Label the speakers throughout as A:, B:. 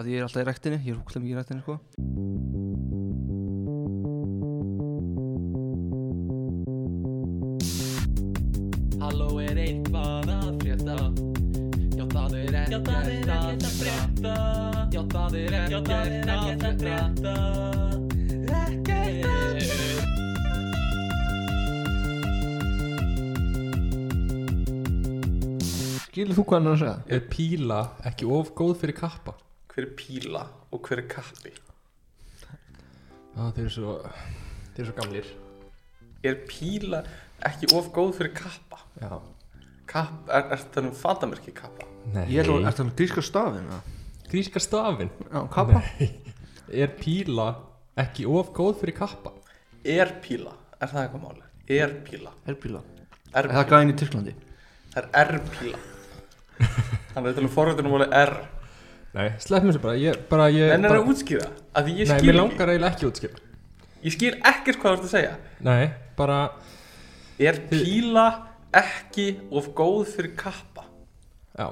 A: að ég er alltaf í rektinni, ég er húkla mikið í rektinni sko.
B: Halló er eitthvað að frétta Já það er ekkert að frétta Já það er ekkert að frétta Ekkert að frétta
C: Skilur þú hvað hann er að segja?
D: Er píla ekki of góð fyrir kappa?
E: hver er píla og hver er kappi
D: Já, þeir eru svo, þeir eru svo gamlir
E: er píla ekki of góð fyrir kappa
D: Já
E: Kapp, er, er það um fatamerki kappa
D: Nei
A: Ég ætla að, ertu hann gríska stafin? eða?
D: Gríska stafin
C: Já, kappa
D: Er píla ekki of góð fyrir kappa?
E: er píla, er það eitthvað máli er píla,
A: Erbíla
E: er
A: Er það
E: píla,
A: gæðin í Tyrklandi?
E: það er er píla þannig að þetta er um forveitunum máli er
D: Nei, slepp mér þessu bara Ég, bara ég
E: en er
D: bara,
E: að útskýra, af því ég
D: Nei,
E: skil
D: mér
E: ekki
D: langar eiginlega ekki að útskipa
E: ég skil ekkert hvað þú ert að segja
D: Nei, bara
E: er píla ekki of góð fyrir kappa
D: Já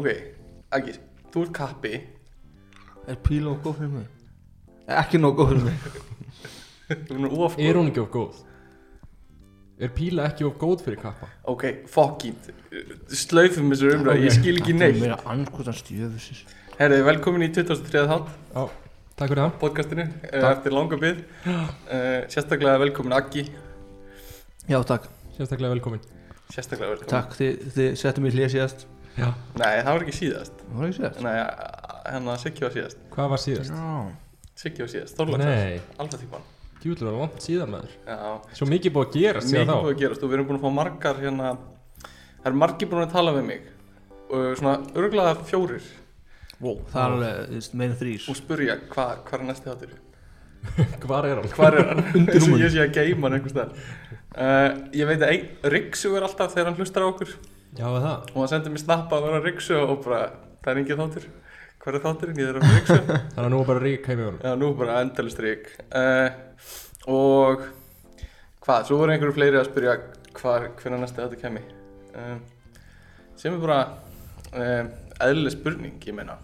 E: ok, Agis, þú ert kappi
A: Er píla og góð fyrir mig? Eh, Ekki nóg góð fyrir mig
E: hún er of
D: Er
E: góð
D: hún ekki of góð? Er píla ekki of góð fyrir kappa?
E: ok, fuck it, slaufum þessu umræð ég skil ekki neitt
A: Mér er anskotan stjöfusis
E: Herri, velkomin í 23. þátt
D: Já, takk fyrir það
E: podcastinu eh, eftir langa bið Eh, Sérstaklega velkomin Aggi
A: Já takk,
D: Sérstaklega velkomin
E: Sérstaklega velkomin
A: takk, þið, þið settum mér hlýja síðast
D: Já
E: Nei, það var ekki síðast
A: Það var ekki síðast?
E: Nei, eh, hérna Siggi var síðast
D: Hvað var síðast?
A: Já
E: Siggi var síðast, Þorlagsar,
D: Nei,
E: Alfa tíman
D: djúlur var langt síðan maður
E: Já,
D: Svo mikið búið að gerast
E: mikið
D: síðan þá
E: búið að gerast og við erum búin að fá margar hérna Það eru margir búin að tala við mig og svona örglaða fjórir
A: wow. Það er alveg, þú veist, meina þrýr
E: og spurja hva, hvað er næsti þáttur
D: Hvar er hann?
E: Hvar er hann? Undir rúmun Ég sé að geima hann einhvers þar Uh, ég veit að Riksu er alltaf þegar hann hlustar á okkur
D: Já, er það
E: og hann sendi mér snappa að vera að riksu og bara, það er engin þáttur hver er þátturinn, ég er að vera að riksu
D: Þannig að nú er bara rík heim í honum
E: já, nú bara endalist rík uh, og hvað, svo voru einhverju fleiri að spyrja hvar, hvernig næstu þetta kemi uh, sem er bara uh, eðlileg spurning, ég meina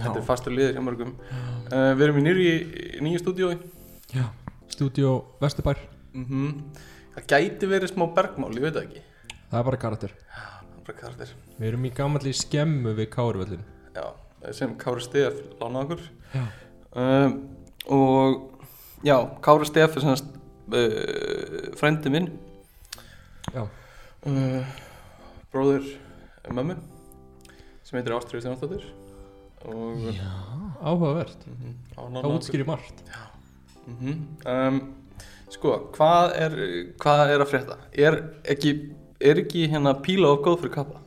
E: þetta er fastur liður hjá mörgum uh, við erum í nýri, nýju stúdíói
D: Já Stúdíó Vesturbær
E: mm það gæti verið smá bergmál, ég veit það ekki
D: Það er bara karakter
E: bara kardir,
D: Við erum í gamalli skemmu við Káruvöllin
E: já, sem Kári Stef lánaði okkur
D: Já
E: um, og já, Kára Steff er sannast uh, frændi minn
D: Já
E: uh, bróður eh, mömmu sem heitir Ástriði Þjónsdóttir og mhm,
D: Áhugavert
E: ánáð
D: Það útskýrir margt
E: um, sko, hvað er hvað er að frétta? Er ekki, er ekki hérna píla og góð fyrir kappa?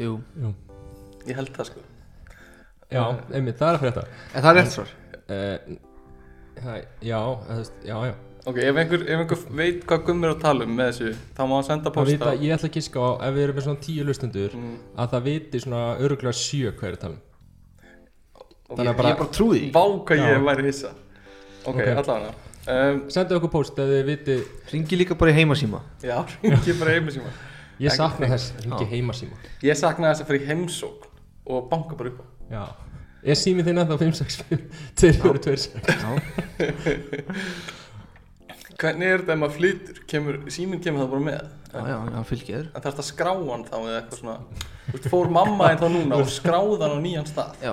A: Jú
D: Jú
E: Ég held það sko
D: Já, einmitt, það er að frétta
A: En það er rétt svar
D: uh, það, Já, það, já, já
E: Ok, ef einhver, ef einhver veit hvað Gummi er að tala um með þessu, þá má hann senda
D: Það
E: post
D: vita,
E: á Mm,
D: ég ætla að kíska á Ef við erum með svona tíu lustundur Að það viti svona örgulega sjö hvað er að tala um Þannig að
A: Ég
D: bara
A: bara trúi því
E: Vá hvað
D: Já.
E: ég væri hissa Ok,
D: Ok.
E: okay. allavega um,
D: Sendu okkur post ef þið viti
A: Ringi líka bara í heimasíma
E: Já, ringi bara heimisíma
D: Ég sakna þess Ringi heimasíma
E: Ég saknaði þess að fara í heimsókn og banka bara upp á
D: Já Er símið þinn ennþá 565 246
E: Hvernig er þetta ef maður flytur? Kemur, síminn kemur það bara með
A: Já, já, hann fylgir þér
E: En þarf að skrá hann þá eða eitthvað svona Þú veist, Fór mamma einn þá núna og skráði hann á nýjan stað
A: Já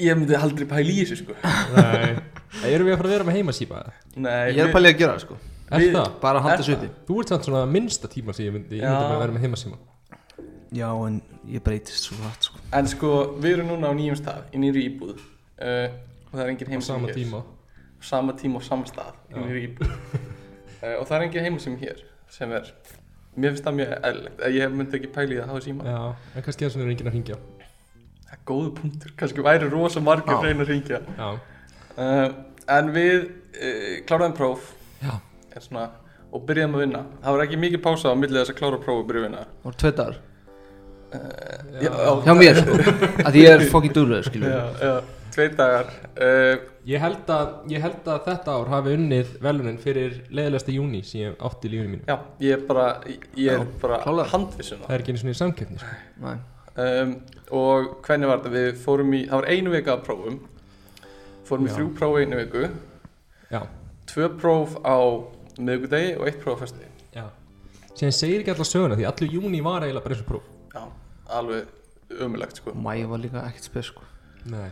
E: Ég myndi aldrei pæla í þessu sko
D: Nei Erum við að fara að vera með heimasíma? eða?
E: Nei,
A: Ég er
E: við-
A: bara líka að gera það sko
D: Er
E: Við-
D: það?
A: Bara að halda
E: Er
A: þessu uppi
D: Þú ert samt svona minnsta tíma sem ég myndi, ég
E: Já.
D: myndi bara vera með heimasíma
A: Já, en ég breytist svo hatt sko
E: En sko, við erum núna á nýjum stað í nýri íbúð uh, og það er engin
D: á
E: heimsími
D: sama
E: hér.
D: tíma
E: Sama tíma og sama stað í nýri íbúð uh, og það er engin heimsími hér sem er Mér finnst það mjög eðlilegt Ég myndi ekki pæla í það að hafa síma
D: Já, en kannski þess vegna er enginn að ringja
E: Það er góðu punktur, kannski væri rosa margir
A: Já.
E: hrein að ringja
D: Já,
E: uh, En við uh, kláraðum próf
D: já,
E: er svona, og byrjaðum að vinna Það var ekki mikið pása á millið þess að klára próf og byrja að vinna Eh,
A: Það voru tvei dagar
E: Já,
A: Hjá mér sko Að ég er fucking dúrlegur skilur
E: já, já, Tvei dagar uh,
D: Ég held að, ég held að þetta ár hafi unnið velunin fyrir leiðilegasta júni sem ég átti í lífinu mínu
E: Já, ég er bara, ég er bara
A: klálega.
E: handvissum það
D: Það er ekki einu svona í samkeppni sko.
A: Nei
E: uh, um, og hvernig var þetta við fórum í, það var einu vika af prófum fórum í
D: Já.
E: þrjú próf í einu viku
D: Já.
E: tvö próf á miðvikudegi og eitt próf á fyrsti
D: Já. Síðan segir ekki allar söguna því allur júni var eiginlega bara eins og próf.
E: já, alveg ömulegt sko
A: Mæ var líka ekkert spes sko
D: Nei.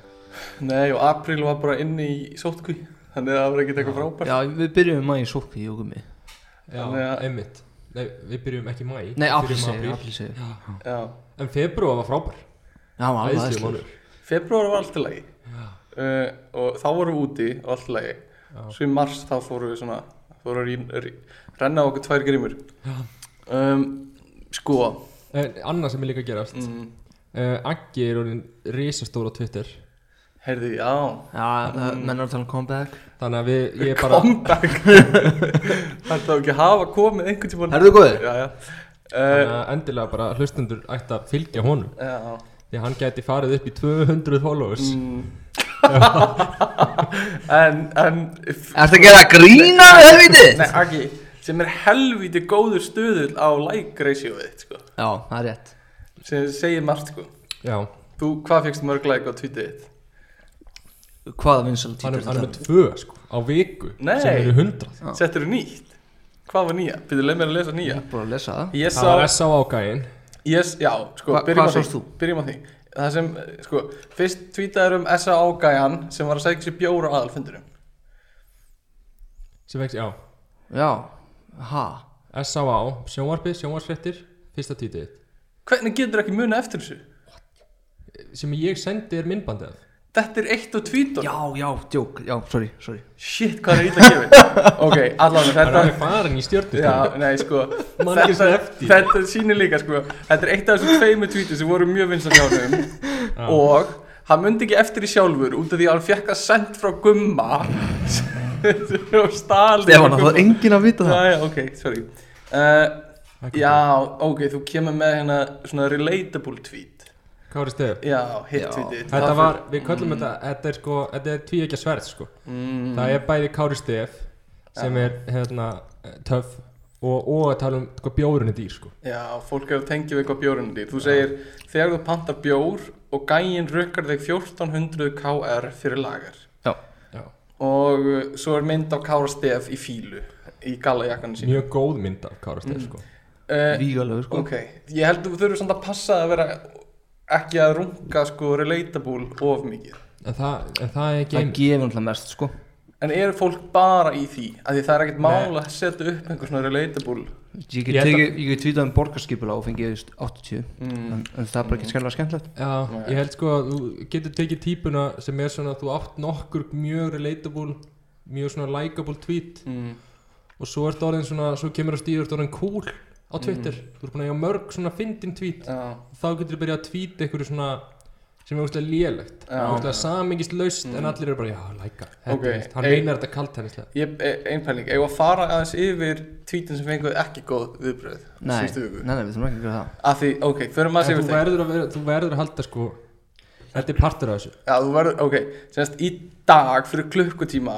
E: nei og apríl var bara inni í sótkví þannig að það var ekkert eitthvað frábært
A: Já, við byrjum mæ í sókvi, ég og gummi
D: Já,
E: Þannig að-
D: einmitt. Nei, við byrjum ekki í mæ.
A: Nei,
D: við
A: allir
D: byrjum
A: segir,
D: apríl.
A: allir segir
D: Já.
E: já,
D: En februar var frábær.
A: Já, hann var alveg
D: Æðislegur
A: aðslu
D: mánuður.
E: februar var alltaf lagi uh, og þá vorum við úti og alltaf lagi svo í mars þá fórum við svona fórum við að rí- rí- renna á okkur tvær grímur um, sko
D: En annað sem er líka að gerast
E: mm,
D: uh, Aggi er orðin risastór á Twitter
E: heyrðu, já
A: Já, það- menn eru að tala um comeback
D: Þannig að við, ég er bara
E: comeback það er þá ekki að hafa komið einhvern tímann
A: Herðu góður?
E: já, já
D: Þannig
E: uh,
D: að endilega bara hlustendur ætti að fylgja honum
E: já
D: Því að hann gæti farið upp í 200 followers
E: mm. en, en
A: Ertu að gera grína, helviti?
E: nei, Aki, sem er helvíti góður stöðul á like ratio við sko,
A: Já, það er rétt
E: sem segir margt sko
D: Já,
E: Þú, hvað fegst mörg like á tweetið þitt?
A: Hvaða vinsal
D: hann
A: títur
D: er, hann
A: þetta?
D: er með tvö sko, á viku
E: Nei.
D: sem eru 100
A: Já.
E: Settur þú nýtt? Hvað var nýja? Býttu, leið mér að lesa
A: Ég
E: nýja
A: er bara að lesa það
E: Ég
D: Það var
E: sá,
D: S.A. ágæðin
E: ég, s- já, sko,
A: Hva-
E: byrjum
A: hvað
E: á því
A: sást þú?
E: Byrjum á því Það sem, eh, sko, fyrst tweetaður um S.A. gæjan sem var að segja sér bjóra á aðalfundurum
D: sem vext, já
A: Já, ha
D: S.A. sjónvarpi, sjónvarsfrettir, fyrsta títið
E: Hvernig getur ekki muna eftir þessu?
D: sem ég sendi er minnbandið af.
E: Þetta er eitt og tweetur
A: Já, já, djók, já, sorry, sorry
E: Shit, hvað er ítla gefið? ok, allan
D: Hann er
E: þetta
D: alveg farin í stjörnum
E: Já, nei, sko
D: Man ekki
E: þetta,
D: eftir.
E: þetta sýnir líka, sko Þetta er eitt af þessum tveimu tweetum sem voru mjög vinsar hjá honum Og hann myndi ekki eftir í sjálfur Út af því að hann fekk að send frá gumma Og stál
A: Stefán, það var enginn að vita það
E: Já, já, ok, sorry uh,
D: Það er
E: Já, ok, þú kemur með hérna Svona relatable tweet
D: Kári Stef
E: Já, hitt
A: Já.
E: tweetið
D: Þetta var, við köllum þetta, þetta er sko, þetta er tví ekki sverð sko
E: mm,
D: Það er bæði Kári Stef sem er hérna töff og, og að tala um hvað bjórun er dýr sko.
E: Já, fólk hefur tengið við eitthvað bjórunum dýr Þú segir, þegar þú pantar bjór Og gæinn rökkar þig 1400 KR fyrir lagar
D: Já.
E: og uh, svo er mynd á Kára Stef í fílu í gallajakkanum sín
D: Mjög góð mynd af Kári Stef sko.
E: uh,
A: Vígalegu, sko
E: ok, ég held að þú þurfum samt að passa að vera ekki að runga sko relatable of mikið
D: en, það, en það er ekki
A: Það
D: einmitt
A: gefur alltaf mest, sko
E: en eru fólk bara í því af því það er ekkert
D: Nei.
E: mál að setja upp einhver svona relatable
A: Ég
D: Ég held að-
A: get tvítið um borgarskipula og fengið 80
E: Mm.
A: en, en það er bara ekki skæmlega skemmtilegt
D: Já, ég held sko að þú getur tekið típuna sem er svona að þú átt nokkur mjög relatable, mjög svona likeable tweet
E: mm.
D: og svo ertu orðin svona, svo kemur að stíður orðin cool á Twitter,
E: Mm.
D: þú ert búin að eiga mörg svona fyndin tweet,
E: já,
D: þá getur þú byrjað að tweeta einhverju svona sem er úrslega lélegt,
E: Já. Mm.
D: úrslega samingist laust en allir eru bara, já, læka,
E: Ok,
D: okay. hann
E: ein-
D: meinar þetta kaltennislega
E: ég, e- ein pæling, eigum við að fara aðeins yfir tweetin sem fenguð ekki góð viðbröð
A: Nei,
E: síðustu
A: nei,
E: viku
A: nei, við þurfum ekki að gera það
E: af því, ok, förum
D: En
E: aðeins
D: þú
E: yfir þeim
D: verður, að vera, þú verður að halda sko Þetta er partur af þessu
E: Já, þú verður, ok, semst í dag fyrir klukkutíma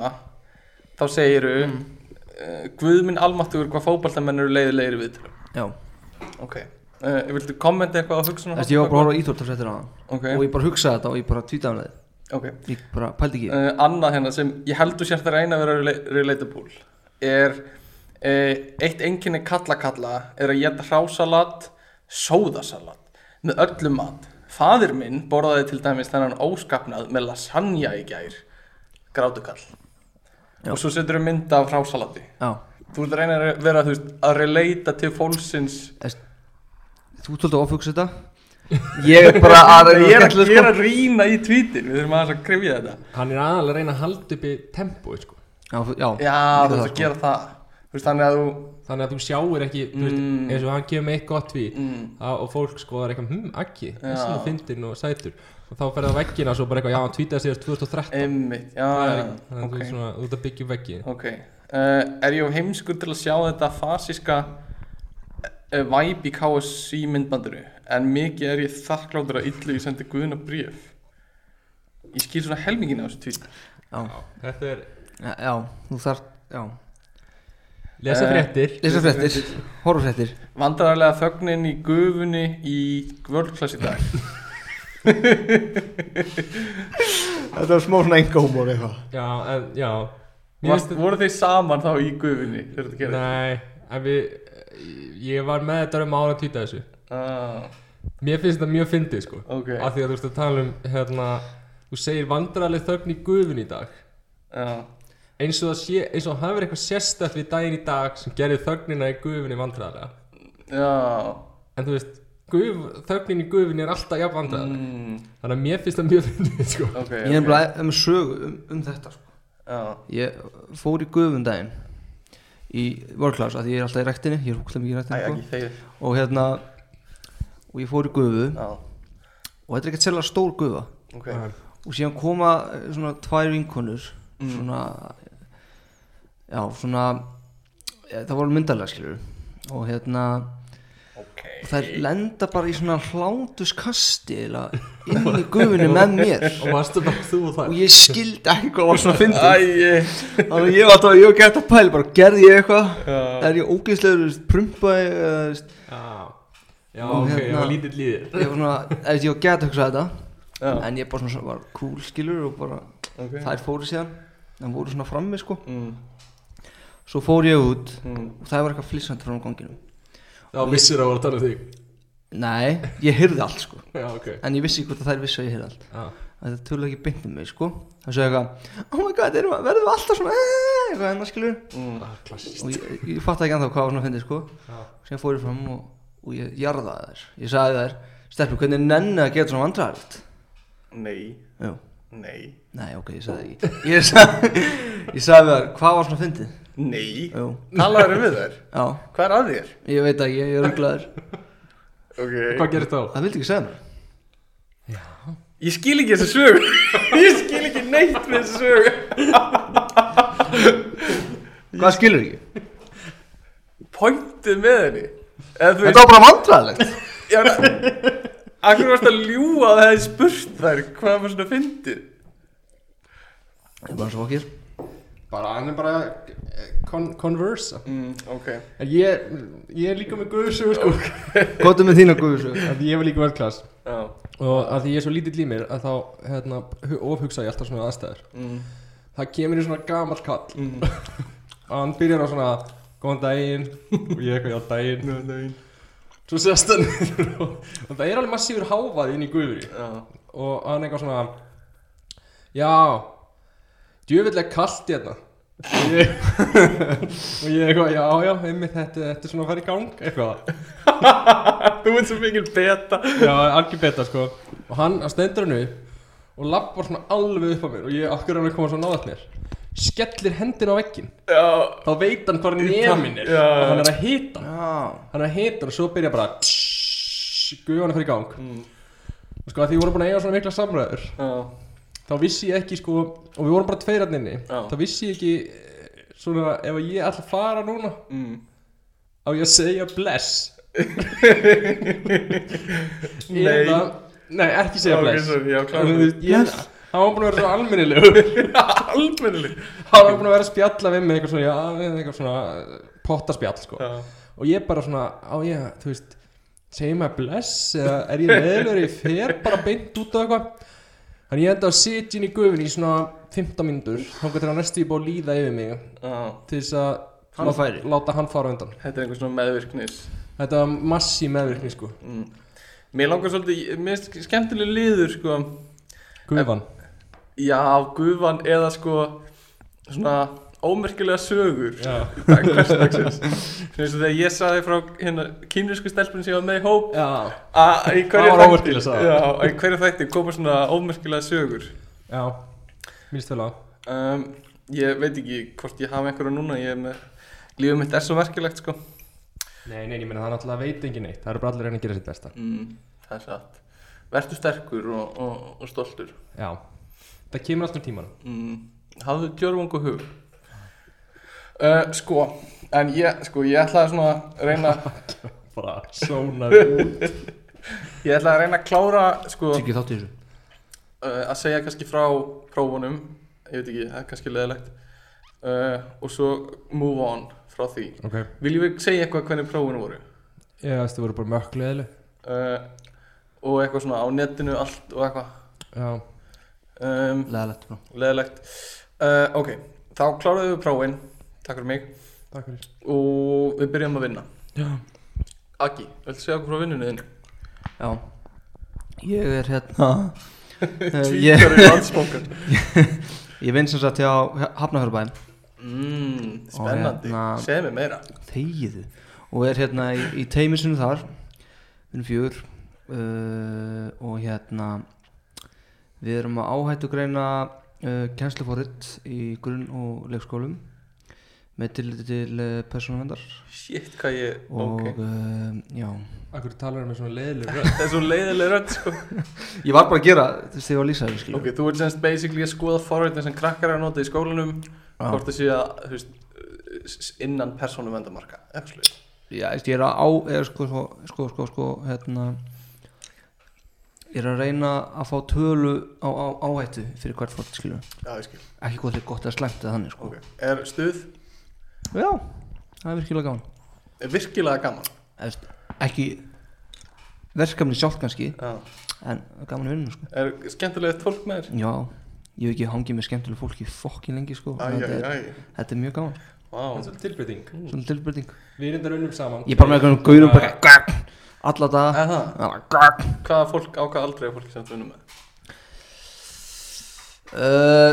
E: þá segiru mm. uh, Guðminn almattugur hvað fótballtamenn eru leiðilegir við þetta.
A: Já,
E: Ok, uh, viltu kommenta eitthvað á hugsunum?
A: þessi ég var bara að horfa á íþórtafréttir á það
E: Ok,
A: og ég bara hugsaði þetta og ég bara tvítið um það
E: ok
A: ég bara pældi ekki
E: uh, Annað hérna sem ég heldur sért að reyna að vera rela- relatable er uh, eitt enginni kalla-kalla er að geta hrásalat sóðasalat með öllum mat Fadir minn borðaði til dæmis þennan óskapnað með lasagna í gær grátukall
A: Já.
E: og svo setur við mynd af hrásalati
A: Já,
E: Þú ert að reyna að vera þú veist, að relata til fólksins
A: þú tóldi að ofugsa þetta Ég er bara að
E: Ég er sko að
A: skemmtileg,
E: gera rýna í tweetin Við þurfum aðeins að krifja þetta
D: Hann er aðalega að reyna að halda upp í tempói sko.
A: sko. Já, sko. þú- já,
E: Já, þú ert að gera það sko. Þú veist þannig að þú
D: Þannig að þú sjáir ekki þú veist,
E: Mm.
D: eins og hann gefur með eitt gott tvít
E: mm,
D: á, og fólk sko er eitthvað, hm, ekki
E: Já.
D: þessi er fyndin og sætur og þá ferði á veggina og svo bara eitthvað, já, hann tvítið sér 2013
E: Einmitt, já,
D: Það er
E: já,
D: ekki- Þannig að þú ert
E: ok,
D: svona, þú ert að byggja upp veggi
E: ok uh, Er ég of heimskur til að sjá þetta fasíska uh, væp í KSC myndbandinu En mikið er ég þakkláttur að illu ég sendi guðuna bréf Ég skil svona helmingin á þessu tweet
A: já,
D: Þetta er,
A: já, já, þú þarft, já
D: Lesa
E: Eh,
D: fréttir
A: Lesa fréttir, horfa fréttir
E: Vandrarlega þögnin í gufunni í vörlklass í dag
A: Þetta var smá svona engómor eitthvað
D: Já, en, já Mér
E: Vast,
D: finnst
E: Voru þeir saman þá í gufunni þegar þetta
D: þetta-
E: gerði?
D: Nei, en við Ég var með þetta um ára að týta þessu
E: Ah,
D: Mér finnst þetta mjög fyndið sko
E: ok
D: Af því að þú veist að tala um hérna Þú segir vandrarleg þögn í gufun í dag
E: Já,
D: Eins og það sé, eins og það verið eitthvað sérstætt við daginn í dag sem gerir þögnina í gufunni vandrarlega
E: já
D: En þú veist, guf, þögnin í gufunni er alltaf jafn vandrarleg
E: mm,
D: Þannig að mér finnst það mjög fyndið sko
E: Ok,
A: Ég er bara um sögu um, um þetta sko.
E: Já,
A: Ég fór í gufundaginn Í workclass að ég er alltaf í rektinni Ég er húkla mikið í
E: Æ,
A: rektinni
E: ekki
A: sko.
E: þeir
A: Og hérna Og ég fór í gufu
E: Já,
A: Og þetta er ekkert sérlega stór gufa
E: ok
A: Og síðan koma eh, svona tvær vinkonur
E: Mm.
A: Svona Já, svona ja, Það voru myndarlega skilur Og hérna
E: Ok
A: og þær lenda bara í svona hlátuskasti eða inn í gufunni með mér
D: Og varstu bara þú og
A: og
D: það
A: ég skildi ekki hvað var svona fyndið
E: Æ, ég-
A: þannig að ég var alltaf, ég var gett að pæla bara gerði ég eitthvað,
E: já,
A: er ég ógeðslegur þú veist, prumpaði, eða, þú veist,
D: Já, já
A: Og
D: ok,
A: hérna-
D: ég var lítill í þér
A: ég var svona eða, ég var gett að hugsa þetta
E: já,
A: en ég bara svona var cool skilur og bara
E: ok
A: þær fóru síðan, en voru svona frammi sko
E: Mm,
A: svo fór ég út
E: mm.
A: og það var eitthvað flissandi frá ganginum
D: Já, vissir að voru að tala um þig
A: nei, ég heyrði allt sko
D: Já, ok
A: en ég vissi ekki hvort að þær vissi að ég heyrði allt
D: Já,
A: að þetta tölur ekki beintið mig sko það segja eitthvað, oh my god, erum, við- verðum við alltaf svona eh, eitthvað enna skilur
E: Mm.
D: klassist
A: og ég, ég fatt ekki anþá hvað var svona að finna sko
D: Já,
A: sem fór ég fram og, og ég jarðaði þær ég sagði þær, stelpur, hvernig nenni að gera svona vandræðalegt
E: Nei,
A: jú,
E: nei,
A: nei, ok, ég sagði það ekki ég sagði, ég sagði við þær, hvað var svona að fyndið
E: nei
A: jú,
E: Talaður við þær?
A: já,
E: Hvað er að þér?
A: ég veit ekki, ég er rugglaður
E: Ok
D: hvað gerist þá?
A: það vildi ekki segja mér
E: Ég skil ekki þessu sög Ég skil ekki neitt með þessu sög
A: hvað skilur ekki,
E: Pointið með henni Eða þú
A: þetta var bara vandræðalegt
E: Já, akkur varst að ljúga að það hefði spurt þær hvað var svona fyndið
A: ég er bara svo okkir
D: Bara, hann er bara eh, kon Conversa
E: mm, Ok
D: En Ég, ég er líka með guðsögur sko
A: gottum með þína guðsög
D: Að ég var líka verðklass
E: Já
D: Og að því ég er svo lítill í mér að þá hérna, hu- ofhugsa ég alltaf svona aðstæður
E: mm,
D: Það kemur í svona gamall kall
E: mm,
D: Og hann byrjar á svona Góðan daginn Og ég eitthvað já daginn
E: no, no,
D: Svo sest hann niður og og það er alveg massífur háfað inn í guðri
E: Já
D: og hann eitthvað svona já djöfilega kallt hérna og ég, og ég eitthvað já já einmitt þetta, þetta er svona að fara í gang eitthvað
E: Þú ert svo mikil beta
D: já algjör beta sko og hann hann stendur hann upp og lappar svona alveg upp á mér og ég akkur er hann að koma svona náðast mér skellir hendin á veggin
E: Já
D: þá veit hann hvað nefnin er
E: Já.
D: og hann er að hita hann
A: já,
D: hann er að hita hann og svo byrja bara guðan að fara í gang
E: mm,
D: og sko að því ég voru búin að eiga svona mikla samræður
E: Já
D: þá vissi ég ekki sko og við vorum bara tveir hann inni
E: Já.
D: þá vissi ég ekki eh, svona ef ég ætla að fara núna
E: mm.
D: á ég að segja bless
E: Nei.
D: eða nei ekki segja
E: Ok,
D: bless
E: sorry, já, klára.
D: En þú veist, ég-
A: Bless.
D: hann var búin að vera svo almennilegu
E: Almennileg
D: hann var búin að vera að spjalla við mig eitthvað svona, já, eitthvað svona eh, pottaspjall sko
E: Já
D: og ég bara svona á ég að, þú veist segja maður bless eða er ég meðlur ég fer bara beint út á eitthvað þannig ég enda að sitja inn í gufinni í svona 15 mínútur þannig að næstu ég búið að líða yfir mig
E: Já
D: til þess að
A: Hann
D: lá-
A: færi.
D: láta hann fara á undan
E: Þetta er einhver svona meðvirknis
D: þetta var massi meðvirkni sko
E: mm. Mér langar svolítið, mér finnst skemmtileg liður sko
D: gufan
E: Já, gufan eða sko svona ómerkilega sögur
D: já,
E: dag hversdagsins Svona eins og þegar ég saði frá hérna, kínversku stelpunni sem ég var með í hóp
D: já,
E: að í
D: Það
E: hverju
D: var
E: þætti
D: ómerkileg saga.
E: já, að í hverju þætti koma svona ómerkilega sögur
D: já. minnst vel á
E: um, ég veit ekki hvort ég hafa einhverja núna ég er með lífið mitt er svo merkilegt sko
D: nei, nei, ég meina það náttúrulega veit engin neitt það eru bara allir að reyna að gera sitt besta
E: mm, það er satt verður sterkur og, og, og stoltur
D: já, það kemur allt með tíman
E: mm, hafðu djörfung og hug uh, sko en ég, sko, ég ætlaði svona að reyna
D: bara sónar út
E: ég ætlaði að reyna að klára sko eh,
A: tekið þátt í þessu
E: uh, að segja kannski frá prófunum ég veit ekki, það er kannski leðilegt uh, og svo move on frá því
D: Ok,
E: Viljum við segja eitthvað hvernig prófinu voru?
D: ég veist þið voru bara möklu eðli
E: Uh, og eitthvað svona á netinu allt og eitthvað
D: Já,
E: um,
A: leðalegt bara
E: leðilegt uh, Ok, þá kláruðum við prófin Takk fyrir mig
D: takk fyrir
E: og við byrjum að vinna
D: Já,
E: Aki, viltu segja okkur frá vinnunni þinn?
A: Já Ég er hérna eh, ég,
E: Tvítar í landsbókar
A: ég vinn sem sagt hjá Hafnafjörðbæn
E: mm, Spennandi,
A: hérna-
E: segð mér meira
A: Þegiðu Og er hérna í, í teimisinu þar Við erum fjör uh, Og hérna Við erum að áhættu greina uh, Kenslufórit í grunn og leikskólum Með tilliti til uh, persónavendar
E: Shit, hvað ég,
A: Og
E: ok
A: uh, já
D: akkur talar með svona leðli
E: Það er svo leiðileg rödd sko
A: Ég var bara að gera þess að ég var að lýsa þessu sko. skilur
E: Ok, þú ert semst basically að skoða forritin sem krakkar er að nota í skólanum
A: Já.
E: Hvort það sé að, þú veist, eh, s- innan persónu vendamarka Efslu
A: Já, veist, ég er að á er sko, sko, sko, sko, sko hérna ég er að reyna að fá tölu á, á áhættu fyrir hvert fólk skilu
E: Já, ég skil
A: ekki hvort þið er gott að slæmt eða þannig sko
E: Ok, er stuð
A: Já, það er virkilega gaman
E: er virkilega gaman
A: Eða, veist, ekki verkefni sjálf kannski
E: Já
A: en gaman að vinna sko
E: Er skemmtilegt fólk með þér?
A: Já, ég hef ekki hangið með skemmtilega fólki fokkin lengi sko
E: Æ,
A: þetta,
E: æ,
A: er,
E: æ
A: þetta er mjög gaman,
E: Vá
D: Svona tilbreyting
A: svona tilbyrting
D: Við reyndar unnum saman
A: Ég er bara með einhvern gaurum bara gagn, alla daga
E: Er það?
A: bara gagn
E: Hvaða fólk, á hvað aldrei er fólk sem þú vinnum með?
A: Uh,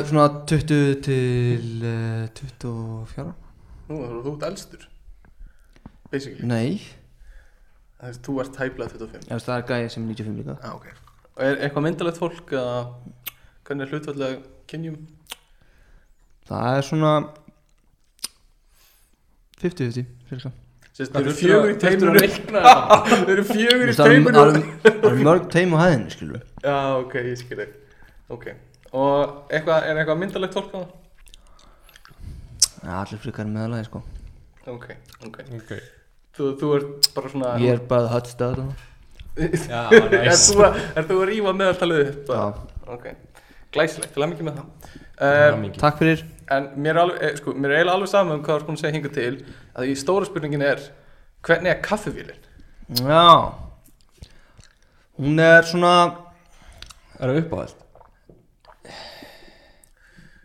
A: svona 20 til uh, 24
E: Nú, þú þú ert elstur Basically
A: Nei,
E: Það er, þú ert tæplega 25
A: ég veist það er gæði sem er 95 líka
E: ah, ok Og er eitthvað myndalegt fólk eða hvernig er hlutvallega kynjum?
A: Það er svona 50-50 cirka.
E: Sérst,
D: Hvað
E: þeir eru
D: þurftur að-
E: fjögur í
D: þurftur að
E: teiminu
D: reikna þetta?
E: Þeir eru
A: Þú
E: fjögur í
A: veist, Það er-
E: teiminu
A: það er- það er mörg teim á hæðinni skilur við.
E: Já, ok, ég skil þig Ok Og eitthvað, er eitthvað myndalegt fólk á það?
A: Já, Allir frikar meðalagi sko
E: Ok, ok
D: Ok,
E: Þú, þú ert bara svona
A: Ég er bara höttstæður
D: já,
E: er,
D: næs
E: þú að, er þú að rífa meðaltalið upp?
A: Já.
E: Ok Glæsilegt, til að mikið með það um,
D: Hamingju.
A: Takk fyrir
E: En mér er, alveg, eh, sko, mér er eiginlega alveg saman um hvað þú ert búin að segja hinga til að því stóra spurningin er hvernig er kaffivélinn?
A: Já Hún er svona
D: Er það uppáðast?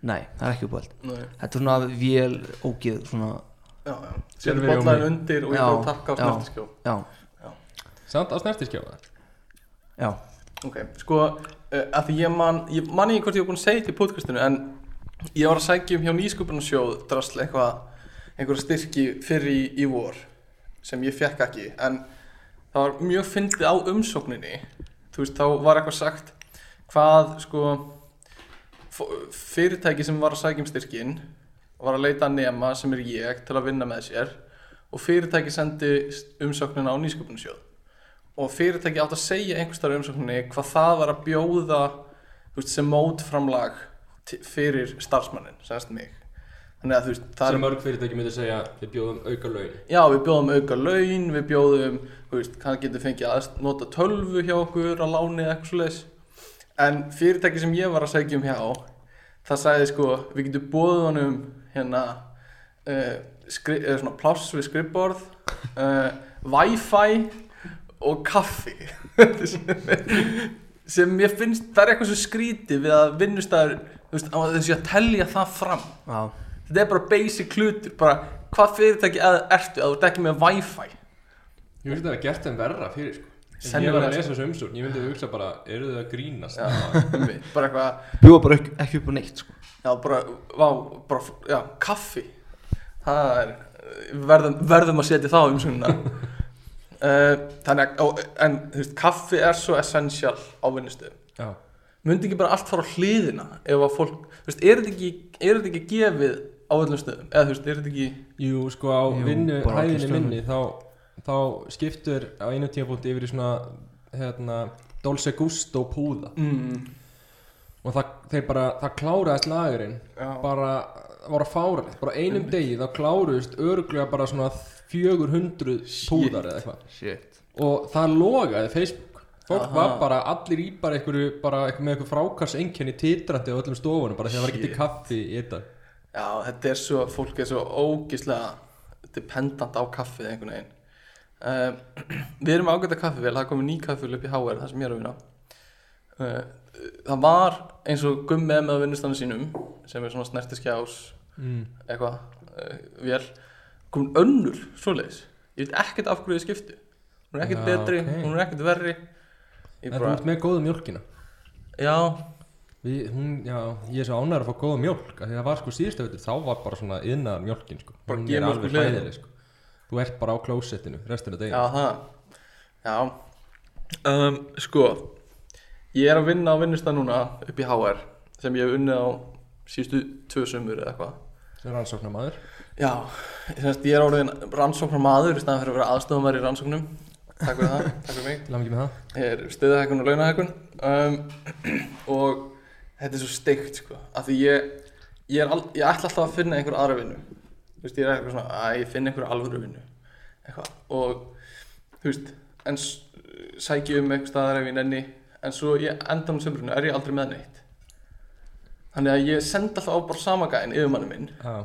A: Nei, það er ekki uppáld
E: Nei.
A: Þetta er svona vél ógeð svona
E: Já, já. Setur
D: Silfur í
E: bollan
D: ómi.
E: undir og ég
A: Já,
E: fyrir að takka á
A: já.
E: snertiskjó.
A: Já,
D: Samt á snertiskjáða
A: já
E: Ok, sko, uh, að því ég man, ég man ekki hvort ég hef búin að segja þetta í podcastinu en ég var að sækja um hjá nýsköpunarsjóð drasl eitthvað, einhverja styrki fyrir í, í vor sem ég fekk ekki en það var mjög fyndið á umsókninni þú veist, þá var eitthvað sagt hvað, sko f- fyrirtæki sem var að sækja um styrkin var að leita að nema sem er ég til að vinna með sér og fyrirtæki sendi umsóknina á nýsköpunarsjóð og fyrirtæki átt að segja einhverstaðar umsókninni hvað það var að bjóða þú veist, sem mótframlag ti- fyrir starfsmannin, sagðist mig þannig að þú veist, það
D: Sem
E: er
D: mörg fyrirtæki myndi segja Við bjóðum auka laun
E: já, við bjóðum auka laun, við bjóðum þú veist, hann getur fengið að nota tölvu hjá okkur á láni eða eitthvað svoleiðis en fyrirtæki sem ég var að segja um hjá það sagði sko, við getum bóðið honum hérna uh, skri, eða svona pláss við skrifborð uh, wifi og kaffi sem ég finnst, það er eitthvað svo skrítið við að vinnustæður, þú veist, að þessi að telja það fram
A: Já,
E: þetta er bara basic hlutur bara hvað fyrirtæki eð, ertu að þú ert ekki með wifi
D: Ég veist að það er gert þeim verra fyrir sko Ef Ég
E: Sennilega,
D: var að
E: sko.
D: lesa þessu umsókn Ég myndi hugsa bara Eru þið að grínast?
E: já, einmitt, bara eitthvað
A: bjóða bara ekki, ekki upp á neitt sko
E: já, bara, vá, bara, já, kaffi það er verðum, verðum að setja það um svona uh, þannig að ó, en þú veist, kaffi er svo essential á vinnustu
D: Já
E: myndi ekki bara allt fara á hliðina ef að fólk, þú veist, er þetta ekki er þetta ekki gefið á öllum stöðum eða þú veist, er þetta ekki
D: Jú, sko á
A: Jú,
D: vinnu
A: bara allir
D: Hæðinni
A: stöðum.
D: minni Þá, þá skiptur á einu tímabúti yfir í svona Hérna Dolce Gusto púða
E: mm,
D: Og það, þeir bara Það kláraðist lagurinn
E: já,
D: Bara Það voru að fára Bara á einum degi Það kláruðist örglega bara svona 400 púðar eða eitthvað
A: Shit
D: og það logaði Facebook fólk
E: Aha.
D: var bara, allir í bara einhverju bara einhver, með einhver frákarsengjenni titrandi á öllum stofunum bara þegar það var ekki til
E: Shit.
D: kaffi í þetta
E: Já, þetta er svo, fólk er svo ógislega dependant á kaffið einhvern veginn. Uh, við erum ágæta kaffifél, það er komið ný kaffifél upp í HR, það sem ég er að vinna. Uh, það var eins og gummið með vinnustannu sínum, sem er svona snertiskjás,
D: mm.
E: eitthvað, uh, vél, komin önnur, svoleiðis. Ég veit ekkert af hverju þið skiptu. Hún er ekkert
D: Já,
E: betri,
D: ok.
E: hún er ekkert verri. Ég
D: En þú
E: bara,
D: ert með góða mjölkina
E: já,
D: Við, hún, já, ég er svo ánægður að fá góða mjölk af því það var sko síðustu veitur, þá var bara svona yðnaðar mjölkin sko.
E: Bara
D: Hún er
E: gemölk
D: alveg
E: við hliðina.
D: hræðileg, sko. Þú ert bara á klósettinu restina degi
E: Já, það Já um, Sko Ég er að vinna á vinnustan núna upp í HR sem ég hef unnið á síðustu tvö sömur eða eitthvað
D: sem rannsóknar maður
E: Já, semst, ég er orðin rannsóknar maður í staðan fyrir að vera aðstofumar í rannsóknum Takk fyrir það, takk fyrir mig
D: til að mikið með það
E: er stiðahækkun og launahækkun um, og þetta er svo steikt sko af því ég, ég, er al, ég ætla alltaf að finna einhver aðra vinnu þú veist, ég er eitthvað svona að ég finna einhver alvöru vinnu eitthvað og þú veist, en s- sæki um einhver staðar ef ég nenni en svo ég endan um sömrunu er ég aldrei með neitt þannig að ég senda alltaf á bara samagæðin yfirmanni minn
D: Já,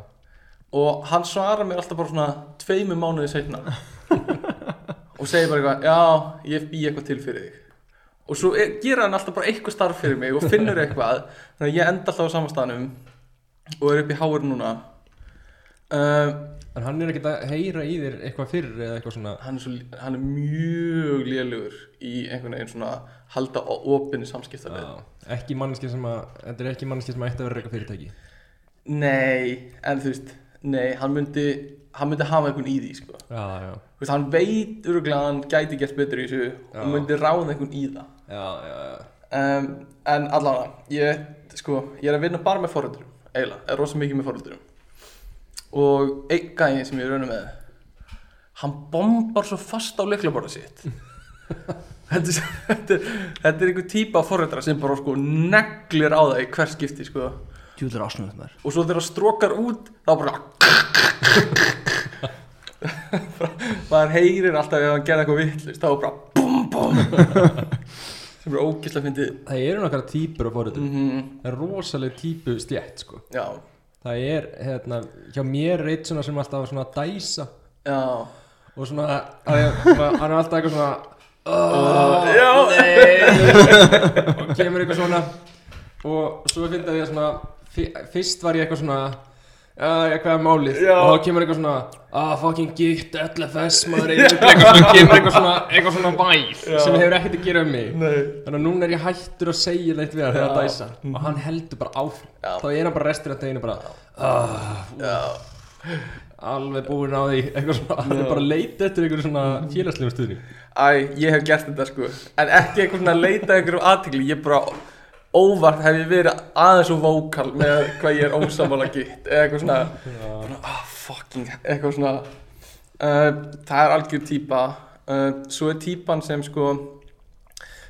E: og hann svarar mér alltaf bara svona tveimur mánuði setna og segir bara eitthvað já, ég bý eitthvað til fyrir þig og svo er, gera hann alltaf bara eitthvað starf fyrir mig og finnur eitthvað þannig að ég enda alltaf á samastanum og er upp í háur núna uh,
D: en hann er ekkert að heyra í þér eitthvað fyrir eða eitthvað svona
E: hann, er svo, hann er mjög lélugur í einhvern veginn svona halda á opinni samskiptarleið
D: Já, ah, ekki mannski sem að þetta er ekki mannski sem að ætti að vera eitthvað fyrirtæki
E: nei, en þú veist nei, hann myndi, hann myndi hafa einhvern í því sko
D: Já, já,
E: Þú veist, hann veit öruglega að hann gæti gert betur í þessu og
D: Já.
E: myndi ráða einhvern í það
D: já, já, já.
E: um, en allavega, ég, sko, ég er að vinna bara með foreldurum eiginlega, er rosa mikið með foreldurum og einn gæði sem ég er raunum með hann bombar svo fast á leiklaborða sitt þetta, er, svo- þetta, er, þetta er einhver típa af foreldra sem bara sko neglir á það í hver skipti sko
A: Djúlar ásnöðum þetta maður
E: og svo þegar það strókar út þá bara maður heyrir alltaf ef hann gerði eitthvað vittlust þá bara bum bum sem er ógislega fyndið
D: Það eru nokkara típur á fórhundum
E: mm
D: Það er rosaleg típu stjætt sko
E: já,
D: Það er, hérna, hjá mér er eitt svona sem alltaf var svona að dæsa
E: já,
D: og svona að ég- svona- hann er alltaf eitthvað svona oh,
E: já.
D: nei og kemur eitthvað svona og svo finnst að ég svona fi- fyrst var ég eitthvað svona Já, ég hvað er málið
E: Já.
D: Og þá kemur eitthvað svona Ah, fucking gitt, LFS, maður er eitthvað svona Kemur eitthvað svona, eitthvað svona væl Sem hefur ekkert að gera um mig
E: Nei.
D: Þannig að núna er ég hættur að segja neitt við hann Þegar að dæsa
E: Mhm.
D: Og hann heldur bara áfram
E: Já.
D: Þá er hann bara restur af deginu bara Ah,
E: já.
D: alveg búinn á því eitthvað svona, hann er bara að leita eftir einhverju svona
E: Mhm.
D: félagslegum stuðning
E: æ, ég hef gert þetta sko en ekki eitthvað svona að leita að einhverjum aðtikli ég bara óvart hef ég verið aðeins og vókal með hvað ég er ósamála gitt eða eitthvað svona bara, ah, fucking, eitthvað svona uh, það er algjör típa uh, svo er típan sem sko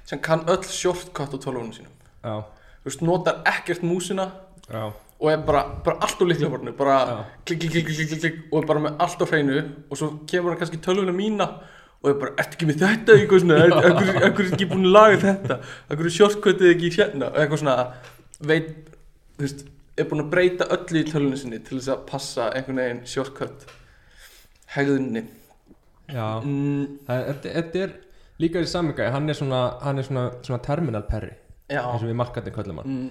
E: sem kann öll shortcut á tólfunum sínum
D: já,
E: þú veist, notar ekkert músina
D: já,
E: og er bara, bara allt úr líklaborinu bara
D: Já.
E: klikk, klikk, klikk, klikk, klikk, klikk og er bara með allt á hreinu og svo kemur hann kannski tölvuna mína og er bara, ertu ekki með þetta eitthvað svona, er- af hverju af hverju er ekki búin að laga þetta af hverju sjortkvötið ekki hérna og eitthvað svona, veit þú veist, er búin að breyta öllu í tölvunni sinni til þess að passa einhvern veginn sjortkvöt hegðunni
D: já.
E: mm,
D: Það, er- þetta, þetta er líka í samingæði hann er svona, hann er svona, svona terminal perri
E: já,
D: eins og við markandi kvöldum hann
E: mm,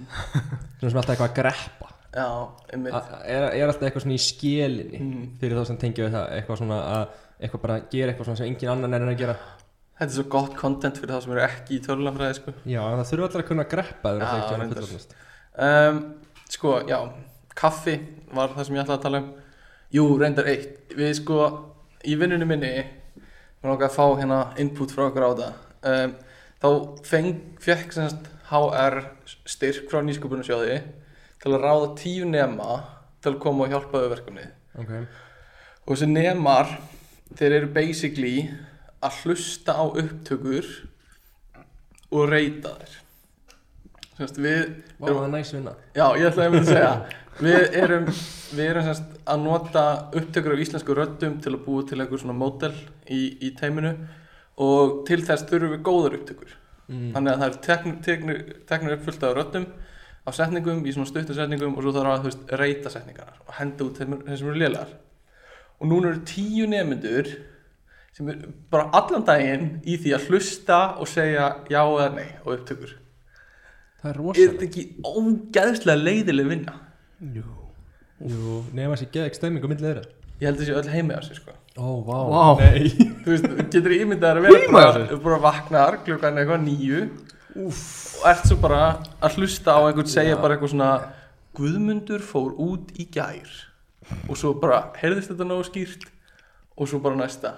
D: svona sem alltaf eitthvað að greppa
E: já, einmitt
D: A- er, er alltaf eitthvað svona í skelinni
E: Mm.
D: fyrir þá sem tengja við það eitthvað svona að eitthvað bara gera eitthvað svona sem engin annan er að gera
E: þetta er svo gott content fyrir það sem eru ekki í tölvunafræði sko
D: já, en það þurfa alltaf að kunna að greppa þegar
E: Já,
D: það ekki að
E: reyndar.
D: fullorðnast
E: um, Sko, já, kaffi var það sem ég ætlaði að tala um Jú, reyndar eitt Við sko, í vinnunni minni Mér langaði að fá hérna input frá okkur á það um, Þá feng, fekk semst HR styrk frá nýsköpunarsjóði Til að ráða tíu nema Til að koma og hjálpa við verkefnið
D: ok,
E: Og þessi nemar, þeir eru basically að hlusta á upptökur og reyta þær Sérst, við
D: Vá, það er næs vinna
E: Já, ég ætlaði einmitt að segja Við erum, við erum semst að nota upptökur af íslensku röddum til að búa til einhver svona mótel í, í teiminu og til þess þurfum við góðar upptökur
D: mm.
E: þannig að það er teknir, teknir, teknir upp fullt af röddum á setningum í svona stuttum setningum og svo þarf að þú veist, reyta setningarnar og henda út þeim, þeim sem eru lélegar og núna eru tíu nemyndur sem er bara allan daginn í því að hlusta og segja já eða nei og upptökur
D: það er
E: er þetta
D: rosalega
E: ekki ógæðslega leiðileg vinna
A: Jú
D: Jú, nema sér geðið ekki stemming á milli þeirra
E: ég held þessi öll heimi á sig sko
D: Ó, vá
A: Vá.
D: Nei
E: þú veist, þú getur ímyndað þér að vera
A: Heima hjá
E: bara,
A: sér?
E: bara vaknar klukkan eitthvað nýju og ert svo bara að hlusta á einhvern segja bara eitthvað svona Guðmundur fór út í gær og svo bara, heyrðist þetta nógu skýrt og svo bara næsta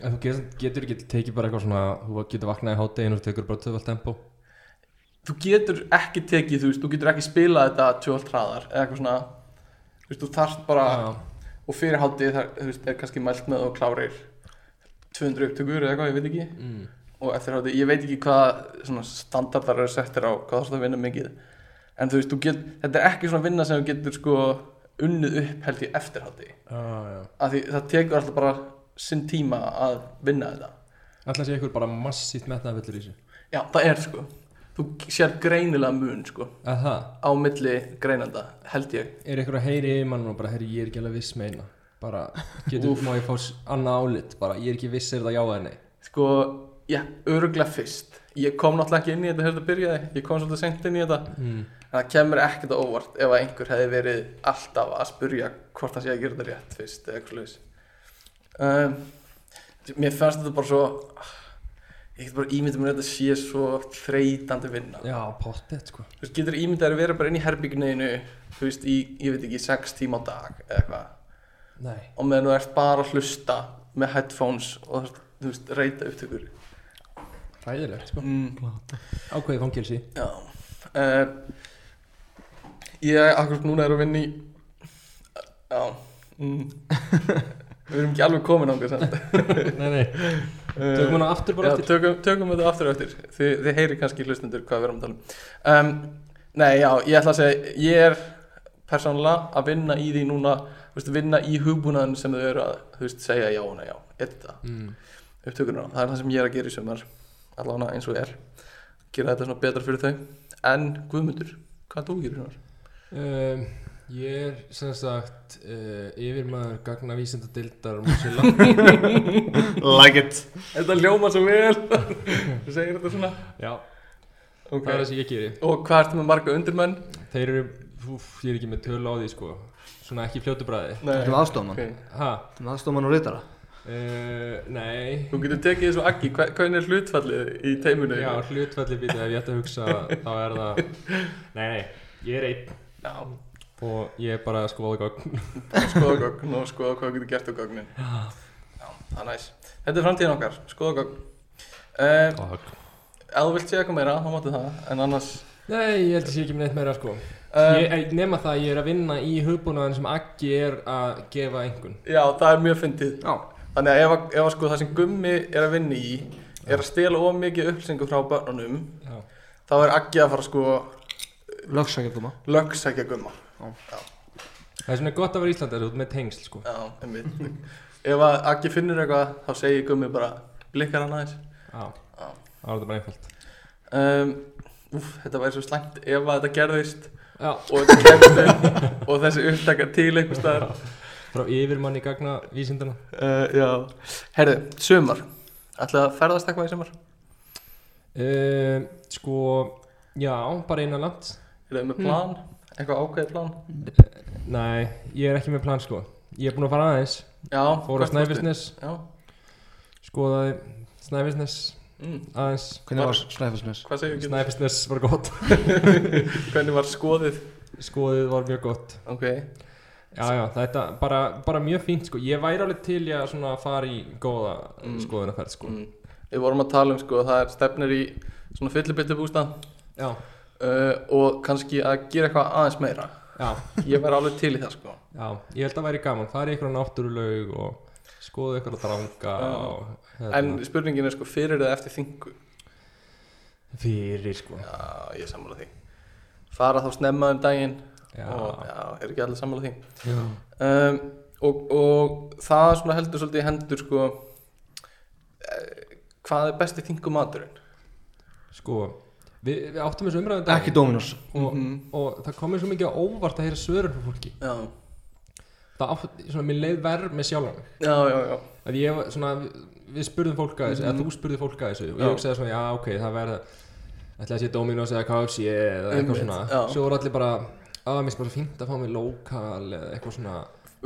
D: En þú getur, getur ekki tekið bara eitthvað svona Þú getur vaknað í hátteginu og tekur bara töfald tempo
E: þú getur ekki tekið, þú veist, þú getur ekki spilað þetta tjóðalt hraðar eða eitthvað svona þú veist, þú þarft bara og fyrir hátið þar, þú veist, er kannski mælt með og klárir 200 upptökur eða eitthvað, ég veit ekki
D: mm.
E: og eftir hátíð, ég veit ekki hvað svona standardar eru settir á hvað þarfst að vinna mikið en þú veist, þú get, þetta er ekki svona vinna sem þú getur sko unnið upp held ég eftir hátíð
D: ah, já.
E: af því það tekur alltaf bara sinn tíma að vinna þetta
D: Alltaf sé ykkur bara massíft metnaðvillur í þessu
E: já, það er sko, þú sér greinilega mun sko,
D: Að það,
E: á milli greinanda held ég,
D: er ykkur að heyri yfir mann og bara Heyri, ég er ekki alveg viss með eina Bara, getur, má ég fá s- annað álit Bara, ég er ekki viss er það já eða nei
E: sko já, öruglega fyrst ég kom náttúrulega ekki inn í þetta þegar þetta byrjaði ég kom svolítið sent inn í þetta
D: mm.
E: En það kemur ekkert á óvart ef að einhver hefði verið alltaf að spurja hvort það sé að gera þetta rétt fyrst eða eitthvað slags. Um, mér fannst þetta bara svo, ég get bara ímyndið mér að þetta sé svo þreytandi vinna.
D: Já, pottet sko
E: Þú veist, getur ímyndið að vera bara inn í herbyggneginu, þú veist, í, ég veit ekki, sex tíma á dag eða eitthvað.
D: Nei
E: Og meðan þú ert bara að hlusta með headphones og þú veist, reyta upptökur.
D: Ræðilegt sko
E: Mm.
D: Ákveðið fangilsi
E: Já uh, Ég akkurat núna er að vinna í Já mm. Við erum ekki alveg komin ángur samt
D: Nei, nei Tökum
E: uh,
D: hana aftur
E: já,
D: bara aftur
E: tökum, tökum þetta aftur og eftir Þi, Þið heyri kannski hlustendur hvað við erum að tala um um, Nei, já, ég ætla að segja Ég er persónulega að vinna í því núna þú veist, vinna í hugbúnaðin sem þau eru að þú veist, segja já og nei, já, eitthvað
D: mm.
E: upptökurnar það er það sem ég er að gera í sumar allavega eins og er gera þetta svona betra fyrir þau en Guðmundur, hvað þú gerir í sumar?
D: um, Ég er sem sagt uh, Yfirmaður um gagna vísindadildar Músila
A: Like it
E: Þetta ljóma svo vel þú segir þetta svona
D: Já Það er
E: okay.
D: það sem ég geri
E: og hvað ertu með marga undirmenn?
D: Þeir eru, úf, ég er ekki með tölu á því sko Svona ekki í fljótu bræði
E: Nei,
A: Þetta er aðstofmann
E: ok.
D: Ha,
A: Þetta er aðstofmann og reytara
D: uh, nei
E: þú getur tekið þessu aggi, Hva- hvernig er hlutfallið í teiminu?
D: Já, hlutfalli býta ef ég ætti að hugsa Þá er það Nei, nei, ég er einn
E: já
D: Og ég er bara að skoða gögn
E: skoða gögn og skoða hvað þú getur gert á gögnin já, það er næs þetta er framtíðin okkar, skoða gögn uh, ef þú vilt sé eitthvað meira, þá máttu það en annars
D: Nei, ég held að sé ekki með neitt meira sko
E: um,
D: ég, eh, Nema það, ég er að vinna í hugbúnaðan sem Aggi er að gefa einhvern
E: já, það er mjög fyndið
A: Já
E: Þannig að ef, að- ef að sko það sem gummi er að vinna í er að stela of mikið upplýsingum frá börnunum
D: Já,
E: þá er Aggi að fara sko
A: Lögsækja koma
E: lögsækja gumma
D: það er svona gott að vera Íslanda Þú ert með tengsl sko
E: Já, einmitt Ef að Aggi finnur eitthvað þá segir gummi bara blikkar hann aðeins
D: Já,
E: Já.
D: það var þetta bara einfalt
E: um, Úf, þetta væri svo slæmt ef að þetta gerðist
D: Já,
E: og þetta kemst upp og þessi upptaka til einhvers staðar
D: frá yfirmanni gagna vísindana
E: uh, Já Herðu, sumar Ætlaðu að ferðast eitthvað í sumar?
D: Um, sko, já, bara innanlands
E: Eruðu
D: Hmm.
E: með plan? Eitthvað ákveðið plan?
D: Nei, ég er ekki með plan sko Ég er búinn að fara aðeins
E: Já,
D: Fór að
E: hvert fórstu?
D: Snæfisnes,
E: Já,
D: skoðaði Snæfisnes
E: mm.
D: aðeins
A: Hvernig var Snæfellsnes?
E: hvað segir Gylfi?
D: Snæfisnes var gott
E: Hvernig var skoðið?
D: Skoðið var mjög gott
E: Ok,
D: Já, já, þetta bara, bara mjög fínt sko Ég væri alveg til ég að svona fara í góða
E: Mm.
D: mm. skoðunaferð sko
E: mm. við vorum að tala um sko að það er stefnir í svona fyllibittu bústað
D: Já,
E: uh, og kannski að gera eitthvað aðeins meira
D: já,
E: Ég væri alveg til í það sko
D: já Ég held að væri gaman, farið ykkur á náttúrulaug og skoðið ykkur að dranga
E: Já.
D: og,
E: En
D: hérna,
E: spurningin er sko fyrir eða eftir þingu
D: Fyrir sko
E: Já, ég er sammála því Fara þá snemma um daginn
D: Já,
E: og já, er ekki allir sammála því
D: já.
E: um, og, og það svona heldur svolítið í hendur sko eh, uh, hvað er besti þingu maturinn?
D: Sko, við, við áttum þessu umræðin
A: Ekki Dominos
D: og,
E: Mhm.
D: og það komið svo mikið á óvart að heyra svörur frá fólki
E: Já,
D: það átt, svona, mér leið verð með sjálfan mig
E: já, já, já
D: að ég, var svona, við- við spurðum fólk að þessu, eða þú spurði fólk að þessu og ég
E: Mhm. Já.
D: hugsaði svona, já, ok, það verða ætlaði að sé Dominos eða KFC eða eitthvað
E: Einmitt,
D: svona,
E: já.
D: svo voru allir bara að mér er bara svo fínt að fá mér lokal eða eitthvað svona,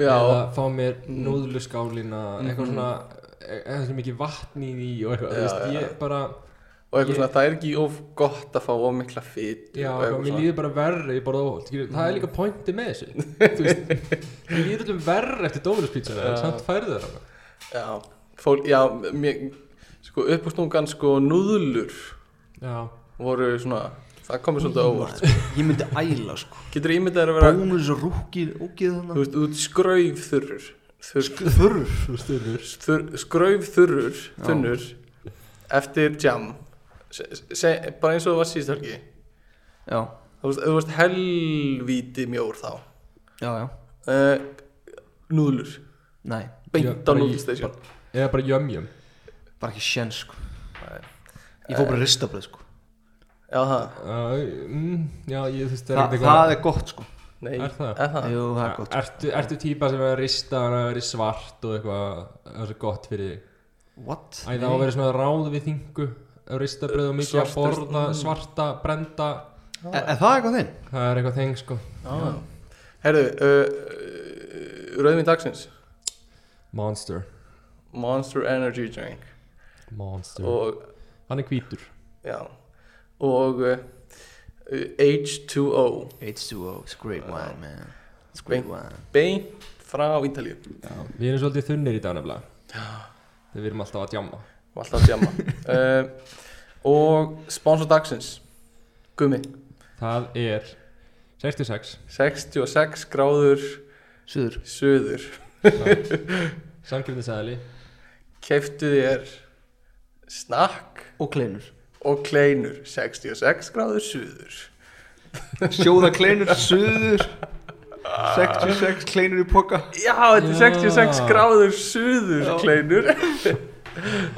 E: Já, Mhm.
D: eða fá mér núðluskálina, eitthvað svona eða svo mikið vatn í því og eitthvað, þú
E: Já,
D: veist,
E: já.
D: ég bara
E: og eitthvað
D: ég-
E: svona, það er ekki of gott að fá of mikla fyt
D: Já,
E: og
D: eitthvað,
E: eitthvað
D: mér líður bara verri, ég borða óholt mm. Það er líka pointi með þessu Þú veist, Mér líður allum verri eftir Dominus pítsuna En
E: Já.
D: samt færðu þér hana
E: Já, fólk, já, mér, sko uppústungan sko núðlur
D: Já,
E: voru svona, það komið svolítið á óvart sko.
A: Ég myndi æla sko
E: Getur ímyndað þér að vera,
A: Bónus og rúkið Úkið
E: þú
A: þarna
E: veist, út skrauf þurrur þurr,
A: Þurr
D: þú veist, þau eru
E: þurr, Skrauf þurrur, þunnur Eftir jam se, se, Bara eins og það var síðst helgi
A: Já,
E: Þú veist, þú veist helvíti mjór þá
A: já, já
E: uh, Núðlur
A: Nei,
D: Já,
E: Beint á
D: bara í-
E: núðlstation
D: Eða bara jömjum
A: bara ekki sjens sko
E: Nei.
A: Ég fór bara ristabröð sko
E: Já, það,
D: uh, mm, Já, ég þú veist,
A: Þa,
D: það er ekkert
A: Það er gott sko
E: nei
D: Er það?
E: Er það?
A: Jú, það er gott
D: Ertu, ertu típa sem er að rista hann að vera svart og eitthvað Það er svo gott fyrir þig
A: What?
D: Æ, það á að vera svona ráð við þingu Ristabröð og mikið að
E: Svartur-
D: borða
A: Mm.
D: svarta, brenda
A: Er, er það eitthvað þinn?
D: Það er eitthvað þeng, sko
E: Já Herðu, eh, uh, Rauðvin dagsins
D: Monster
E: Monster Energy Drink
D: Monster
E: og,
D: Hann er hvítur
E: já, og eh, uh, H2O
A: H2O, it's great wine man It's
E: great
A: wine
E: beint frá Ítalíu
D: Við erum svolítið þunnir í dag nefnilega Þegar við erum alltaf að djamma
E: og alltaf að djama uh, og sponsor dagsins Gumi,
D: Það er 66
E: 66 gráður
A: Suður
E: söður
D: Samkjöfnisæðli
E: keftu þér snakk
A: og kleinur
E: og kleinur 66 gráður söður
A: Sjóða kleinur, suður 66 kleinur í poka
E: Já, þetta er
D: Já.
E: 66 gráður suður
A: Já.
E: kleinur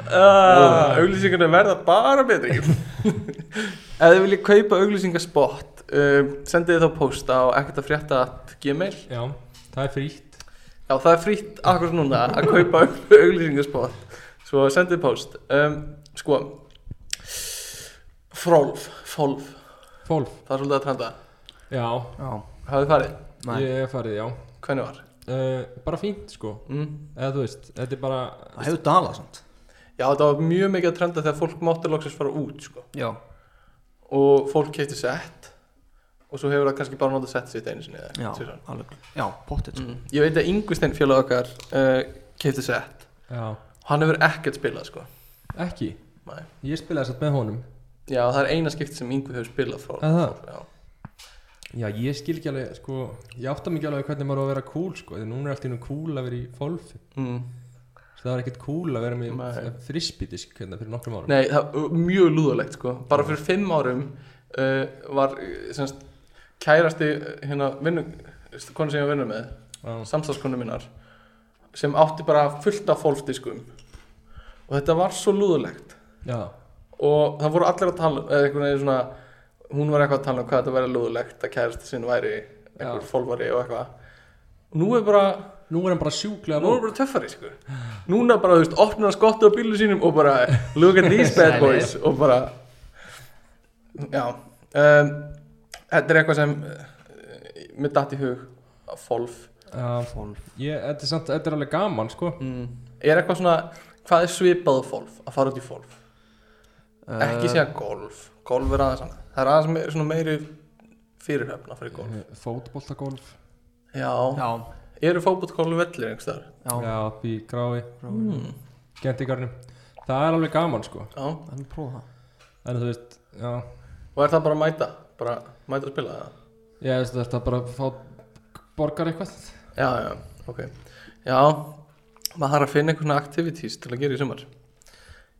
E: uh, Auglýsingarna verða bara betri Ef þið viljið kaupa auglýsingaspott um, sendið þið þá posta á ekkert að frétta gmail
D: Já, það er frítt
E: Já, það er frítt akkur núna að kaupa auglýsingaspott Svo sendið post um, Sko Frólf, fólf,
D: Fólf
E: það er svolítið að trenda
D: Já,
A: Já,
E: Hafið farið,
A: næ
D: ég er farið, já
E: hvernig var?
D: uh, Bara fínt, sko
E: Mm.
D: Eða þú veist, þetta er bara
A: Það hefur dalað samt
E: Já, þetta var mjög mikið að trenda þegar fólk mátti loksins fara út sko.
A: Já,
E: og fólk kefti sett og svo hefur það kannski bara notað sett sitt einu sinni eða
A: já,
E: tvisvar.
A: alveg Já, pottet sko
E: mm. ég veit að Ingvistein félag okkar uh, kefti sett
D: Já
E: og hann hefur ekkert spilað sko
D: Ekki
E: Nei.
D: Ég spilaði satt með honum
E: já það er eina skipti sem Ingvi hefur spilað frá
D: Er það?
E: já.
D: Já, ég skil ekki alveg, sko Ég átta mig ekki alveg hvernig maður á að vera cool, sko Þegar núna er allt í nú cool að vera í fólfi
E: Mm.
D: Það er ekkert cool að vera með
E: Nei.
D: frisbydisk hérna fyrir nokkrum árum
E: nei það er mjög lúðalegt sko bara fyrir fimm árum uh, var eh, semst, kærasti eh, hérna vinnu konu sem ég vinnur með
D: Já.
E: samstagskonu minnar sem átti bara fullt af fólfdiskum og þetta var svo lúðalegt
D: Já,
E: og það voru allir að tala eða einhvern veginn svona hún var eitthvað að tala um hvað þetta væri lögulegt að kærasti sinn væri einhver
D: Já.
E: fólvari og eitthvað og nú er bara
D: nú er hann bara sjúklega
E: nú er bara töffari sko núna bara þú veist opnar hann skottu á bílu sínum og bara look at these bad boys og bara já um, þetta er eitthvað sem uh, mér datt í hug að fólf
D: Já,
A: Fólf
D: ég, þetta er samt, þetta er alveg gaman sko
E: mm. er eitthvað svona hvað er svipað á fólf að fara út í fólf
A: Eh, Uh.
E: ekki segja golf golf er aðeins annað það er aðeins meir, svona meiri fyrirhöfna fyrir golf
D: Eh, Fótboltagolf
E: já,
A: Já,
E: eru fótbollgólf vellir einhvers þar
A: já,
D: Já, upp í grái,
E: mm.
D: gentigarnum Það er alveg gaman sko
E: já, og
A: þannig prófa það
D: En þú veist, já
E: er það bara að mæta bara mæta að spila það
D: Ég veist þetta er bara að fá borgar eitthvað
E: já, já, ok já, maður þarf að finna einhverjum activities til að gera í sumar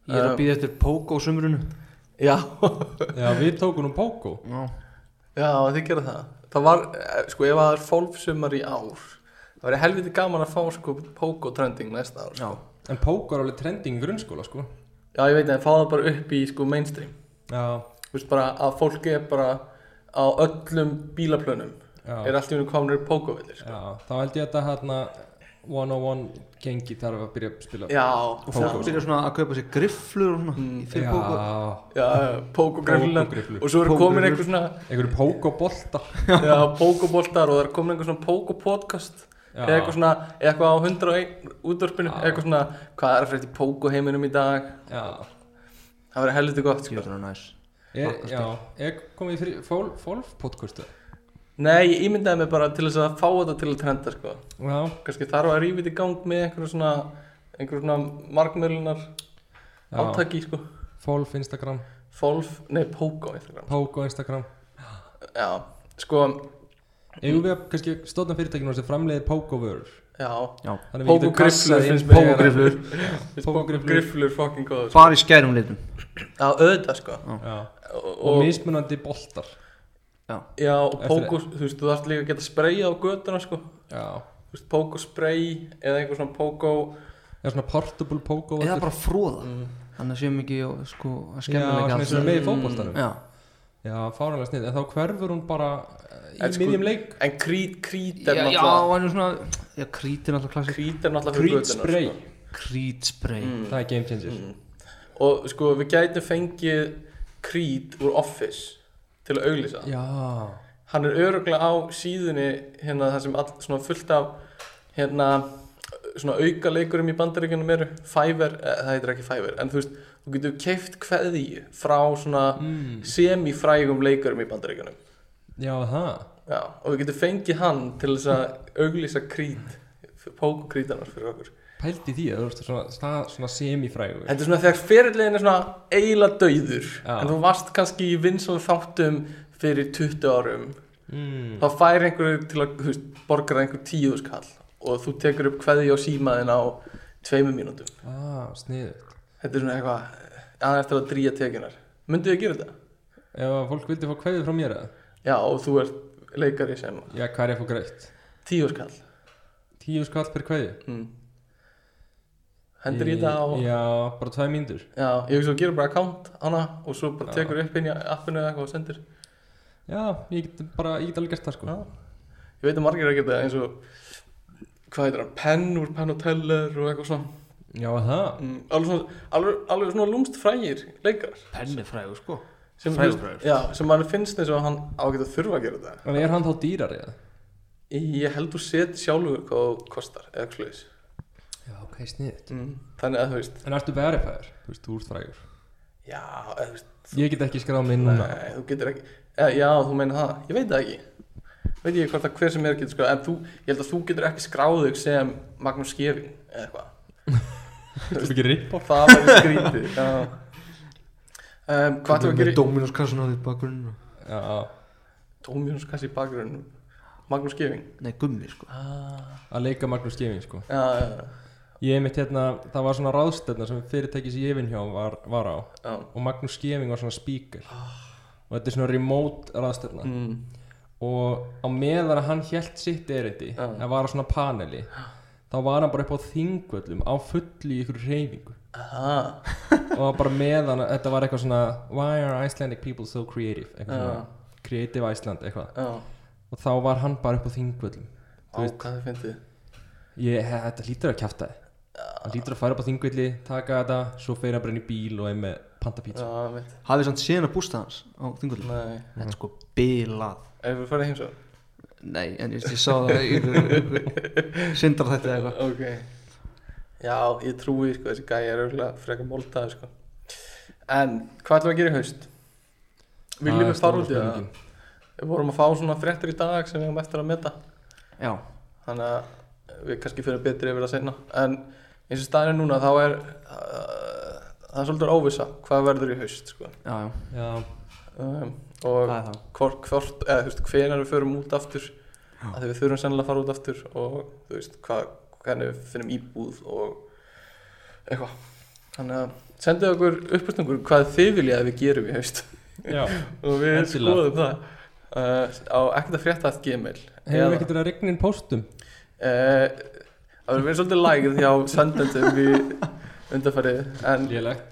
A: Ég er að
E: Um,
A: býða eftir póka á sumrunu
E: já,
D: Já, við tókum um Pogo
A: Já,
E: já, þið gera það það var, eh, sko, ef það er fólfsumar í ár það væri helviti gaman að fá sko Pogo trending næsta ár
A: já,
D: En Pogo er alveg trending í grunnskóla sko
E: já, ég veit að fá það bara upp í sko mainstream
D: Já,
E: Þú veist bara að fólki er bara á öllum bílaplönum
D: já,
E: er allt í unum komnir pókovillir sko.
D: já, þá held ég að þetta hérna 101 gengi þarf að byrja að spila
E: Já,
A: og fólk byrja svona að kaupa sér grifflur og svona Mm. í fyrir póko
E: já, pókogriffluna
D: Pókógrillur.
E: og svo er komin
A: Pókógrillur.
E: einhver svona
D: einhverju pókobolta
E: já, pókoboltar og það er komin einhver svona pókopodcast
D: Já.
E: eða eitthvað svona, eða eitthvað á 101 útvarpinu, eða eitthvað svona hvað er að frétta í pókoheiminum í dag
D: já,
E: það verður helviti gott sko.
A: það er næs
D: er, já, er komið fyrir fólf, fólf podcastu
E: Nei, ég ímyndaði mig bara til þess að fá þetta til að trenda sko.
D: já,
E: kannski þarf að rífa þetta í gang með einhverju svona, einhverju svona markmiðlunar
D: já,
E: átaki sko.
D: fólf Instagram,
E: Fólf, nei, póko Instagram.
D: póko Instagram
E: Já, sko,
D: eigum við að kannski stóðna fyrirtækinu sem framleiðir pókovörur
E: já
A: já.
D: Þannig við getum
E: Pókogrifflur
D: kassað inn
E: finnst mér
D: pókogrifflur. Pókogrifflur.
E: Pókogrifflur fucking góð sko.
A: bara í skærum litum
E: Já, auðvitað sko
D: Já.
E: Og,
D: og
E: og,
D: mismunandi boltar
E: já, og
D: Eftir-
E: pókos, þú veist, þú þarfst líka að geta spreyja á götuna sko
D: já,
E: Þú veist, pókosprey eða einhver svona
D: það
E: pókó
D: er svona portable póko
A: eða bara fróða þannig að séum ekki og, sko, að
D: Já,
A: skemmum
D: svona
A: ekki
D: eins og er með í fótboltanum
A: já,
D: Já, fáranlega snið, en þá hverfur hún bara eh, í
E: En sko-
D: miðjum leik
E: En krít, krít
A: já,
E: er
A: já,
E: náttúrulega
A: hann er svona já, krít er náttúrulega klassik
E: Krít er náttúrulega fyrir
D: Creed
E: götuna
D: Spray,
E: sko. Mm.
A: krít spray
D: það er game changer
E: Og sko, við gætum fengið krít úr Office til að auglýsa
D: Já,
E: Hann er öruglega á síðunni hérna það sem all, svona fullt af hérna svona auka leikurum í bandaríkjunum eru Fiverr, eh, það heitir ekki Fiverr en þú veist, þú getur keift kveðju frá svona
D: mm.
E: semifrægum leikurum í bandaríkjunum
D: já það
E: Já, og við getum fengið hann til þess að auglýsa krít pókukrítanar fyrir okkur
D: Pældi því, það er svona, svona, svona semifrægur
E: Þetta er svona þegar fyrirlegin er svona eiginlega dauður
D: Já.
E: en þú varst kannski í vinsal þáttum fyrir 20 árum
D: mm.
E: þá fær einhverju til að þú veist, borgar einhver tíu skall og þú tekur upp kveði á símaðin á tveimur mínútum
D: ah, Sniðugt
E: Þetta er svona eitthvað eh, aðeins til að dríja tekjunar Myndu þið gera þetta?
D: Ef að fólk vildi fá kveðið frá mér eða
E: Já, og þú ert leikari sem
D: Já, hvað er ég að fá greitt?
E: tíu skall
D: Tíu skall per kveði
E: mm. Hendur í þetta á
D: Já, bara tvær mínútur
E: Já, ég veist þú gerir bara account hana og svo bara
D: Já.
E: tekur upp inn í appinu eða eitthvað og sendir
D: Já, ég get bara, ég get alveg gert það sko
E: Já. Ég veit að margir er að geta eins og hvað heitir hann, penn úr penn og teller og eitthvað svona
D: Já, það
E: mm, alveg svona, alveg, alveg svona lúmst frægir leikar
A: pennifræðu sko
E: sem,
A: Frægur,
E: þú veist-
A: frægur.
E: Já, sem mann finnst eins og hann á að geta þurfa að gera þetta
D: En er hann þá dýrar eða?
E: Ég held þú set sjálfur hvað þú kostar eða eitthvað slags
D: Já, ok, sniðugt
E: mm. Þannig að þú veist,
D: En ertu verifier? Þú veist, þú ert frægur
E: já, eða, þú veist
D: Ég get ekki skráð mig núna
E: Nei, þú getur ekki eða, Já, þú meina það, ég veit það ekki Veit ég hvort að hver sem er getur skráð En þú, ég held að þú getur ekki skráð þig sem Magnús Skevin eða eitthvað
D: Þú ert ekki ripp
E: Það var skrítið já. um, Hvað ætlum við að
A: með
E: gera í
A: Dominos kassan á því bakgrunn
D: Já,
E: Dómjóns kannski í bakgrunum Magnús Skevin
A: nei, gummi sko
E: ah.
D: að leika Magnús Gevin sko
E: Já, já,
D: Ég mitt hérna, það var svona ráðstöfna sem fyrirtæki sem ég vinn hjá var, var á
E: já
D: og Magnús Gevin var svona speaker og þetta er svona remote ráðstöfna
E: mm.
D: og á meðan að hann hélt sitt erindi
E: Já.
D: að var á svona paneli þá var hann bara upp á þingvöllum á fullu í ykkur reyfingu
E: Aha,
D: og var bara meðan að þetta var eitthvað svona Why are Icelandic people so creative? Eitthvað
E: Já.
D: svona Creative Iceland eitthvað
E: já
D: og þá var hann bara upp á þingvöllum
E: Á,
D: Þú veist-
E: hvað þið fyndið
D: Ég, þetta lítur að kjafta þið Það lítur að fara upp á þingvilli, taka þetta Svo fer hann bara inn í bíl og er með pantapítsa
E: Já, mitt,
A: hafið samt síðan að bústa hans á þingullum
E: nei
A: þetta er sko bilað
E: Ef við farið heimsó
A: nei, en ég, ég sá það í sindar þetta eða eitthvað
E: Ok Já, ég trúi, sko, þessi gæi er auðvitað frekar moldaði, sko En, hvað ætlum við að gera í haust? Viljum við fara út í það? Við vorum að fá svona fréttir í dag sem við hefum eftir að meta
A: já,
E: Þannig að við kannski fyrir betri yfir það seinna En eins og staðinu núna þá er uh, Það er svolítið óvissa hvað verður í haust, sko
A: já, já,
D: Já,
E: um,
A: það
E: Og
A: er það
E: hvort, hvort eða, þú veist, hvenar við förum út aftur
A: Já.
E: að við þurfum sennilega að fara út aftur og þú veist, hvað, hvernig við finnum íbúð og eitthvað þannig að sendið okkur uppbyrtingur hvað þið vilja að við gerum í haust
D: já
E: og við
D: Endilega.
E: skoðum það uh, á ekkert að frétta að gmail
D: Hefur við ekkert verið að regna inn póstum?
E: uh, það verður verið svolítið lægð hjá sendendum í undarfærið en
D: Lélegt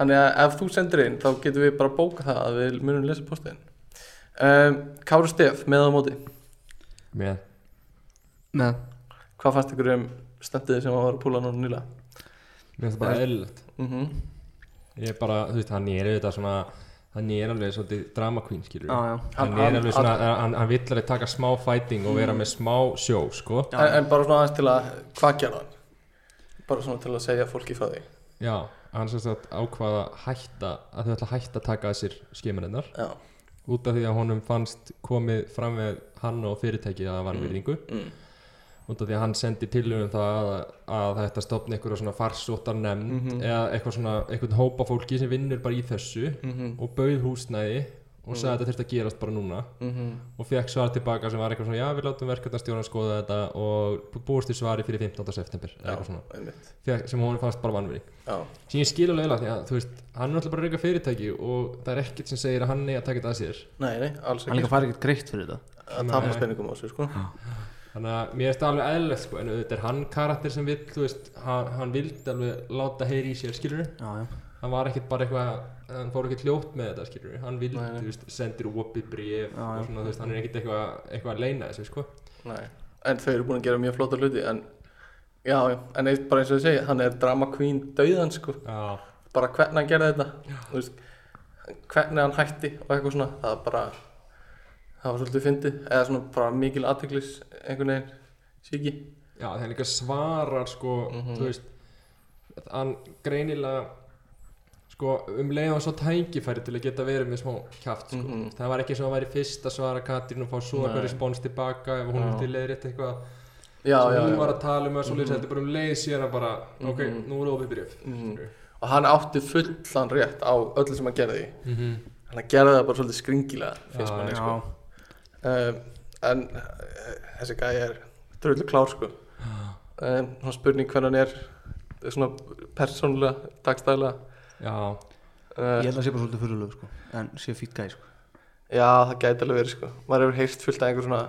E: Þannig að ef þú sendir inn þá getum við bara bókað það að við munum lesa postin um, Kári Stef, með á móti
D: Með
A: með
E: Hvað fannst ykkur um standið sem hann var að púla núna nýla?
D: Mér finnst það bara eðlilegt
E: Mm
D: Ég er bara, þú veist, hann er auðvitað svona Hann er alveg svolítið drama queen, skilur
A: Já, já.
D: Hann
E: Hann- Mm.
D: er alveg svona, hann, hann vill alveg taka smá fighting og vera með smá sjó, sko
A: Já.
E: en, en bara svona aðeins til að hvað gerða hann? Bara svona til að segja fólki frá því
D: Já, hann sem sagt ákvaða hætta Að þau ætla að hætta að taka þessir skemarinnar
E: Já,
D: Út af því að honum fannst komið fram með hann og fyrirtækið að hann var virðingu
E: mm.
D: út af því að hann sendi tilhugum það að, að það ætti að stopna einhverja svona farsóttar nefnd
E: Mhm.
D: eða eitthvað svona, einhvern hópa fólki sem vinnur bara í þessu
E: Mm -hmm.
D: og bauð húsnæði
E: Mhm.
D: og sagði að þetta þurfti að gerast bara núna og fekk svar tilbaka sem var eitthvað svona já við látum verkefnastjóran skoða þetta og búist til svari fyrir 15. september eða
E: Já,
D: eitthvað svona,
E: einmitt
D: Fékk, sem hún fannst bara vanveri
E: Já,
D: sem ég skil alveg vel að því að þú veist hann er alltaf bara að reyka fyrirtæki og það er ekkert sem segir að hann er að taka þetta að sér
E: nei, nei, alls
A: hann
E: ekki
A: líka fær ekkert greitt fyrir þetta
E: að tapa spenningum á þessu sko
D: Þannig að mér finnst það alveg eðlilegt sko, en auðvitað er hann karakter sem vill, þú veist, hann, hann vildi alveg láta heyri í sér, skilur
A: já, já.
D: Hann var ekkert bara eitthvað, hann fór ekkert hljótt með þetta, skilur Hann vildi,
E: Nei, nei.
D: þú veist, sendir opið bréf
A: Já,
D: og
A: já.
D: svona, þú veist, hann er ekkert eitthvað, eitthvað að leina þessu, sko
E: Nei, en þau eru búin að gera mjög flotta hluti en já, já, en eitt bara eins og ég segi hann er drama queen dauðan sko
D: Já,
E: bara hvernig hann gerði þetta þú veist, hvernig hann hætti og eitthvað svona það var bara það var svolítið fyndið eða svona bara mikil aðteglis einhvern veginn síki
D: já þegar líka svarar, sko,
E: Mhm.
D: þú veist Hann greinilega, sko, um leið og svo tækifæri til að geta verið með smá kjaft, sko
E: Mhm.
D: Það var ekki svo að hann væri fyrst að svara Katrín og fá svo
E: Nei.
D: eitthvað respons tilbaka ef hún
E: Já.
D: vildi leiðrétta eitthvað
E: já,
D: sem
E: já,
D: hún
E: já.
D: var að tala um að svo leysa þetta er bara um leið síðan að bara ok,
E: Mhm.
D: nú er opið bréf
E: Mhm. og hann átti fullan rétt á öllu sem hann gerði
D: mm -hmm.
E: hann gerði það bara svolítið skringilega finnst
D: Já,
E: manni
A: Já.
E: sko um, en uh, þessi gæði er drullu klár sko um, svona spurning hvernig hann er eh, svona persónulega, dagstæðlega
D: já,
A: ég
E: uh,
A: held að sé bara svolítið fyrirlög sko. en sé fýtt gæði sko.
E: já, það gæti alveg verið sko maður hefur heyrt fullt af einhver svona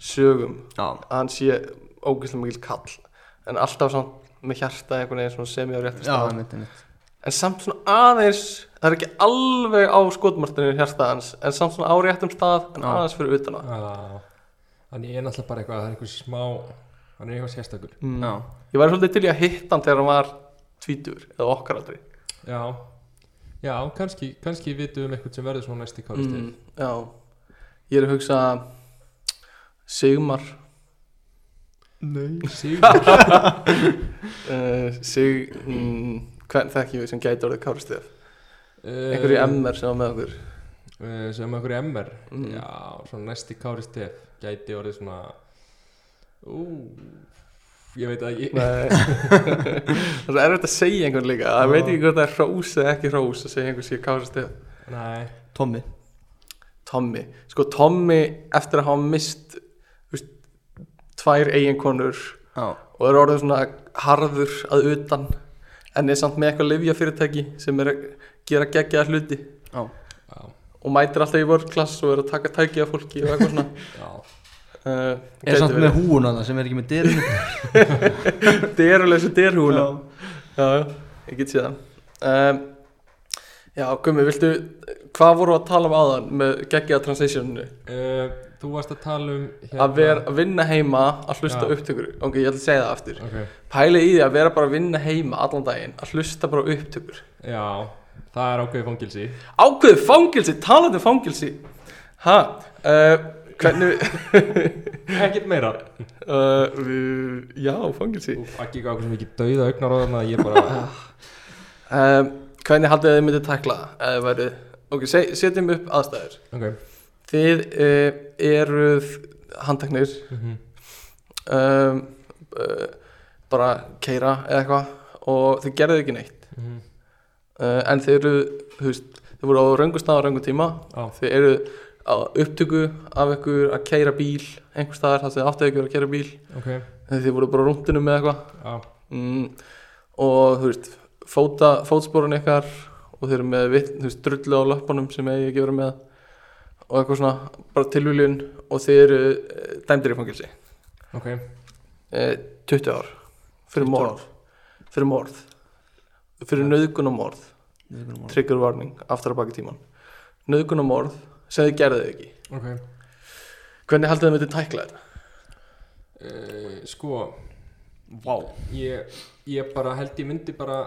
E: sögum
A: já,
E: að hann sé ógeðslega mikil kall en alltaf samt með hjarta einhvern veginn svona semi á rétti
A: já,
E: stað
A: einmitt, einmitt.
E: en samt svona aðeins það er ekki alveg á skotmartinu hjarta hans en samt svona á réttum stað en
A: Já.
E: aðeins fyrir utan á
D: já þannig ég er náttúrulega bara eitthvað það er eitthvað smá hann er eitthvað sérstakur
A: Já.
E: ég væri svolítið til í að hitta hann þegar hann var tvítur eða okkar aldrei
D: já, já, kannski kannski vitum við um eitthvað sem verður svona næst í kálist
E: mm, já ég er að hugsa Sigmar
A: nei
D: Sigur,
E: uh, Sig mm, hvern þekkjum við sem gæti orðið kárstef
D: uh,
E: einhverju MR sem var með okkur
D: uh, sem einhverju MR
E: Mm.
D: já, svona næst í kálist gæti orðið svona ú ég veit að ég
E: Nei. það er svo erfitt að segja einhvern líka það veit ekki hvort það er hrós eða ekki hrós að segja einhvern sé kárstef
D: nei,
A: Tommy
E: Tommy, sko Tommy eftir að hafa mist þú veist, tvær eiginkonur
A: já,
E: og er orðið svona harður að utan en er samt með eitthvað livjafyrirtæki sem er að gera geggjaða hluti
A: já,
D: já,
E: og mætir alltaf í world class og er að taka tæki af fólki og eitthvað svona
D: já
E: uh,
A: er samt með húuna það sem er ekki með dyrinu
E: deruleysu derhúla já, já, ég get séð það um, já, Gummi, viltu hvað voru að tala um áðan með geggjaða transitionu
D: uh, þú varst að tala um
E: að vera að vinna heima að hlusta
D: Já.
E: upptökur ok, ég ætla að segja það aftur
D: ok
E: pæla í því að vera bara að vinna heima allan daginn að hlusta bara á upptökur
D: Já, það er ákveðið fangilsi
E: ákveðu fangilsi, talandi um fangilsi ha, uh, hvernig
D: Ekkert meira
E: uh, við, já, fangilsi
D: Úf, ekki eitthvað sem ekki dauða augnar á þannig að ég bara
E: um, hvernig haldið þið myndið tekla eða verið, ok, se- setjum upp aðstæður
D: Ok
E: þið uh, eruð handteknir
D: Mhm.
E: um, uh, bara keira eða eitthvað og þið gerðuð ekki neitt
D: Mhm.
E: uh, en þið eru þú veist, þið voru á röngu stað á röngu tíma
D: Já.
E: þið eru á upptöku af ykkur að keira bíl einhver staðar þar sem þið áttu ykkur að keira bíl
D: Ok
E: en þið voru bara á rúndunum með eitthvað
D: Já,
E: mm, og þú veist fóta, fótsporun ykkar og þið eru með vitt, þú veist, drullu á löpunum sem eigi ekki verið með og eitthvað svona, bara tilvíljun og þið eru eh, dæmdir í fangilsi
D: ok
E: eh, 20 ár fyrir
A: 20
E: morð fyrir morð fyrir nöðgun og morð
A: Nauðgunarmál.
E: trigger warning, aftur að baka tíman nöðgunarmorð sem þið gerðuð ekki
D: ok
E: hvernig haldið þið myndið tækla þetta?
D: uh, sko vá ég, ég bara held ég myndi bara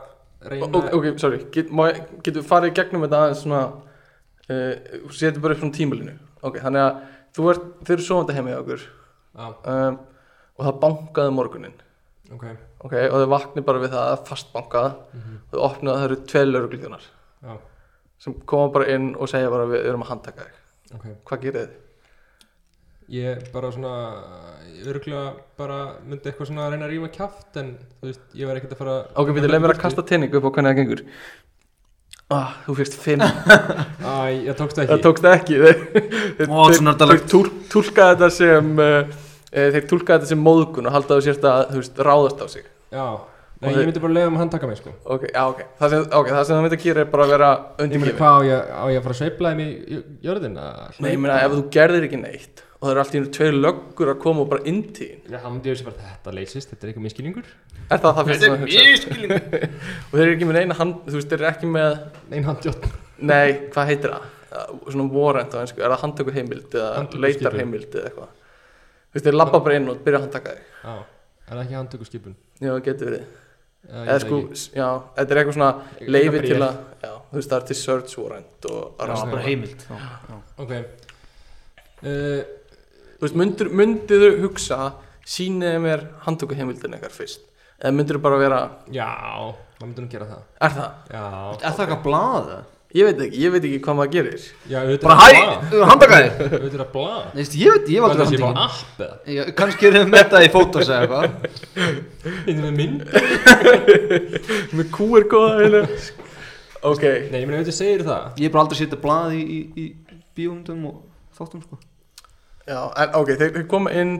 D: reyna
E: ok, ok, sorry, Get, má ég- getum við farið í gegnum þetta aðeins svona uh, setjum bara upp svona tímalinu ok, þannig að þú ert, þið eru sofandi heima hjá okkur
D: Já,
E: um, og það bankaði morgunin
D: ok
E: ok, og þau vakni bara við það fastbankað
D: Mhm.
E: og þau opnaði að það eru tvei lögreglíðunar
D: Já,
E: sem koma bara inn og segja bara við erum að handtaka þig
D: ok
E: hvað gerir þið?
D: Ég bara svona örgulega bara myndi eitthvað svona að reyna að rífa kjaft en þú veist, ég var ekkert að fara
E: ok, við leið mér að kasta tenning upp á hvernig það gengur ah, þú fyrst fimm
D: Æ, ég tókst það
E: það
D: ekki
E: tókst ekki þeir,
A: Ó,
E: þeir,
A: þetta er nördalegt.
E: þeir túl, túlka þetta sem uh, eh, þeir túlka þetta sem móðgun og halda þú sérst að þú veist, ráðast á sig
D: Já, nei,
E: Og
D: ég
E: þeir-
D: myndi bara leiða um að handtaka mig sko
E: ok, já, ok, það sem, okay, það sem það myndi að gera er bara að vera
D: Ég meina
E: undirgefin
D: hvað á ég, á ég að fara að sveifla þeim í jö- jörðina?
E: nei, ég meina ef þú gerðir ekki neitt og það eru allt í einu tveir löggur að koma og bara inn til þín
D: Já, hann myndi ég þessi bara þetta leysist, þetta er eitthvað miskilningur
E: er það það fyrst sem það hugsa og þeir eru ekki með neina hand þú veist, þeir eru ekki með
D: Nein handjótt
E: Nei, hvað heitir það? Uh, Svona warrant á einsku, er það handtöku heimild eða
D: Handtökuskipun.
E: leitar eða eitthvað Þú veist, þeir labba bara inn og byrja að handtaka þig
D: Já, er það ekki handtöku skipun?
E: Já, það getur verið
D: Eða, ég
E: Eða
D: veit
E: sko,
D: ekki.
E: s- já, þetta er eitthvað svona leifi
D: Eitthvað
E: til
D: bréf.
E: að Já, þú veist, það er til search warrant og
A: Já,
E: rannsókn.
A: bara heimild já, já.
D: Ok uh,
E: Þú veist, myndir, myndir þú hugsa sýniði mér handtöku heimildin eitthvað fyrst Eða myndir þú bara vera,
D: Já, maður myndi nú gera það
E: er það?
D: Já,
A: Er það eitthvað blað?
E: Ég veit ekki, ég veit ekki hvað maður gerir
D: já, auðvitað
A: Bara hæ, handaka þér
D: Auðvitað er að blað
A: Nei, veistu, Ég veit, ég
D: Hvað
A: var
D: er það
A: aldrei
D: sé bara
A: handtekinn
D: app eða?
A: Já, Kannski er þið með þetta í fótos eða eitthvað
D: Þetta er mynd
E: Með kú er góða einu Ok,
D: Nei, ég meina auðvitað segir það
A: Ég er bara aldrei setja blað í, í, í bíómyndum og þáttum sko
E: já, en ok, þeir, þeir koma inn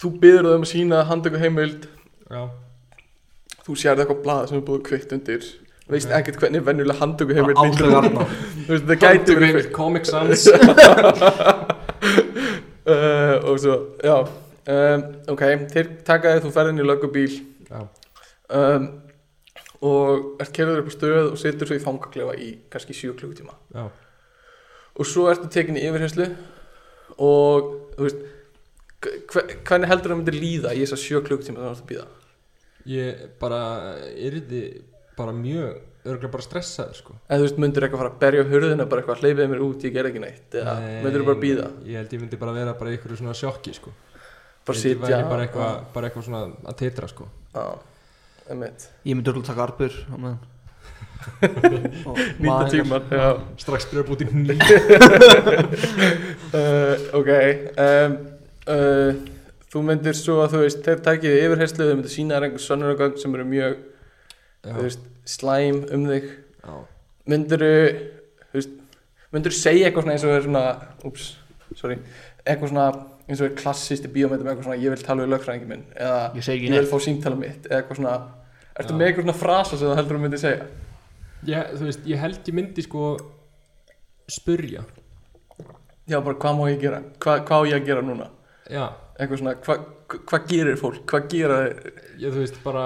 E: Þú byrður þau um að sína handtöku heimild
D: Já
E: þú sérði eitthvað blað sem er búið kvitt undir veist
D: Ok.
E: ekkert hvernig venjulega handtöku hefur
A: Bara Aldrei varna
E: þú veist það gæti verið
D: Handtöku-
E: kvitt
D: Comic Sans
E: uh, og svo já um, ok þeir taka þig þú ferð inn í löggubíl
D: Já,
E: um, og ert kerður upp á stöð og situr svo í fangaklefa í kannski 7 klukkutíma
D: já,
E: og svo ertu tekin í yfirherslu og þú veist hver, hvernig heldur það myndir líða í þessa 7 klukkutíma sem þú ert að býða
D: ég bara yrði bara mjög örgulega bara stressaður sko
E: eða þú veist myndir eitthvað fara að berja á hurðina bara eitthvað hleyfið mér út ég ger ekki neitt eða
D: Nei,
E: myndir bara býða
D: Ég held ég myndi bara vera bara í ykkur svona sjokki sko
E: bara
D: Ég held ég
E: sitja
D: væri bara eitthvað, bara eitthvað svona að teitra sko
E: Já, einmitt
A: Ég myndi öll taka arbur á meðan Og
E: Nýta
A: maga.
E: tíman, já
D: Strax byrja að búti ný
E: uh, Ok um, uh, Þú myndir svo að þú veist Þeir tækið þig í yfirherslu, þau myndir sína þér einhver sönnunagögn sem eru mjög, þú
D: Já,
E: veist, slæm um þig
D: já
E: Myndir þú veist, myndir segja eitthvað svona eins og er svona Úps, sorry Eitthvað svona eins og er klassist í bíómyndum eitthvað svona, ég vil tala við lögfræðingi minn eða
A: Ég segi ekki
E: ég vil
A: neitt
E: fá símtala mitt eða eitthvað svona Ertu
D: Já.
E: með eitthvað svona frasa sem þú heldur að myndi segja?
D: Ég, þú veist, ég held ég myndi sko spurja
E: Já, bara hvað má ég gera? Hva, hvað á ég að gera núna?
D: Já,
E: eitthvað svona, hva- hva- hvað gerir fólk, hvað gera þeir
D: ég, þú veist, bara,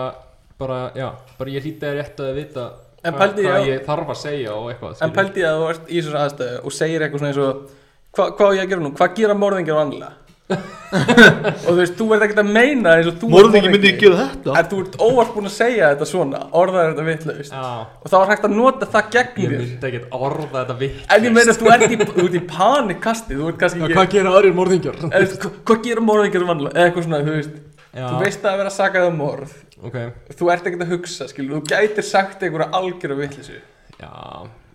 D: bara, já, bara ég hlýta þér rétt að vita
E: En
D: hva-
E: pældi ég
D: hvað
E: á-
D: ég þarf að segja og eitthvað
E: en
D: skilur.
E: pældi ég að þú ert í þessu aðstæðu og segir eitthvað svona eins og hva, hvað á ég að gera nú, hvað gera morðingar vanlega og þú veist, þú ert ekkert að meina eins og þú ert
A: Morðingi myndi ekki gera þetta
E: en þú ert óvart búin að segja þetta svona orðaði þetta vitlaust
D: Já,
E: og þá er hægt að nota það gegn
D: ég
E: þér
D: myndi ekkert orða þetta vitt
E: en ég meina að þú ert í, þú ert í panikkasti þú ert kannski ekki,
D: Hvað gera aðrir morðingjar?
E: eða, þú veist, hva- hvað gera morðingar vanlega eða eitthvað svona, þú veist
D: Já,
E: þú veist að það er verið að saka það morð
D: ok,
E: þú ert ekkert að hugsa, skilur, þú gætir sagt einhverja algjöra vitleysu
D: já,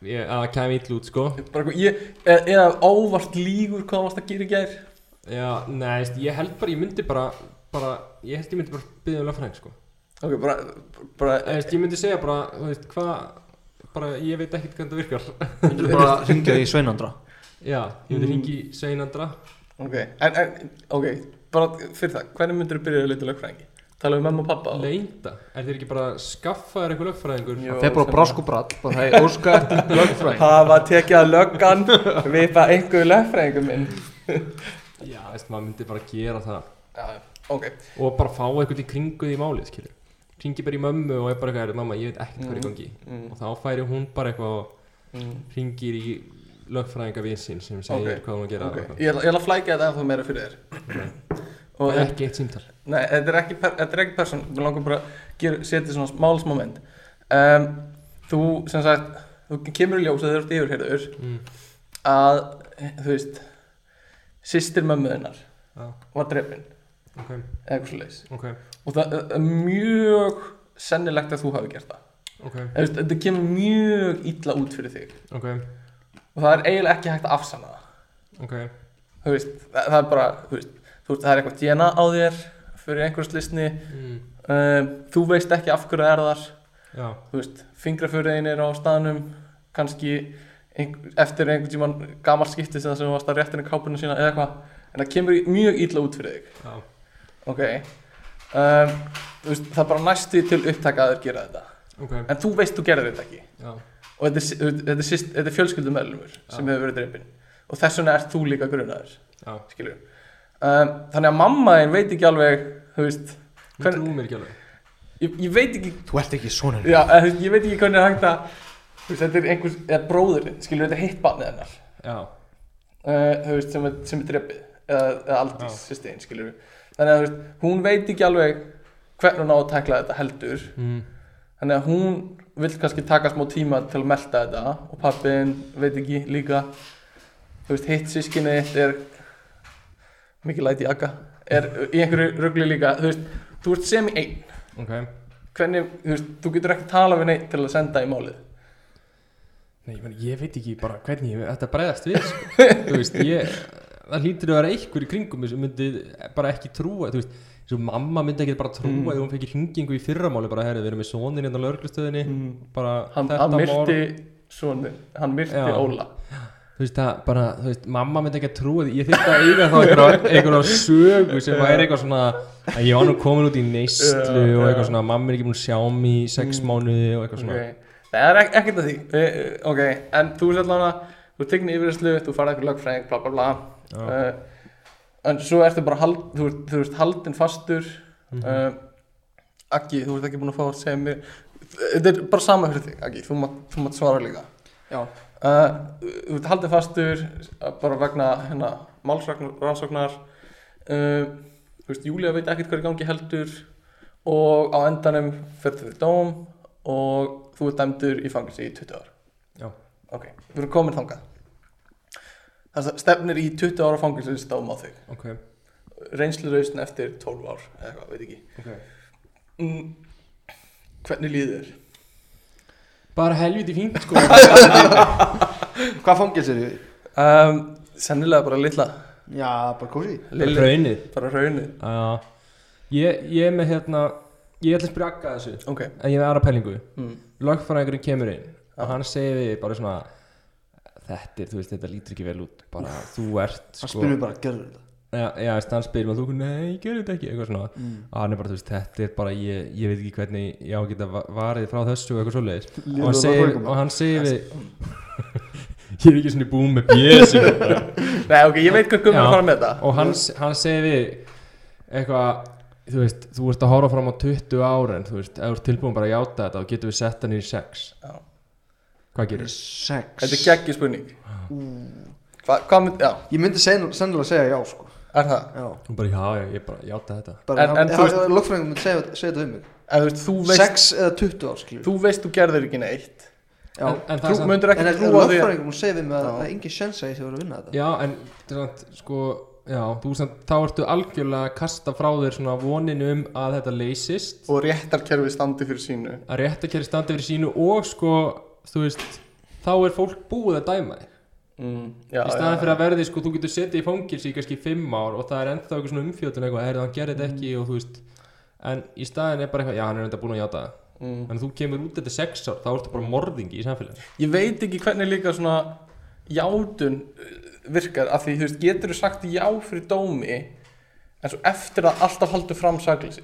D: ég, að það kemur ítl út, sko
E: bara eitthvað, ég, eða, eða óvart lígur hvað það varst að gera í gær
D: Já, nei, veist, ég held bara, ég myndi bara, bara, ég held ég myndi bara byggja um lögfræðing, sko
E: ok, bara, bara
D: Eða, þú veist, ég myndi segja bara, þú veist, hvað, bara, ég veit ekkert hvernig það virkar
A: Myndir bara hringja í Sveinandra
D: Já, ég
E: Mm.
D: myndi ringi Sveinandra
E: ok, en, en, ok bara fyrir það, hvernig myndir þú byrja að leita lögfræðingi? tala við mamma og pappa og-
D: Leinda, er þér ekki bara að skaffa þér einhver lögfræðingur?
E: Jó,
A: Þeir bara
E: sem-
A: brask og brall Bara hei, óska eftir lögfræðing
E: hafa tekið að löggan við bara einhverju lögfræðingum minn
D: Já, veist, maður myndi bara gera það
E: já, ok,
D: Og bara fá eitthvað í kringu því málið, skilju ringi bara í mömmu og er bara eitthvað, "Herri, mamma, ég veit ekkert hvað er í gangi
E: mm,
D: og þá færi hún bara eitthvað og
E: mm.
D: ringir í lögfræðinga vinsinn sem segir
E: Ok,
D: hvað hún á að gera
E: Ok,
D: okay.
E: ég ætla ég ætla að flækja þetta ennþá meira fyrir þér
D: og
E: og,
D: ekki eitt símtal
E: Nei, þetta er ekki, per- þetta er ekki person Við langar bara að gera- setja svona smálsmoment um, Þú, sem sagt, þú kemur í ljós að þér ert yfirherður
D: mm.
E: að, þú veist, systir mömmuðinnar
D: Já.
E: var drefin
D: ok,
E: eða eitthvað svoleiðis
D: ok,
E: og það það er mjög sennilegt að þú hafi gert það
D: ok,
E: Eða, þú veist, Þetta kemur mjög illa út fyrir þig
D: ok,
E: og það er eiginlega ekki hægt að afsanna það
D: ok
E: þú veist, það, það er bara þú veist, þú veist, það er eitthvað DNA á þér fyrir einhverjum slisni
D: mm.
E: um, þú veist ekki af hverju það er þar
D: já,
E: þú veist, fingrafjörðin er á staðnum kannski einhver, eftir einhvern tímann gammal skipti sem það sem þú varst að réttinu kápuna sína eða eitthvað en það kemur í- mjög illa út fyrir þig
D: já,
E: ok um, þú veist, það er bara næstu til upptaka að þeir gera þetta
D: ok
E: en þú veist þú gerðir þetta ekki
D: já,
E: og þetta er, sy- þú veist, þetta er, syst- þetta er fjölskyldumöðlumur sem
D: Já.
E: hefur verið dreipin og þess vegna ert þú líka grunaður
D: já,
E: skilur um, þannig að mamma þín veit ekki alveg þú veist,
D: hún
E: Hvern-
D: trúir mér ekki alveg
E: ég, ég veit ekki
A: Þú ert ekki svona
E: já, eða þú veist, ég veit ekki hvernig er hægt að þú veist, þetta er einhvers, eða bróðurinn skilur þetta er hitt barnið hennar
D: já,
E: uh, þú veist, sem er, sem er dreppið eða, eða aldís, sýstin, skilur þannig að þú veist, hún veit ekki alveg hvernig hún á að tekla þetta heldur
D: mm.
E: þannig að hún vill kannski taka smá tíma til að melta þetta og pappiðin veit ekki líka þú veist, hitt sískinni þitt er mikið læti í akka er í einhverju rugli líka þú veist, þú ert sem í einn
D: ok
E: hvernig, þú veist, þú getur ekki talað við neitt til að senda í málið
D: Nei, ég, meni, ég veit ekki bara hvernig ég, þetta bregðast við sko. þú veist, ég það hlýtur að vera einhver í kringum mig sem myndi bara ekki trúa þú veist, svo mamma myndi ekki bara trúa
E: Mm.
D: mm. ef hún fekk hringingu í fyrramáli bara, herri, við erum með sonin hérna á lauruglustöðinni
E: mm.
D: bara
E: hann,
D: þetta
E: hann
D: mál-
E: myrti sonin, hann myrti
D: Já.
E: Óla
D: þú veist það bara, þú veist, mamma myndi ekki að trúa því ég þyrfti að eiga þá einhverja, einhverja sögu sem væri eitthvað svona að ég var nú komin út í neistlu
E: Já,
D: og
E: já.
D: eitthvað svona, mamma er ekki búin að sjá mig í sex
E: Mm.
D: mánuði og eitthvað svona
E: okay. það er ek ekkert að því e, e, ok, en þú er allavega þú er tegni yfirherslu, þú farið eitthvað lögfræðing bla bla bla
D: já,
E: uh, en svo ertu bara hald, þú, ert, þú ert haldin fastur
D: Mhm.
E: uh, Aggi, þú ert ekki búin að fá að segja mér þetta er bara sama fyrir þig Aggi, þú mátt, þú mátt svara líka
A: Já.
E: uh, þú ert haldin fastur uh, bara vegna hérna, málsrannsóknar uh, þú veist, Júlia veit ekkert hvað er í gangi heldur og á endanum fyrir þau dóm og þú ert dæmdur í fangilsi í 20 ár
D: Já.
E: ok, við erum komin þangað það stefnir í 20 ára fangilsins dóm á þig
D: ok,
E: reynslurausn eftir 12 ár eða eitthvað, veit ekki
D: ok
E: mm, hvernig líður þér?
D: bara helviti fínt sko
A: Hvað fangils eru?
E: Um, sennilega bara litla
A: Já, bara kósi
E: Lilli.
D: raunir
E: bara raunið
D: já, ég, ég er með hérna ég ætla að spyrja akka að þessu
E: ok,
D: en ég er með aðra pælingu
A: Hmm.
E: mm.
D: lögfræðingurinn kemur inn og hann segir við bara svona þetta er, þú veist, þetta lítur ekki vel út bara, þú ert sko
A: Hann spyrir mig bara, gerður þetta
D: Já, já, veist, hann spyr maður, þú, nei, ég gerði þetta ekki eitthvað svona,
A: Mm.
D: og hann er bara, þú veist, þetta er bara ég, ég veit ekki hvernig ég á að geta va- varið frá þessu og eitthvað svoleiðis og
A: Lélegur
D: hann segir,
A: lögfræðingur, maður.
D: og hann segir við ég er ekki svona búin með bjösi
E: Nei, ok, ég veit hvað gummur
D: Já.
E: að fara með þetta
D: og hann, hann segir við eitthvað, þú veist, þú ert að horfa fram á 20 árin, þú veist, ef þú ert tilbúin bara að játa þetta og getur við sett hann í 6
E: Já.
D: hvað gerist?
A: Sex
E: þetta er geggjur spurning Hva, hvað mynd, já,
A: Ég myndi sen- sennilega segja já, sko
E: er það
A: Já
D: hún bara, já, já, ég bara játa þetta
A: Bara,
E: En-
A: en,
E: en þú veist-
A: Lögfræðingum myndi segja, segja þetta um mig
E: en þú veist, þú veist,
A: Sex eða 20 ár, skilur
E: þú veist þú gerðir ekki neitt
A: Já
D: en, en það er
E: þú
D: samt-
E: myndir
A: En
E: ekki
A: ef
E: trúa því að-
A: lögfræðingum segir við mig að
E: Já.
A: það er engin sjens að ég sé að vera að vinna þetta
D: Já, en samt, sko, já, þú samt, þá ertu algjörlega að kasta frá þér svona voninu um að þetta leysist
E: og réttarkerfi standi fyrir sínu
D: að réttakjæri standi fyrir sínu og sko, þú veist, þá er fólk búið að dæma þig
E: mm. já,
D: í staðan fyrir að verði, sko, þú getur setið í fangilsi í kannski fimm ár og það er ennþá eitthvað svona umfjöldun eitthvað, heyrðu, hann gerði þetta ekki
E: Mm.
D: og þú veist en í staðan er bara eitthvað, já, hann er enda búin að játa það
E: mm.
D: en þú kemur út þetta sex ár, þá ertu bara morðingi í samfélaginu
E: Ég veit ekki hvernig líka svona játun uh, virkar af því þú veist, getur þú sagt já fyrir dómi en svo eftir að alltaf haldur fram sakleysi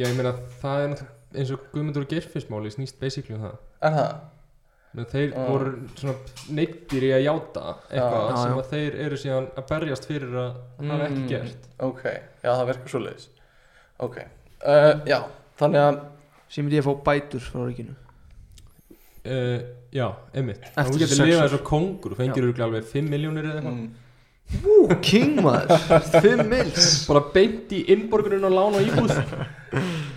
D: Já, ég meina, það er náttúrulega- eins og Guðmundur og Geirfismáli snýst basically um það
E: Er það?
D: Men þeir
E: Já.
D: voru svona neittir í að játa eitthvað
A: Já,
D: sem
A: já.
D: að þeir eru síðan að berjast fyrir að hafa ekki
E: Mm.
D: gert
E: Ok, já það virkar svoleiðis Ok, uh, já Þannig að
A: sem myndi ég að fá bætur frá ríkinu
D: uh, Já, einmitt
A: Eftir
D: Þú getur
A: sex
D: lifað
A: ár.
D: eins og kongur Þú fengir örugglega alveg 5 miljónir eða eitthvað
E: mm,
A: Ú, king maður, 5 mils
D: Bara beint í innborgunum og lána íbúð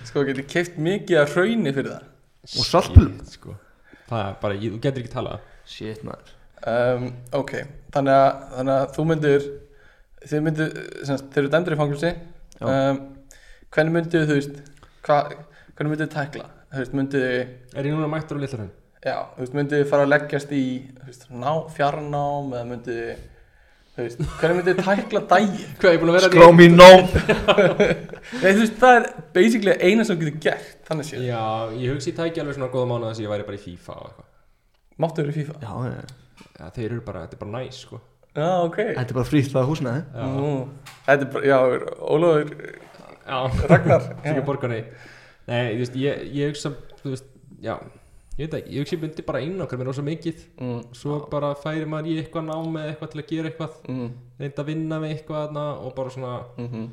E: sko geti keift mikið af hrauni fyrir það
A: Og saltpulum.
D: Shit, sko. Það er bara, ég- þú getur ekki talað
A: Shit maður
E: um, Ok, þannig að, þannig að þú myndir Þið myndir, sem sagt, þeir eru dæmdur í fangilsi
A: Já.
E: um, Hvernig myndir þú veist hva, Hvernig myndir þið tækla Þú veist, myndir þið
D: Er ég núna mættur á litlarhraun?
E: Já, þú veist, myndið þið fara að leggjast í þú veist, ná, fjarnám eða myndið þið, þú veist, hvernig myndið þið tækla daginn?
D: Hvað, ég er búin að vera
A: Skrá mín nóm
E: Nei, þú veist, það er basically eina sem þú getur gert, þannig séð.
D: Já, ég hugsi ég tæki alveg svona góða mánuð þess að ég væri bara í FIFA og eitthvað
E: Máttu verið í FIFA?
A: Já, já.
D: ja, Þeir eru bara, þetta er bara næs sko
E: Já, ok.
A: þetta er bara frýtt það húsnaði
D: Já,
E: Nú, þetta er bara, já, Ólafur,
D: já.
E: Ragnar.
D: Ég ekki borga nei Nei, þú veist, ég, ég hugsa, þú veist, já Ég veit ekki, ég hugsa ég myndi bara einn okkar mér ósa mikið
E: Mm,
D: og Svo bara færi maður í eitthvað nám eða eitthvað til að gera eitthvað
E: mm,
D: reynda að vinna með eitthvað þarna og bara svona
E: mhm,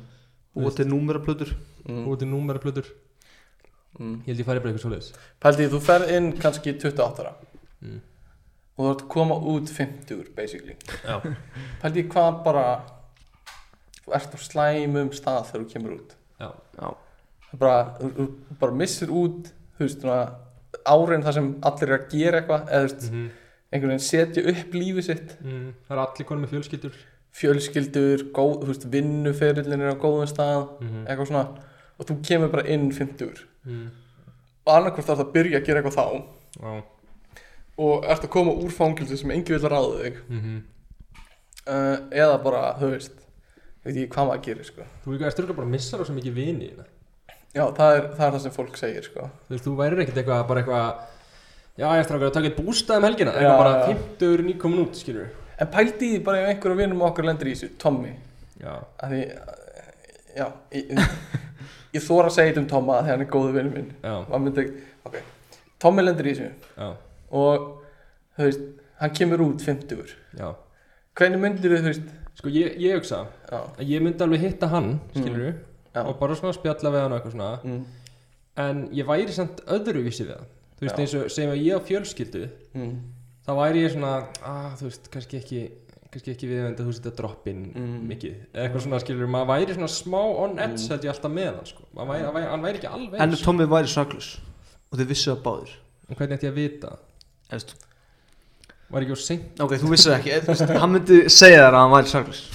A: Og þetta er númeraplötur
E: mm,
D: út í númeraplötur ég
E: mm.
D: held ég færi bara eitthvað svoleiðis
E: Pældi, þú ferð inn kannski 28 ára
D: Mm.
E: og þú ert að koma út 50, basically.
D: Já.
E: Pældi, hvað bara, þú ert á slæmum stað þegar þú kemur út.
D: já,
A: Já,
E: Það er bara, þú- þú bara missir út þú veist, svona, árin þar sem allir er að gera eitthvað eða þú veist,
D: Mhm.
E: einhvern veginn setja upp lífið sitt
D: mm, það er allir konum með fjölskyldur
E: fjölskyldur, góð, þú veist, vinnuferillin er á góðum stað,
D: Mhm.
E: eitthvað svona og þú kemur bara inn 50
D: mm.
E: og annarkvort þarf það að byrja að gera eitthvað þá
D: já,
E: og ert að koma úr fangilsi sem engi vil ráða þig
D: mm
E: uh, eða bara, þú veist ég veit ekki hvað maður gerir, sko
D: þú veist, þú bara missar á svo mikið vini þína.
E: já, það er það, er það sem fólk segir, sko
D: þú veist, þú værir ekkert eitthvað, bara eitthvað já, ég strákar að taka eitt bústað um helgina
E: Já,
D: eitthvað bara
E: já.
D: 50 eru nýkomin út, skilur
E: en pældi í því bara ef einhverjum vinum okkar lendir í þessu, Tommy
D: já,
E: að því eh, já, ég, ég þóra að segja þetta um Tomma þegar hann er góðu vinnu minn
D: já,
E: Maður myndi, ok, Tommi lendir í þessu
D: já,
E: og þú veist, hann kemur út 50
D: já
E: hvernig myndir þú veist
D: sko, ég, ég hugsa
E: já,
D: að ég myndi alveg hitta hann, skilur
E: Mhm, Já.
D: og bara svona spjalla við hann og eitthvað svona
E: mm,
D: en ég væri samt öðruvísi við hann þú veist
E: Já.
D: eins og segjum að ég á fjölskyldu
E: mm,
D: þá væri ég svona að þú veist kannski ekki kannski ekki við að þú setja droppin
E: Mm.
D: mikið eða eitthvað svona skilur maður væri svona smá on edge held ég alltaf með hann sko maður
E: Mm.
D: væri, hann væri, hann væri ekki alveg
A: En
D: eins.
A: ef Tommy væri saklus Og þið vissu það báðir
D: en hvernig ætti ég að vita
A: Efst.
D: var ekki á seint
A: Ok, þú vissir ekki eh, þú veist, Hann myndi segja þér að hann væri saklus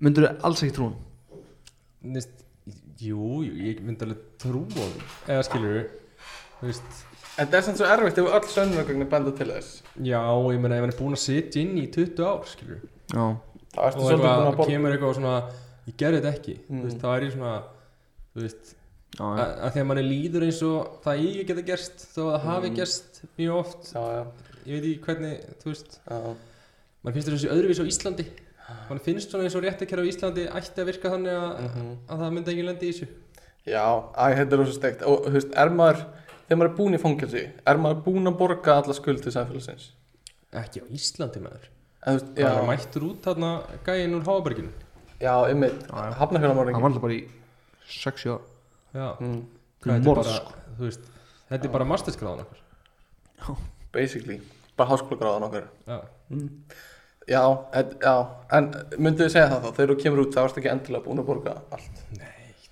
A: Myndur þið alls ekki trúin
D: Nist, jú, jú, ég myndi alveg trú á því eða skilur þú veist
E: en það er samt svo erfitt ef öll sönnugögnin benda til þess
D: já ég meina ef hann er búin að setja inn í 20 ár skilur
A: Já,
E: þá
D: og
E: ertu svolítið búin
D: eitthvað,
E: að borga
D: kemur eitthvað svona ég gerði þetta ekki
E: Mm.
D: þú veist, þá er ég svona þú veist,
A: já,
D: að,
A: já
D: að því að manni líður eins og það eigi geta gerst þó að það
E: Mm.
D: hafi gerst mjög oft
E: já, já,
D: ég veit ekki hvernig, þú veist
E: já,
D: mann finnst þessu öðruvís á Íslandi mann finnst svona eins og réttakjara á Íslandi ætti að virka þannig að, að það myndi ekki lendi í þessu
E: já æ, þetta er rosa steikt og þú veist, er maður þegar maður er búin í fangilsi, er maður búin að borga alla skuld til samfélagsins
D: ekki á Íslandi maður
E: en, þú veist,
D: það er
E: já,
D: mættur út þarna gæinn úr Háaberginu
E: já, ymmið,
A: Já, já. Hann
E: hafnafjörðamorðingin
A: var alltaf bara í 6 ára
D: já,
E: mm,
D: þetta er
A: morð,
D: bara, þú veist þetta er bara masterskráðan okkar
E: basically, bara háskólagráðan okkar
D: já,
E: Já, en, já, en myndu þið segja það þá, þegar þú kemur út þá ertu ekki endilega búin að borga allt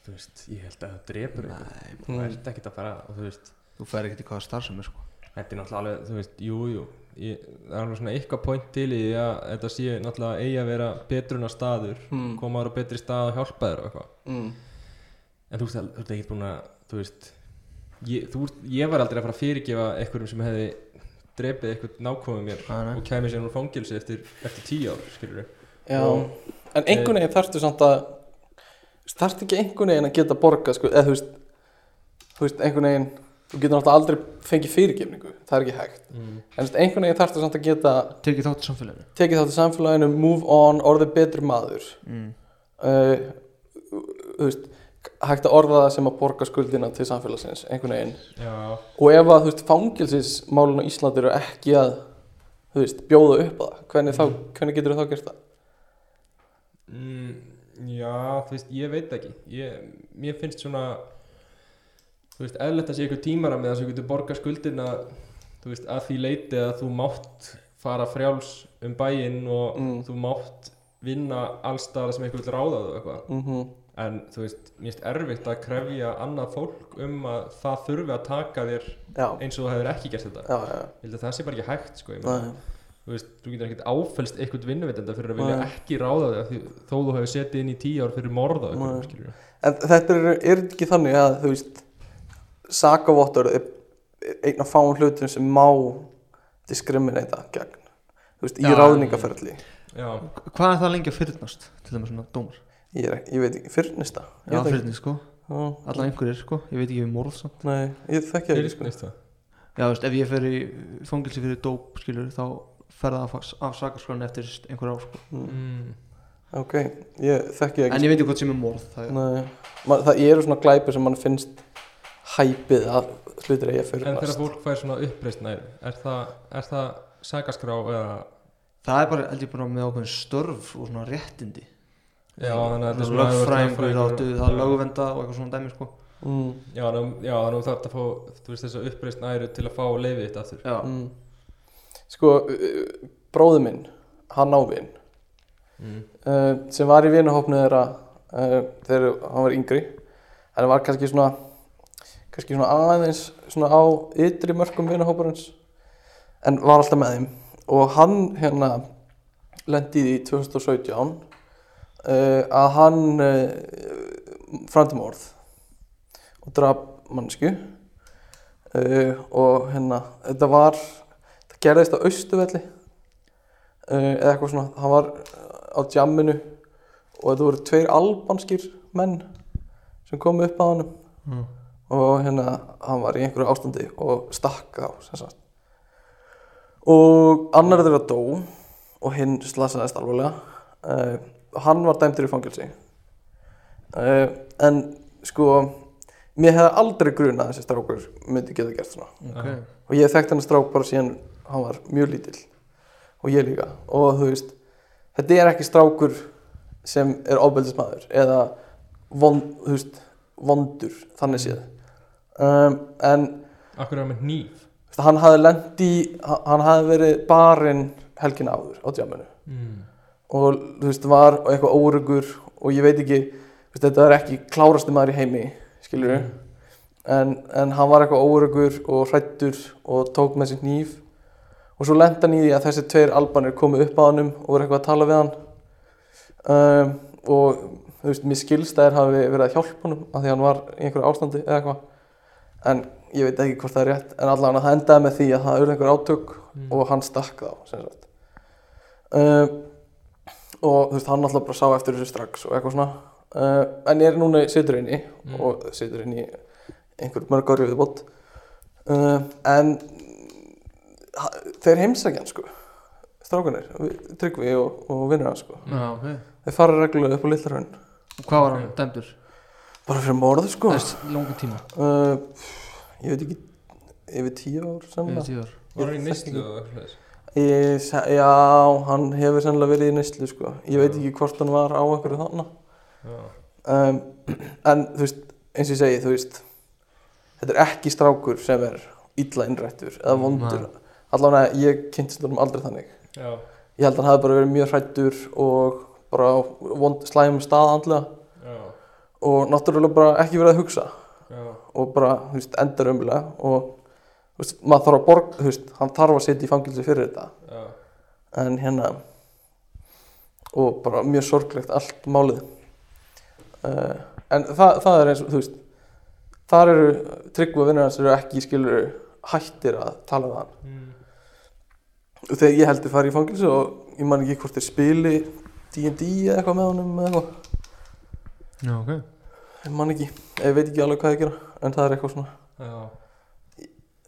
D: þú veist, ég held að það drepur einhvern.
E: Mm.
D: þú ert ekkert að fara og þú veist
A: Þú fer ekkert í hvaða starf sem er sko
D: Þetta er náttúrulega alveg, þú veist, jú, jú ég, Það er alveg svona eitthvað point til í því að þetta sé náttúrulega eigi að vera betruna staður
E: Mm.
D: koma þér á betri stað og hjálpa þér og eitthvað
E: mm.
D: En þú veist, það- þú ert ekki búin að, þú veist ég, þú, ert- ég var aldrei að fara að fyrirgefa einhverjum sem hefði drepið eitthvað nákvæmum mér
A: Nei, nei.
D: og kæmi sér úr fangelsi eftir, eftir tíu ár, skilur við
E: Já,
D: Og-
E: en einhvern veginn þarftu samt að þarftu ekki einhvern veginn að geta borga sko, eða þú veist, þú veist einhvern veginn, þú getur náttúrulega aldrei fengið fyrirgefningu, það er ekki hægt
D: mm.
E: en þú veist, einhvern veginn þarftu samt að geta
A: Tekið þátt í samfélaginu
E: tekið þátt í samfélaginu, move on, orðið betri maður
A: mm.
E: uh, þú veist hægt að orða það sem að borga skuldina til samfélagsins, einhvern veginn
D: Já,
E: Og ef að, þú veist, fangilsismálun á Íslandi eru ekki að, þú veist, bjóða upp að það, hvernig, þá, hvernig getur þú þá gert það?
D: Mm, já, þú veist, ég veit ekki ég, Mér finnst svona þú veist, eðlert að sé eitthvað tímara með þess að þú getur borga skuldina þú veist, að því leiti að þú mátt fara frjáls um bæinn og
E: Mm.
D: þú mátt vinna allstaðar sem eitthvað vil ráða þau eitthvað
E: mm
D: en þú veist, mér finnst erfitt að krefja annað fólk um að það þurfi að taka þér
E: Já,
D: eins og þú hefur ekki gert þetta
E: já, já, já.
D: ég held að það sé bara ekki hægt sko, ég meina,
E: Nei,
D: þú veist, þú getur ekkert áfælst eitthvað vinnuvitenda fyrir að vilja
E: Nei.
D: ekki ráða þig af því, þó þú hefur setið inn í tíu ár fyrir morða
E: Nei.
D: eitthvað,
E: En þetta er, er ekki þannig að þú veist sakavottur er er einn af fáum hlutum sem má diskriminata gegn þú veist, í
D: Já.
E: ráðningaferli
D: já,
A: Hvað er það lengi að fyrnast til dæmis svona dómar?
E: ég, er, ekki- ég veit ekki, fyrrnista
A: Já, fyrnast sko,
E: fyrrnista
A: allan einhverjir sko, ég veit ekki við morð samt.
E: Nei, ég þekki það
D: fyrir
E: ekki sko
D: sko.
A: Já, þú veist, ef ég fer í fangilsi fyrir dóp, skilur, þá fer það af, af sakarskráni eftir einhver ár sko.
D: mm.
E: Ok, ég þekki það
A: En
E: ekki sko.
A: ég veit ekki hvað sem er morð, það er,
E: Nei, Ma, það eru svona glæpir sem mann finnst hæpið að hlutir eigi að
D: en þegar
E: fyrrnast
D: fólk fær svona uppreistnær er það, er það sagaskrá eða,
A: það er bara, held ég bara með ákveðin störf og svona réttindi.
D: já, þannig að þetta er svona-
A: Lögfræðingur áttu, það er lögvenda og eitthvað svona dæmi sko.
E: mm,
D: já, þannig að- já, þannig að þú þarf að fá þú veist, þessa uppreistnæru til að fá leifið þitt aftur
A: Já,
E: mm. Sko, bróðu minn, hann á vin
D: mm.
E: uh, sem var í vinahópnu þeirra uh, þegar hann var yngri en var kannski svona kannski svona aðeins svona á ytri mörgum vinahóparins en var alltaf með þeim og hann hérna lendi í því 2017 uh, að hann uh, framtum orð og draf mannsku uh, og hérna þetta var þetta gerðist á austuvelli uh, eða eitthvað svona hann var eh, á djamminu og þetta voru tveir albanskir menn sem komu upp að honum
A: Mm.
E: og hérna hann var í einhverju ástandi og stakk á sem sagt og annar þeirra dó og hinn slasaðist alvarlega uh, hann var dæmdur í fangelsi uh, en sko mér hefði aldrei grunað að þessi strákur myndi geta gert svona
A: ok.
E: og ég þekkti hann strák bara síðan hann var mjög lítill og ég líka og þú veist, þetta er ekki strákur sem er ofbeldismæður eða vond, þú veist, vondur þannig séð um, en
D: akkur er hann með nýf
E: þú veist, hann hafði lendi hann hafði verið barinn helgina áður á djáminu
D: mm.
E: og þú veist, var og eitthvað órugur og ég veit ekki, þú veist, þetta er ekki klárasti maður í heimi, skilur við en, en hann var eitthvað órugur og hrættur og tók með sér nýf og svo lenda hann í því að þessi tveir albanir komu upp að honum og voru eitthvað að tala við hann um, og þú veist, mér skilstæðir hafi verið að hjálpa honum af því hann var í einhverju ástandi eða eitthvað en ég veit ekki hvort það er rétt en allavega það endaði með því að það urði einhver átök
D: Mm.
E: og hann stakk þá sem sagt um, og þú veist hann alltaf bara sá eftir þessu strax og eitthvað svona uh, en ég er núna í siturinn
D: Mm.
E: og siturinn í einhver mörg ári við bótt uh, en ha, þeir heimsækja hann sko strákanir, tryggvi og, og vinnur hann sko
A: Já, ok.
E: þeir fara reglulega upp á litla raun
A: Og hvað var hann dæmdur?
E: bara fyrir morðu sko
A: Það
E: uh,
A: er langan tíma,
E: ég veit ekki yfir tíu ár
A: yfir
E: sennilega
A: tíu ár.
D: var hann í
E: Ég þekki
D: nýslu og eitthvað svoleiðis?
E: Ég se- já, hann hefur sennilega verið í neyslu sko ég veit ekki hvort hann var á einhverju þarna
D: já,
E: um, en þú veist, eins og ég segi þú veist, þetta er ekki strákur sem er illa innrættur eða vondur, allavega ég kynntist honum aldrei þannig,
D: já,
E: ég held að hann hafi bara verið mjög hrættur og bara á vond, slæmum stað andlega
D: já,
E: og náttúrulega bara ekki verið að hugsa
D: já.
E: og bara, þú veist, endar umlega og þú veist, maður þarf að borga, þú veist, hann þarf að sitja í fangilsi fyrir þetta
D: já.
E: en hérna og bara mjög sorglegt allt málið uh, en það, það er eins og þú veist þar eru tryggva vinnur hans eru ekki skilur hættir að tala við hann
D: Mm.
E: og þegar ég heldur fara í fangilsu og ég man ekki hvort þeir spili D&D eða eitthvað með honum eða eitthvað,
A: Já, ok.
E: ég man ekki ég veit ekki alveg hvað ég gera, en það er eitthvað svona
D: já.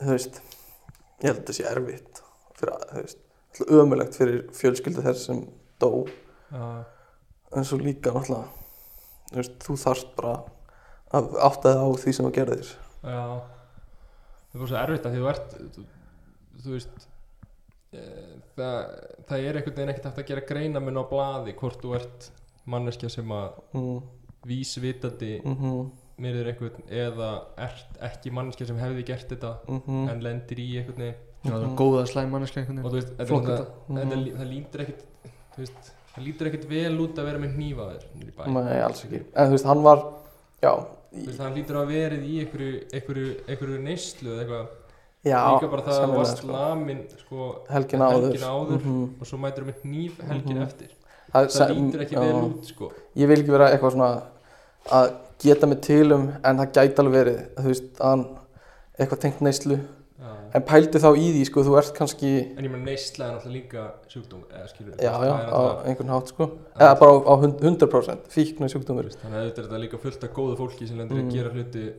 E: þú veist, ég held að þetta sé erfitt fyrir að, þú veist, ömulegt fyrir fjölskyldu þess sem dó
D: já.
E: en svo líka náttúrulega þú, veist, þú þarft bara að átta þig á því sem þú gerðir
D: Já Það er bara svo erfitt að því þú ert þú, þú veist e, það, það er einhvern veginn ekkert hægt að gera greinamun á blaði hvort þú ert manneskja sem að
E: mm,
D: vísvitandi
E: mm -hmm,
D: mér er einhvern eða ert ekki mannskja sem hefði gert þetta
A: Mm.
E: Mhm.
D: en lendir í einhvern veginn
A: Já, það er góða slæm manneskja einhvern
D: og
A: veginn
D: þú veist, þetta,
A: Flokka
D: er svona-
E: Mhm.
D: þetta lí- það lítur ekkit þú veist, það lítur ekkit vel út að vera með hnífaðir niður í bæ
E: Nei, alls ekki En þú veist, hann var Já,
D: þú veist, það lítur að verið í einhverju, einhverju, einhverju neyslu eða eitthvað
E: já
D: líka bara það að
E: sennilega,
D: varst
E: sko.
D: lamin sko,
E: Helgin áður
D: helgin áður.
E: Mhm.
D: og svo mætur með hníf helgin
E: Mhm.
D: eftir
E: Það,
D: það
E: sem-
D: lítur ekki
E: já.
D: vel út sko
E: Ég vil ekki vera eitthvað svona að geta mig til um en það gæti alveg verið að þú veist að hann eitthvað tengt neyslu
D: Já.
E: en pældi þá í því sko þú ert kannski
D: en ég meina neysla er náttúrulega líka sjúkdóm eða skilur
E: já já á einhvern hátt sko
D: það
E: eða bara á, á hund- 100% fíknu sjúkdómur
D: þannig að auðvitað er þetta líka fullt af góðu fólki sem lendur
E: Mm.
D: að gera hluti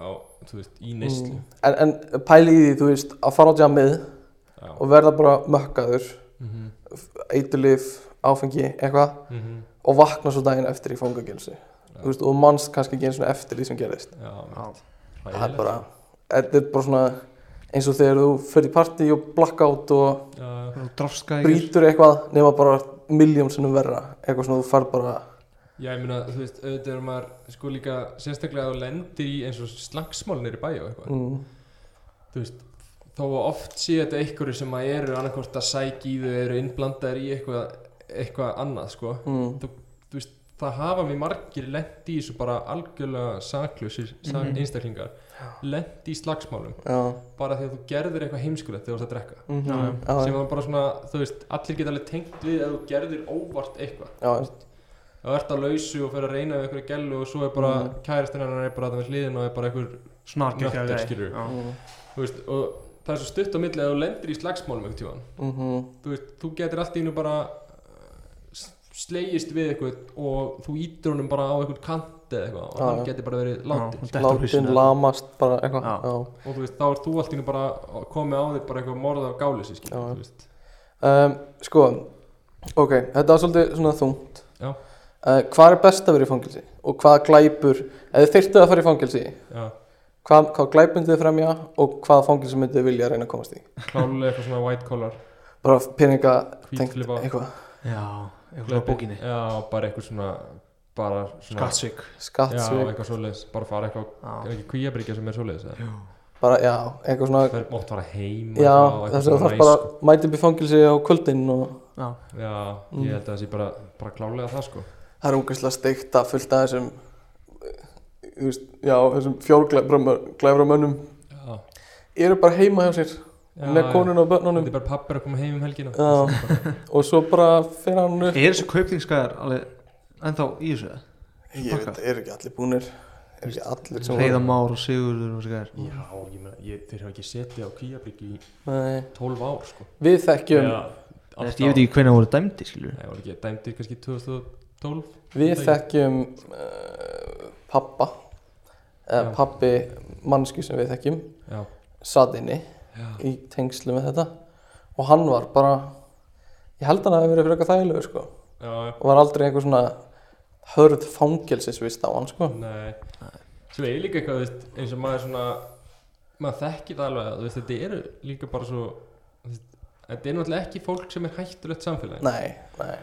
D: á, þú veist, í neyslu
E: Mm. en, en pæli í því þú veist að fara á djamið
D: já
E: og verða bara mökkaður
D: Mhm,
E: eitulif, áfengi, eitthvað
D: mhm,
E: og vakna svo daginn eftir í fangagilsu
D: Já.
E: þú veist, og mannst kannski ekki eins og eftir því sem gerðist
D: já,
E: það er
D: hræðilegt.
E: bara, þetta er bara svona eins og þegar þú fyrir partí og blackout og
D: já,
A: og drafskæðir
E: brýtur eitthvað nema bara miljón sinnum verra eitthvað svona þú fær bara
D: já, ég meina, þú veist, auðvitað er maður sko líka sérstaklega að lendi í eins og slagsmálnir í bæju og eitthvað
E: mm,
D: þú veist, þó að oft sé þetta einhverju sem að eru annarkvort að sækja í þau eru innblandaðir í eitthvað, eitthvað annað, sko
E: mm,
D: þú veist, það hafa mér margir lent í þessu bara algjörlega saklausir sak
E: Mhm.
D: einstaklingar lent í slagsmálum
E: já,
D: bara því að þú gerðir eitthvað heimskulegt þegar þú ert að drekka
E: mm,
A: Já, já.
E: já,
D: sem
E: já,
D: var bara svona, þú veist, allir geta alveg tengt við að þú gerðir óvart eitthvað
E: já,
D: það ert að lausu og fer að reyna við eitthvað gælu og svo er bara mm. kæristinn hennar er bara að það við hliðin og er bara einhver
A: snark ekki
D: nöttur, skilur.
E: mm,
D: þú veist, og það er svo stutt á milli að þú lendir í slagsmálum einhvern tíðan
E: mhm,
D: þú veist, þú getur allt í hennu bara uh, slegist við eitthvað og þú ítur honum bara á eitthvað kant eða eitthvað og
E: Já,
D: hann
E: já.
D: getur bara verið látið
E: látin, lamast bara eitthvað,
A: Já.
E: já.
D: og þú veist, þá er þú allt í hennu bara komið á þig bara eitthvað morð af gáleysi, skilur,
E: Já, já.
D: þú veist
E: Um, sko, ok, þetta var svolítið svona þungt
D: Já.
E: uh, Hvað er best að vera í fangilsi? Og hvaða glæpur, eða þyrftu að fara í fangilsi
D: já,
E: Hvað, hvað glæp myndið þið fremja og hvaða fangilsi myndið þið vilja að reyna að komast í?
D: klálega eitthvað svona white collar
E: Bara peninga tengt
D: hvítflipa
E: eitthvað
A: já, eitthvað á bókinni
D: já, bara eitthvað svona bara svona
A: skattsvík
D: já,
E: Skattsvík,
D: eitthvað svoleiðis, bara fara eitthvað er ekki kvíabryggja sem er svoleiðis eða?
E: bara, já, eitthvað svona
D: það er mótt fara heim
E: Já, þess að það
D: sko.
E: þarf bara að mæta upp í fangilsi á kvöldin og
A: já,
D: já,
E: Mm.
D: ég held að það sé bara, bara klálega það sko
E: það er ungarslega steikt að fullta þessum eh, þú veist, já, þessum fjórglæframönnum
D: já,
E: eru bara heima hjá sér með konun og börnunum
D: Þetta er bara pappir að koma heim um helgina
E: Já. og svo bara fer hann upp
A: er þessi kaupningsskæðar alveg ennþá í þessu eða?
E: ég veit, er ekki allir búnir er ekki allir sem
A: Hreiðar Már og Sigurður og skæðar
D: Já, ég meina, ég, þeir hafa ekki setið á kýjabrik í
E: Nei,
D: 12 ár sko
E: við þekkjum
A: ég veit ekki hvernig það voru dæmdi skilur
D: Það var ekki dæmdir kannski 2012
E: við
D: Nei.
E: þekkjum uh, pappa
D: Já.
E: eða pappi mannsku sem við þekkjum
D: Já,
E: satt inni
D: já,
E: í tengslu með þetta og hann var bara ég held hann að hafa verið fyrir eitthvað þægilegu sko
D: já, já.
E: og var aldrei einhver svona hörð fangelsisvist á hann sko
D: Nei Svo er líka eitthvað, þú veist, eins og maður svona Maður þekkir það alveg, þú veist, þetta eru líka bara svo þú veist, Þetta er náttúrulega ekki fólk sem er hættulegt samfélagi
E: nei, nei,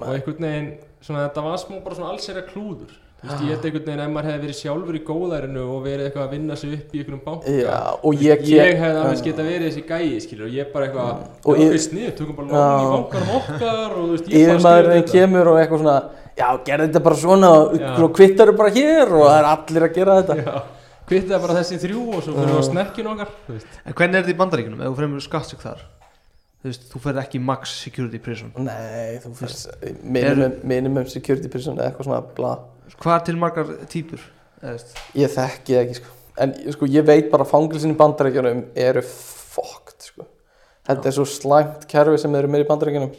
D: Og einhvern veginn, svona þetta var smá bara svona allsera klúður Þú veist,
E: Ah.
D: ég held einhvern veginn ef maður hefði verið sjálfur í góðærinu og verið eitthvað að vinna sig upp í einhverjum banka
E: já, og
D: ég,
E: ég
D: ég hefði aðeins
E: Já. Mm.
D: geta verið þessi gæi skilur, og ég bara eitthvað
E: Og
D: já,
E: ég-
D: ok, sniðu, tökum bara lán í
E: Já.
D: bankanum okkar og þú veist, ég bara skrifa
E: yfirmaðurinn
D: þetta
E: kemur og eitthvað svona já, gerði þetta bara svona
D: Já.
E: og kvittar bara hér og það er allir að gera þetta
D: Já, kvittaði bara þessi þrjú og svo fyrir við á snekkinu okkar þú veist.
A: en hvernig er þetta í bandaríkunum ef þú fremur skattsvík þar þú veist, þú ferð ekki max security prison
E: nei, þú fyrst minimum, minimum security person eða eitthvað svona bla.
A: hvað er til margar típur eða veist
E: ég þekki það ekki sko. en sko, ég veit bara að fangilsin í bandarækjunum eru fokkt sko. þetta er svo slæmt kerfi sem eru með í bandarækjunum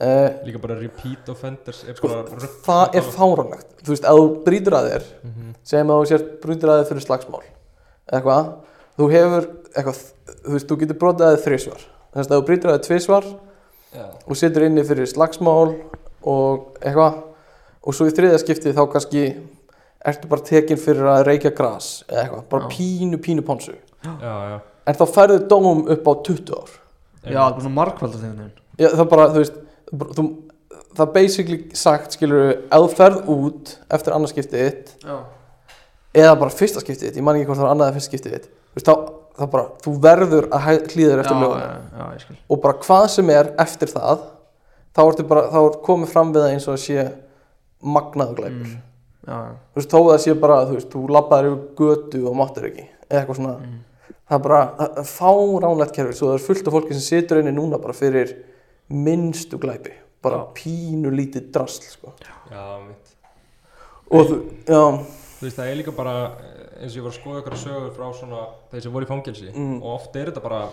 E: uh,
D: líka bara repeat offenders er
E: sko,
D: bara rugl-
E: það er fáránlegt þú veist, ef þú brýtur að þér
D: Mhm.
E: segjum að þú sér brýtur að þér fyrir slagsmál eitthvað, þú hefur eitthvað, þú veist, þú getur brotið að þér þrísvar þannig að ef þú brýtur að þér tvísvar
D: Já.
E: og situr inni fyrir slagsmál og eitthvað og svo í þriðja skipti þá kannski ertu bara tekin fyrir að reykja gras eða eitthvað, bara
A: Já.
E: pínu, pínu ponsu
D: já, já,
E: en þá færðu dóm upp á 20 ár
A: já, það er svona margvalda þegar nefn
E: Já, það bara, þú veist þú, það er basically sagt, skilur ef þú ferð út eftir annarskiptið þitt
A: já,
E: eða bara fyrsta skiptið þitt, ég man ekki hvort það var annað en fyrsta skiptið þitt þú veist, þá, þá bara, þú verður að hlýður eftir lögum
A: já, já, ég skil
E: og bara hvað sem er eftir það þá ertu bara, þá er komið fram við það eins og það sé magnaðu glæpur
A: Mm. Já, já,
E: þú veist, þó að það sé bara, þú veist, þú labbaðir yfir götu og máttir ekki, eða eitthvað
A: Mm.
E: svona það er bara, það er fáránlegt kerfi, svo það er fullt af fólki sem situr einni núna bara fyrir minnstu glæpi, bara pínu lítið drasl, sko
D: Já, mitt
E: og þú, já,
D: Þú veist, það er líka bara, eh, eins og ég var að skoða ykkur sögur frá svona, þeir sem voru í fangelsi
E: Mm.
D: og oft er þetta bara,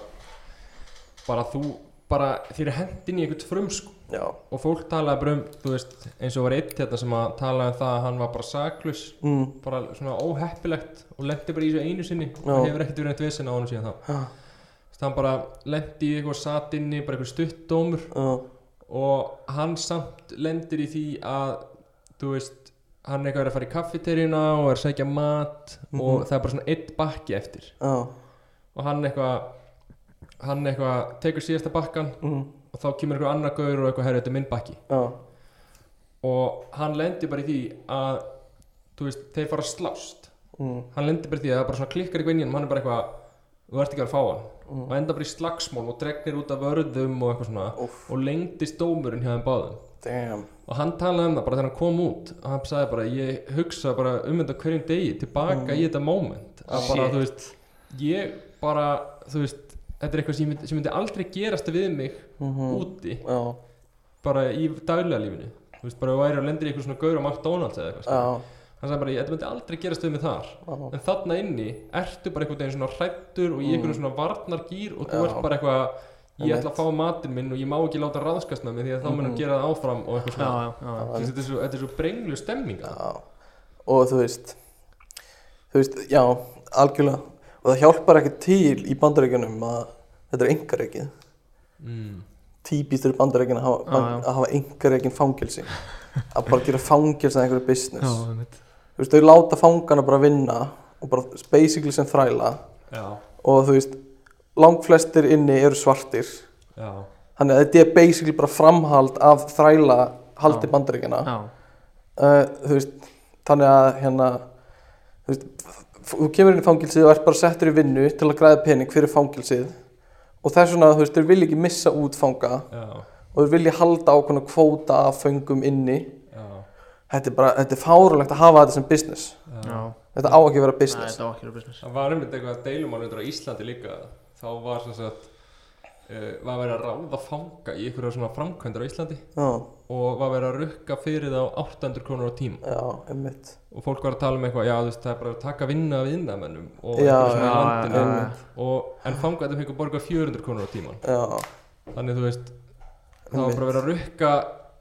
D: bara þú, bara þér er hendin í einhvern frum, sko
E: já,
D: og fólk talaði bara um, þú veist, eins og var eitt hérna sem að talaði um það að hann var bara saklus
E: mm,
D: bara svona óheppilegt og lendi bara í þessu einu sinni
E: Já.
D: og hefur ekkert verið eitt vesen á hann síðan þá
E: já,
D: Þú veist, hann bara lendi í eitthvað satt inni, bara eitthvað stuttdómur
E: já,
D: og hann samt lendir í því að þú veist, hann eitthvað er að fara í kaffiterjuna og er að segja mat og það er bara svona eitt bakki eftir
E: já,
D: og hann eitthvað hann eitthvað tekur síðasta bakkan
E: mm,
D: og þá kemur eitthvað annar gaur og eitthvað herri, þetta er minn bakki
E: já,
D: og hann lendir bara í því að þú veist, þeir fara að slást
E: mm,
D: hann lendir bara í því að það bara svona klikkar í gvinninum hann er bara eitthvað, þú ert ekki að fá hann og enda bara í slagsmál og dregnir út af vörðum og eitthvað svona
E: Úff.
D: og lengdist dómurinn hjá þeim báðum
E: damn,
D: og hann talaði um það bara þegar hann kom út og hann sagði bara, ég hugsa bara um þetta á hverjum degi tilbaka
E: Mm.
D: í þetta moment að bara,
A: Shit.
D: þú veist, ég bara þú veist, þetta er eitthvað sem, ég myndi- sem myndi aldrei gerast við mig
E: Mm.
D: úti
E: Mhm. já,
D: bara í daglega lífinu þú veist, bara þú væri að lenda í eitthvað svona gaur á McDonalds eða eitthvað,
E: já,
D: skilur. hann sagði bara, þetta myndi aldrei gerast við mig þar
E: já,
D: en þarna inni, ertu bara einhvern veginn svona hrættur og í einhvern svona varnargýr og þú
E: Mm. Já.
D: ert bara eitthvað, ég ætla
E: Einmitt.
D: að fá matinn minn og ég má ekki láta ráðskast með mig því að þá munum
E: Mhm.
D: gera það áfram og
A: já,
D: eitthvað svona
A: já, já.
D: Þú veist, þetta er svo, þetta er svo brenglu stemminga
E: Já, og þú veist þú veist, já, algjörlega og það hjálpar ekki til í bandaríkjunum að þetta er engaríkið
D: mm.
E: típist eru bandaríkjun að hafa,
A: Já, já.
E: að hafa engaríkin fangelsi að bara gera fangelsi að einhverju
A: Já,
E: business
A: einmitt.
E: þú veist, þau láta fangana bara vinna og bara basically sem þræla
D: já,
E: og þú veist, langflestir inni eru svartir
D: já,
E: þannig að þetta er basically bara framhald af þræla haldi
A: Já.
E: bandaríkjuna
A: já,
E: uh, þú veist, þannig að hérna, þú veist, f- þú kemur inn í fangilsið og ert bara settur í vinnu til að græða pening fyrir fangilsið og þess vegna, þú veist, þeir vilja ekki missa út fanga
D: já,
E: og þeir vilja halda ákveðna kvóta af föngum inni
D: já,
E: þetta er bara, þetta er fárulegt að hafa þetta sem business
A: já.
D: já.
E: þetta á ekki að vera
A: Nei,
E: business
A: þetta var ekki verið business
D: það var einmitt eitthvað deilumálundur á Íslandi líka þá var sem sagt uh, var verið að ráða fanga í einhverja svona framkvæmdur á Íslandi
E: já,
D: og var verið að rukka fyrir þá 800 krónur á tíma
E: já, einmitt
D: og fólk var að tala um eitthvað, já þú veist, það er bara að taka vinna af innamennum og
E: Já,
D: eitthvað svona í
A: já,
D: landinu
A: já,
D: og, en fangatum fengur borga 400 krónur á tíman
E: já,
D: þannig þú veist, það var
E: Einmitt.
D: bara verið að rukka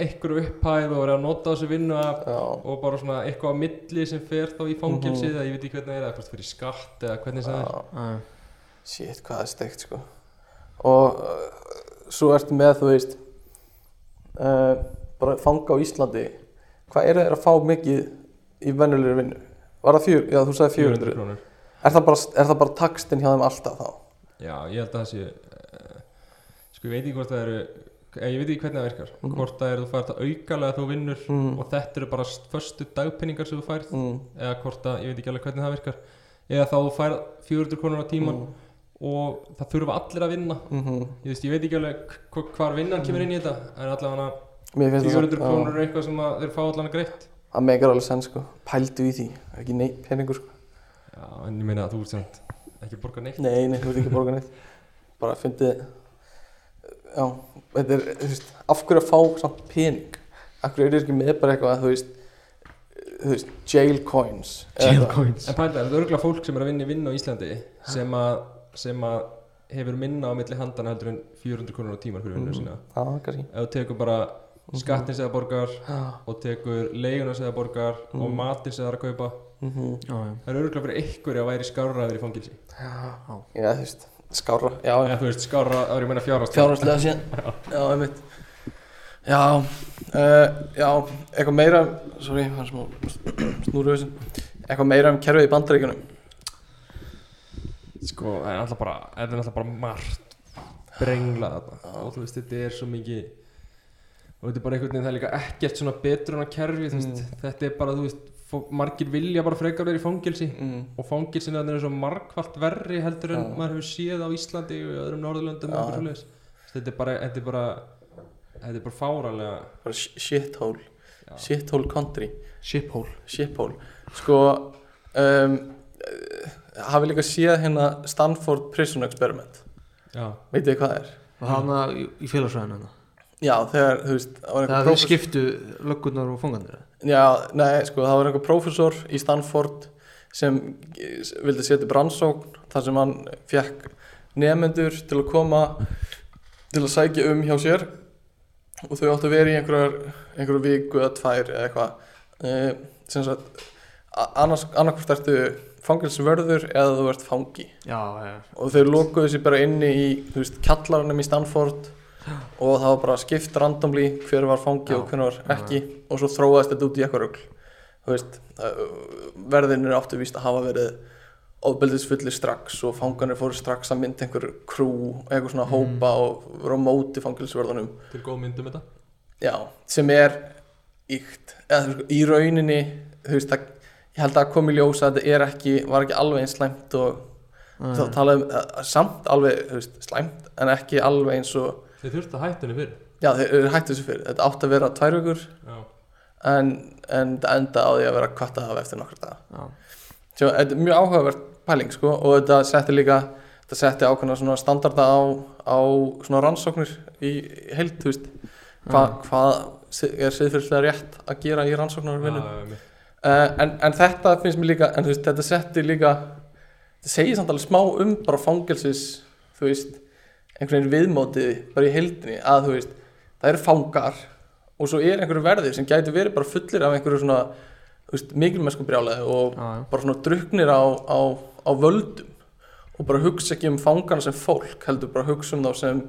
D: einhverju upphæð og verið að nota þessu vinna
E: já,
D: og bara svona eitthvað á milli sem fer þá í fangilsi eða ég veit ekki hvernig það er, eða hvort fyrir skatt eða hvernig sem það er
E: Mhm. já.
A: Já,
E: Shit, hvað það er steikt sko Og uh, svo ertu með, þú veist uh, Bara fanga á Íslandi Hvað eru þeir að fá mikið í venjulegri vinnu? Var það fjör, já þú sagði 400
D: krónur
E: Er það bara, er það bara takstinn hjá þeim alltaf þá?
D: Já, ég held að það sé uh, sko ég veit ekki hvort það eru eh, ég veit ekki hvernig það virkar,
E: Mhm.
D: hvort það eru þú fært að aukalega þú vinnur
E: Mm.
D: og þetta eru bara förstu dagpenningar sem þú færð
E: Mm.
D: eða hvort að, ég veit ekki alveg hvernig það virkar eða þá þú færð 400 krónur á tíman
E: Mhm.
D: og það þurfa allir að vinna
E: Mm -hmm.
D: ég, veist, ég veit ekki alveg hv- hvar vinnan
E: Mhm.
D: kemur inn í þetta en allavega
E: Mér finnst
D: 400
E: já,
D: krónur er eitthvað sem að þeir fá allan að greitt
E: Það megar alveg senn sko Pældu í því, ekki neitt peningur sko
D: já, en ég meina að þú ert sem sagt ekki að borga neitt
E: Nei, nei, þú ert ekki að borga neitt Bara fyndið Já, þetta er, þú veist Af hverju að fá samt pening? Af hverju eru þeir ekki með bara eitthvað þú veist Þú veist, jail coins eða
A: jail
E: eitthvað?
A: coins
D: en pælda, er þetta örgulega fólk sem er að vinna í vinnu á Íslandi sem að, sem að hefur minna á milli handana heldur en 400 krónur á tíman fyrir vinnu
E: Mhm.
D: sína
E: Já, kannski
D: ef þú tekur bara skattin sem það borgar
E: Já,
D: og tekur leiguna sem það borgar og
E: Mhm.
D: matinn sem það er að kaupa
E: mhm.
A: Já, já,
D: Það er örgulega fyrir einhverju að væri skárra að vera í fangilsi
E: Já, þú veist, skára Já, já
D: Eða þú veist skárra að vera í meina fjárhast
E: Ah. Fjárhagslega síðan Já, einmitt Já, uh, já, eitthvað meira Sorry, hann smá snúru þessu Eitthvað meira um kerfið í bandaríkjunum
D: Sko, það er alltaf bara, það er alltaf bara margt brenglað þarna Og þú veist, þetta er svo mikið Og þetta er bara einhvern veginn, það er líka ekkert svona betrunarkerfi mm. Þetta er bara, þú veist, fó- margir vilja bara frekar verið í fangelsi
E: mm.
D: og fangelsin þannig er svo margfalt verri heldur en
E: Já.
D: maður hefur séð á Íslandi og í öðrum Norðurlöndum
E: Já.
D: og eitthvað svoleiðis. Þess, þetta er bara þetta er bara, þetta er bara fáralega
E: bara sh- shithole
D: Já.
E: shithole country
A: Shiphole
E: shiphole sko um, uh, hafi líka séð hérna Stanford Prison Experiment
D: já,
E: veitir hvað það er?
A: og hana í, í félagsræðinu hana
E: já þegar þú veist það var einhver
A: það er
E: prófessor-
A: skiptu löggurnar og fangarnir eða?
E: Já, nei, sko, það var einhver prófessor í Stanford sem eh, vildi setja brannsókn þar sem hann fekk nefnendur til að koma til að sækja um hjá sér og þau áttu að vera í einhverjar einhverju viku eða tvær eða eitthvað e, sem sagt a- annars, annarkvort ertu fangilsvörður eða þú ert fangi
A: já, já,
E: og þau lokuðu sér bara inni í þú veist, kjallarunum í Stanford og það var bara skipt randomly hver var fangi
A: Já.
E: og hver var ekki og svo þróaðist þetta út í eitthvað rugl þú veist, uh, verðinir áttu víst að hafa verið ofbeldisfullir strax og fangarnir fóru strax að mynda einhver krú, eitthvað
A: Mm.
E: svona hópa og voru á móti fangilsvörðunum
D: til góð myndum þetta
E: já, sem er íkt, eða þú veist, í rauninni þú veist, það, ég held að það kom í ljós að þetta er ekki, var ekki alveg eins slæmt og
A: já.
E: þá talaðum uh, samt alveg þú veist, slæmt en ekki alveg eins og
D: þið þurftu að hætta henni fyrir
E: já þeir eru hættu þessu fyrir þetta átti að vera tvær vikur
D: já,
E: en, en það enda á því að vera kvartað af eftir nokkra daga
A: já.
E: Sjá, þetta er mjög áhugavert pæling sko og þetta setti líka þetta setti ákveðna svona standarda á, á svona rannsóknir í í heild þú veist hva, hvað si- er siðfyrstilega rétt að gera í rannsóknarvinnum
D: já, einmitt.
E: uh, en, en þetta finnst mér líka en þú veist, þetta setti líka þetta segir samt alveg smá um bara fangelsis þú veist, einhvern veginn viðmótið bara í heildinni að þú veist það eru fangar og svo er einhverju verðir sem gæti verið bara fullir af einhverju svona þú veist, mikilmennsku brjálæði og
A: Já, já.
E: bara svona druknir á, á, á völdum og bara hugsa ekki um fangana sem fólk heldur bara hugsa um þá sem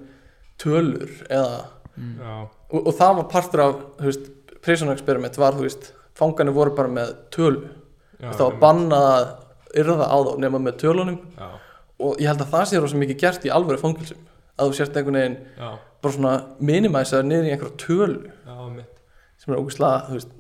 E: tölur eða
D: já,
E: og, og það var partur af þú veist, prison experiment var þú veist fangarnir voru bara með tölu
D: já,
E: það var
D: einmitt.
E: bannað að yrða á þá nema með tölunum
D: já,
E: og ég held að það sé rosa mikið gert í alvöru fangilsum að þú sért einhvern veginn
D: já,
E: bara svona minimæsaður niður í einhverja tölu
D: já, mitt
E: sem er ógæslega, þú veist,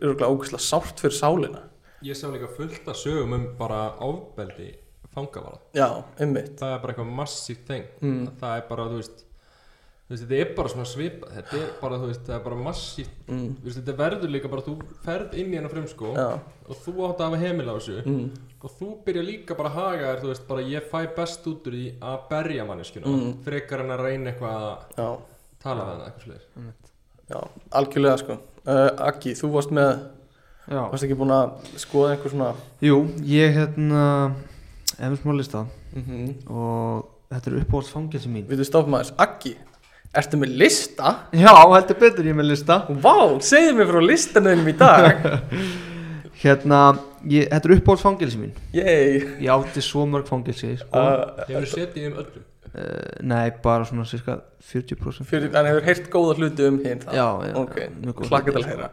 E: örgulega ógæslega sárt fyrir sálina
D: ég sá líka fullt að sögum um bara ofbeldi fangavara
E: já, einmitt
D: það er bara eitthvað massíft þeng
E: Mm.
D: það er bara, þú veist, þú veist þetta er bara svona svipa þetta er bara, þú veist, það er bara massíft
E: mm,
D: þú veist, þetta verður líka bara, þú ferð inn í hennar frumskó
E: já,
D: og þú átt að hafa heimil á þessu
E: mm,
D: og þú byrja líka bara að haga þér, þú veist, bara ég fæ best út úr því að berja manneskjuna
E: Mm.
D: frekar en að reyna eitthvað að
E: já,
D: tala við hana, eitthvað sliðir
E: já, algjörlega sko uh, Akki, þú varst með,
A: Já.
E: varst ekki búin að skoða einhver svona
A: jú, ég hérna ef við smá lista
E: mm -hmm.
D: Mhm.
A: og þetta er uppáhalds fangelsi mín
E: við þú stoppum aðeins, Akki ertu með lista?
A: já, heldur betur ég er með lista
E: Vá, segðu mér frá listanum í dag
A: hérna, ég, þetta er uppáhalds fangelsi mín
E: Yay
A: ég átti svo mörg fangelsi sko. uh.
E: uh,
D: hefur setið um í þeim öllum
A: nei, bara svona cirka 40%
E: fyrir, Hann hefur heyrt góða hluti um hinn það
A: já, já,
E: Ok,
A: mjög góð
E: klakka til
A: hluti,
E: að
A: sko.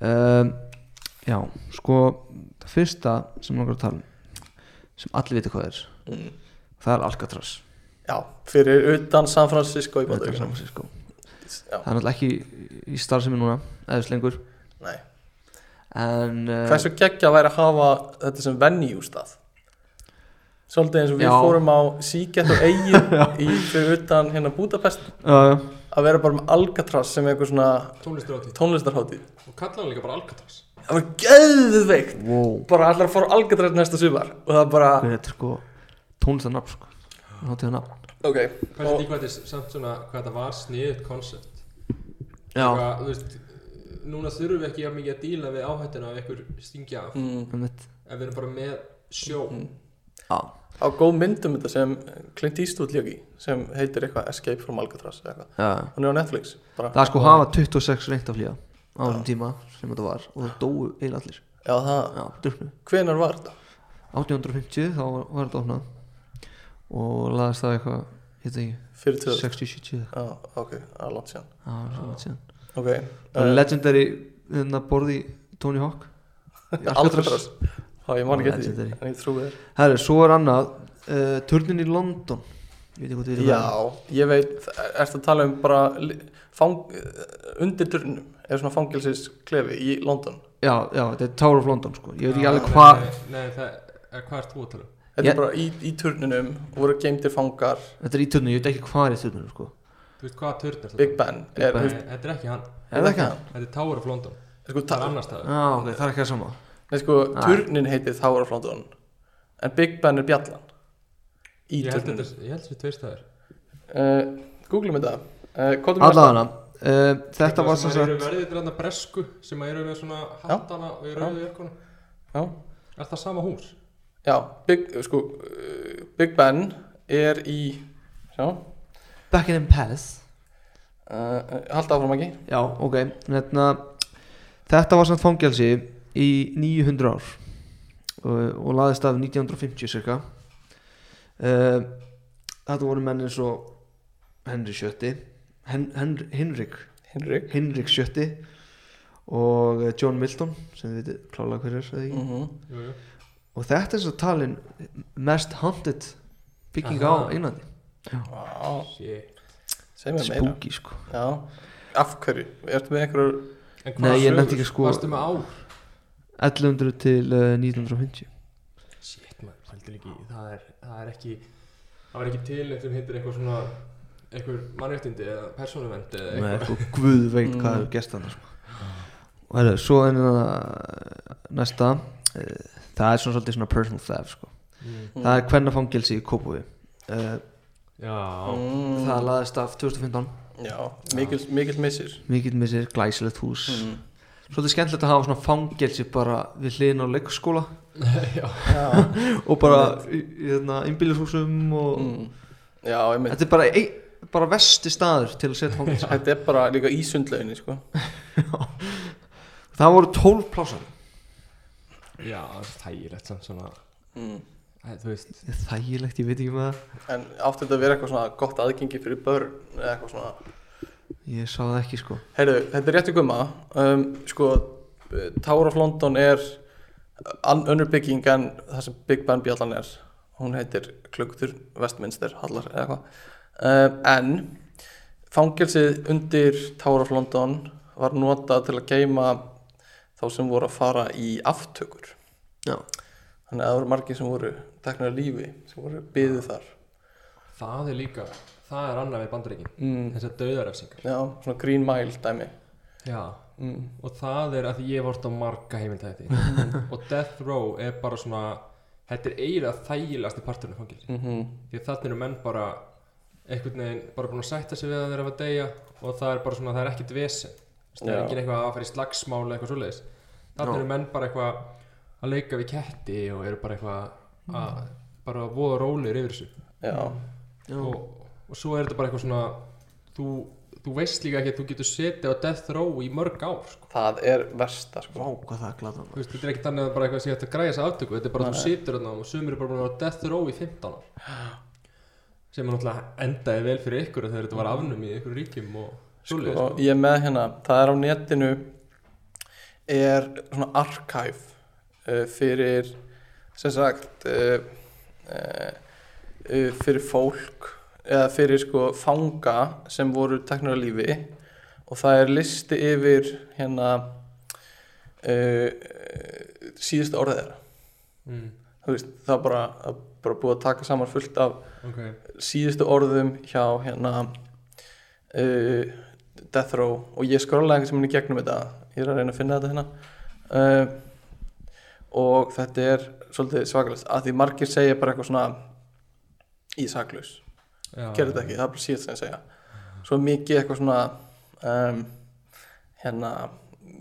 E: heyra
A: um, Já, sko Það fyrsta sem langar að tala um sem allir viti hvað er
E: Mm.
A: það er Alcatraz
E: Já, fyrir utan San Francisco í
A: utan San
E: Bandaríkjunum.
A: Francisco.
E: Já,
A: sko. Það er náttúrulega ekki í starfsemi núna eða slengur
E: nei
A: en, uh,
E: Hversu geggja væri að hafa þetta sem venue stað Svolítið eins og við
A: Já.
E: fórum á Seagate og Egin í fyrir utan hérna Budapest
A: Já, já,
E: að vera bara með Alcatraz sem eitthvað svona
D: tónlistur átíð
E: tónlistarhátíð
D: og kalla hann líka bara Alcatraz
E: Það var geðveikt
A: wow
E: bara allar að fara á Alcatraz næsta sumar og það bara,
A: Hvað er þetta sko tónlistarnafn sko Hátíðarnafn
E: ok
D: hversu því hvað þetta er samt svona hvað þetta var sniðut koncept
A: Já,
D: Eitthvað, þú veist núna þurfum við ekki jafn mikið að díla við áhættuna ef ykkur stingja af
E: mm.
A: um þetta
D: ef við erum bara með sjó
A: Mm. Já,
E: á góð myndum þetta sem Clint Eastwood ljög í sem heitir eitthvað Escape from Alcatraz eða eitthvað,
A: já
E: hún er á Netflix bara.
A: Það er sko hafa 26 reynt að flýja á þessum tíma sem þetta var og það dóu eiginlega allir
E: Já, það,
A: Já, druknu
E: hvenar var þetta?
A: 1850 þá var var þetta opnað og laðast það eitthvað hitt ekki
E: Fyrir tjóð
A: 60-70
E: Já, ok, það er langt síðan
A: það var svona síðan
E: Ok,
A: það
E: eh,
A: var legendary hérna borði Tony Hawk í
E: Alcatraz Já, ég man ekki eftir því,
A: Legendary.
E: en ég trúi þér
A: herru svo er annað uh, turnin í London ég veit ekki hvað þú veitir hvað
E: Já, ég veit, ertu að tala eh, um bara li- fang, undir turnum eða svona fangilsis klefi í London
A: það er. já, já, þetta er Tower of London sko. ég veit ekki
D: Já,
A: alveg
D: nei,
A: hvað
D: nei, Nei, það, eh, hvað ert þú að tala um?
E: Þetta
A: Ég-
E: er bara í, í turnunum voru geimtir fangar,
A: þetta er í törnum, ég veit ekki hvað er í törnum sko.
D: Þú veist hvað törn er það?
E: Big Ben er,
A: Ben.
E: Ben.
D: Nei, þetta er ekki hann
A: er það ekki það?
D: Þetta er Tower of London
E: Sko,
D: Það er
E: ta,
D: annars staðar
A: Já, ok, það er ekki það sama
E: nei, sko,
A: Nei.
E: turnin heitir Tower of London en Big Ben er bjallan í
D: Ég held
E: turnunum
D: þetta, ég held þessi tveir staðar
E: uh, Googlum þetta uh, hvað er
A: Allavega uh, Þetta var sem
D: Það eru
A: sagt
D: verðið til þarna bresku sem eru með svona hattana og í rauðu jörguna
E: Já.
D: Er það sama hús?
E: Já, Big, sko, uh, Big Ben er í sjá, uh,
A: Buckingham Palace
E: uh, halda áfram ekki
A: Já, ok, hérna Þetta var sem fangelsi í 900 ár uh, og laðist af 1950 cirka uh, Þetta voru menn eins og Henry Sjötti Hen Henry, Henrik
E: Henrik
A: Henrik Sjötti og eh, John Milton sem þið veitir klálega hver er mm.
E: mm
D: Jú, jú
A: og þetta er svo talin mest haunted bygging
D: Aha.
A: á Englandi
E: Vá,
D: Shit
E: segjum við meira
A: spooky sko
E: Já, af hverju, ertu með einhverjar
D: En
A: Nei,
D: hvaða
A: ég nefndi
D: sögur
A: ekki að sko-
D: Varstu með ár?
A: 1100 til uh, 1950
D: Shit maður, heldur ekki Það er, það er ekki Það var ekki til neitt sem heitir eitthvað svona eitthvað mannréttindi eða persónuvend eða
A: með
D: eitthvað
A: eitthvað sko, guð veit
E: Mm.
A: hvað er gert hann sko. og hérna, svo er það næsta uh, það er svona svolítið svona personal theft sko.
D: Mm.
A: það er kvennafangelsi í Kópaví uh,
D: Já,
E: mm,
A: það laðist af 2015
E: Já, mikil, mikil missir
A: mikill með sér glæsilegt hús
E: mm.
A: svolítið skemmtilegt að hafa svona fangelsi bara við hliðin á leikskóla
D: já
E: Já,
A: og bara í, í þarna innbýlishúsum og
E: mm. Já, einmitt
A: þetta er bara, ein, bara vesti staður til að setja fangelsi
E: Þetta er bara líka í sundlauginni, sko
A: það voru 12 plásar
D: Já, þægilegt samt svona
E: mm.
D: Æ, Þú veist
A: þægilegt, ég veit ekki með
E: En átti þetta að vera eitthvað svona gott aðgengi fyrir börn eða eitthvað svona
A: það ég sá það ekki sko
E: Heyrðu, þetta er rétti gumma um, Sko, eh, Tower of London er ann- önnur bygging en það sem Big Ben bjallan er hún heitir Klugtur Westminster Hallar eða eitthvað um, en fangelsið undir Tower of London var notað til að geima þá sem voru að fara í aftökur
A: Já.
E: þannig að það voru margir sem voru teknir að lífi, sem voru byðið þar
D: Það er líka Það er annað við bandaríkin
E: mm.
D: Þessar döðarefsingar
E: já, svona Green Mile dæmi
D: Já
E: mm.
D: og það er að því ég hef vort á marga heimildæti og Death Row er bara svona þetta er eiginlega þægilegasti parturinn af fangilsi
E: Mm
D: því að þarna eru menn bara einhvern veginn bara búin að sætta sig við að þeirra að deyja og það er bara svona, það er ekkit vesen Þú veist, það er
E: Já.
D: engin eitthvað að fara í slagsmál eða eitthvað svoleiðis þarna
A: Já.
D: eru menn bara eitthvað að leika við ketti og eru bara eitthvað að bara voða rólir yfir þessu
E: já,
D: og, og svo er þetta bara eitthvað svona þú, þú veist líka ekki að þú getur setið á Death Row í mörg ár sko.
E: það er versta sko.
A: Vá, hvað það er glatan
D: Þú veist, þetta er ekki þannig að bara eitthvað sé hægt að græja þess aftöku þetta er bara að þú situr þarna og sumir er bara búin að vera á death row í 15 ár sem er náttúrulega endaði vel fyrir ykkur þegar þetta var afnum í ykkur ríkjum og svoleiðis
E: Mm. sko, ég er með hérna, það er á netinu er svona arkæf uh, fyrir sem sagt uh, uh, uh, fyrir fólk eða fyrir sko fanga sem voru teknur að lífi og það er listi yfir hérna uh, síðust orðið þeirra
D: mm,
E: þú veist, það er bara, það er bara búið að taka saman fullt af
D: ok,
E: síðustu orðum hjá hérna uh, Death Row og ég skrollaði einhvern veginn í gegnum þetta ég er að reyna að finna þetta hérna uh, og þetta er svolítið svakalist að því margir segja bara eitthvað svona í saklaus,
D: já,
E: gerðu þetta ekki það er bara síðast sem ég segja svo er mikið eitthvað svona um, hérna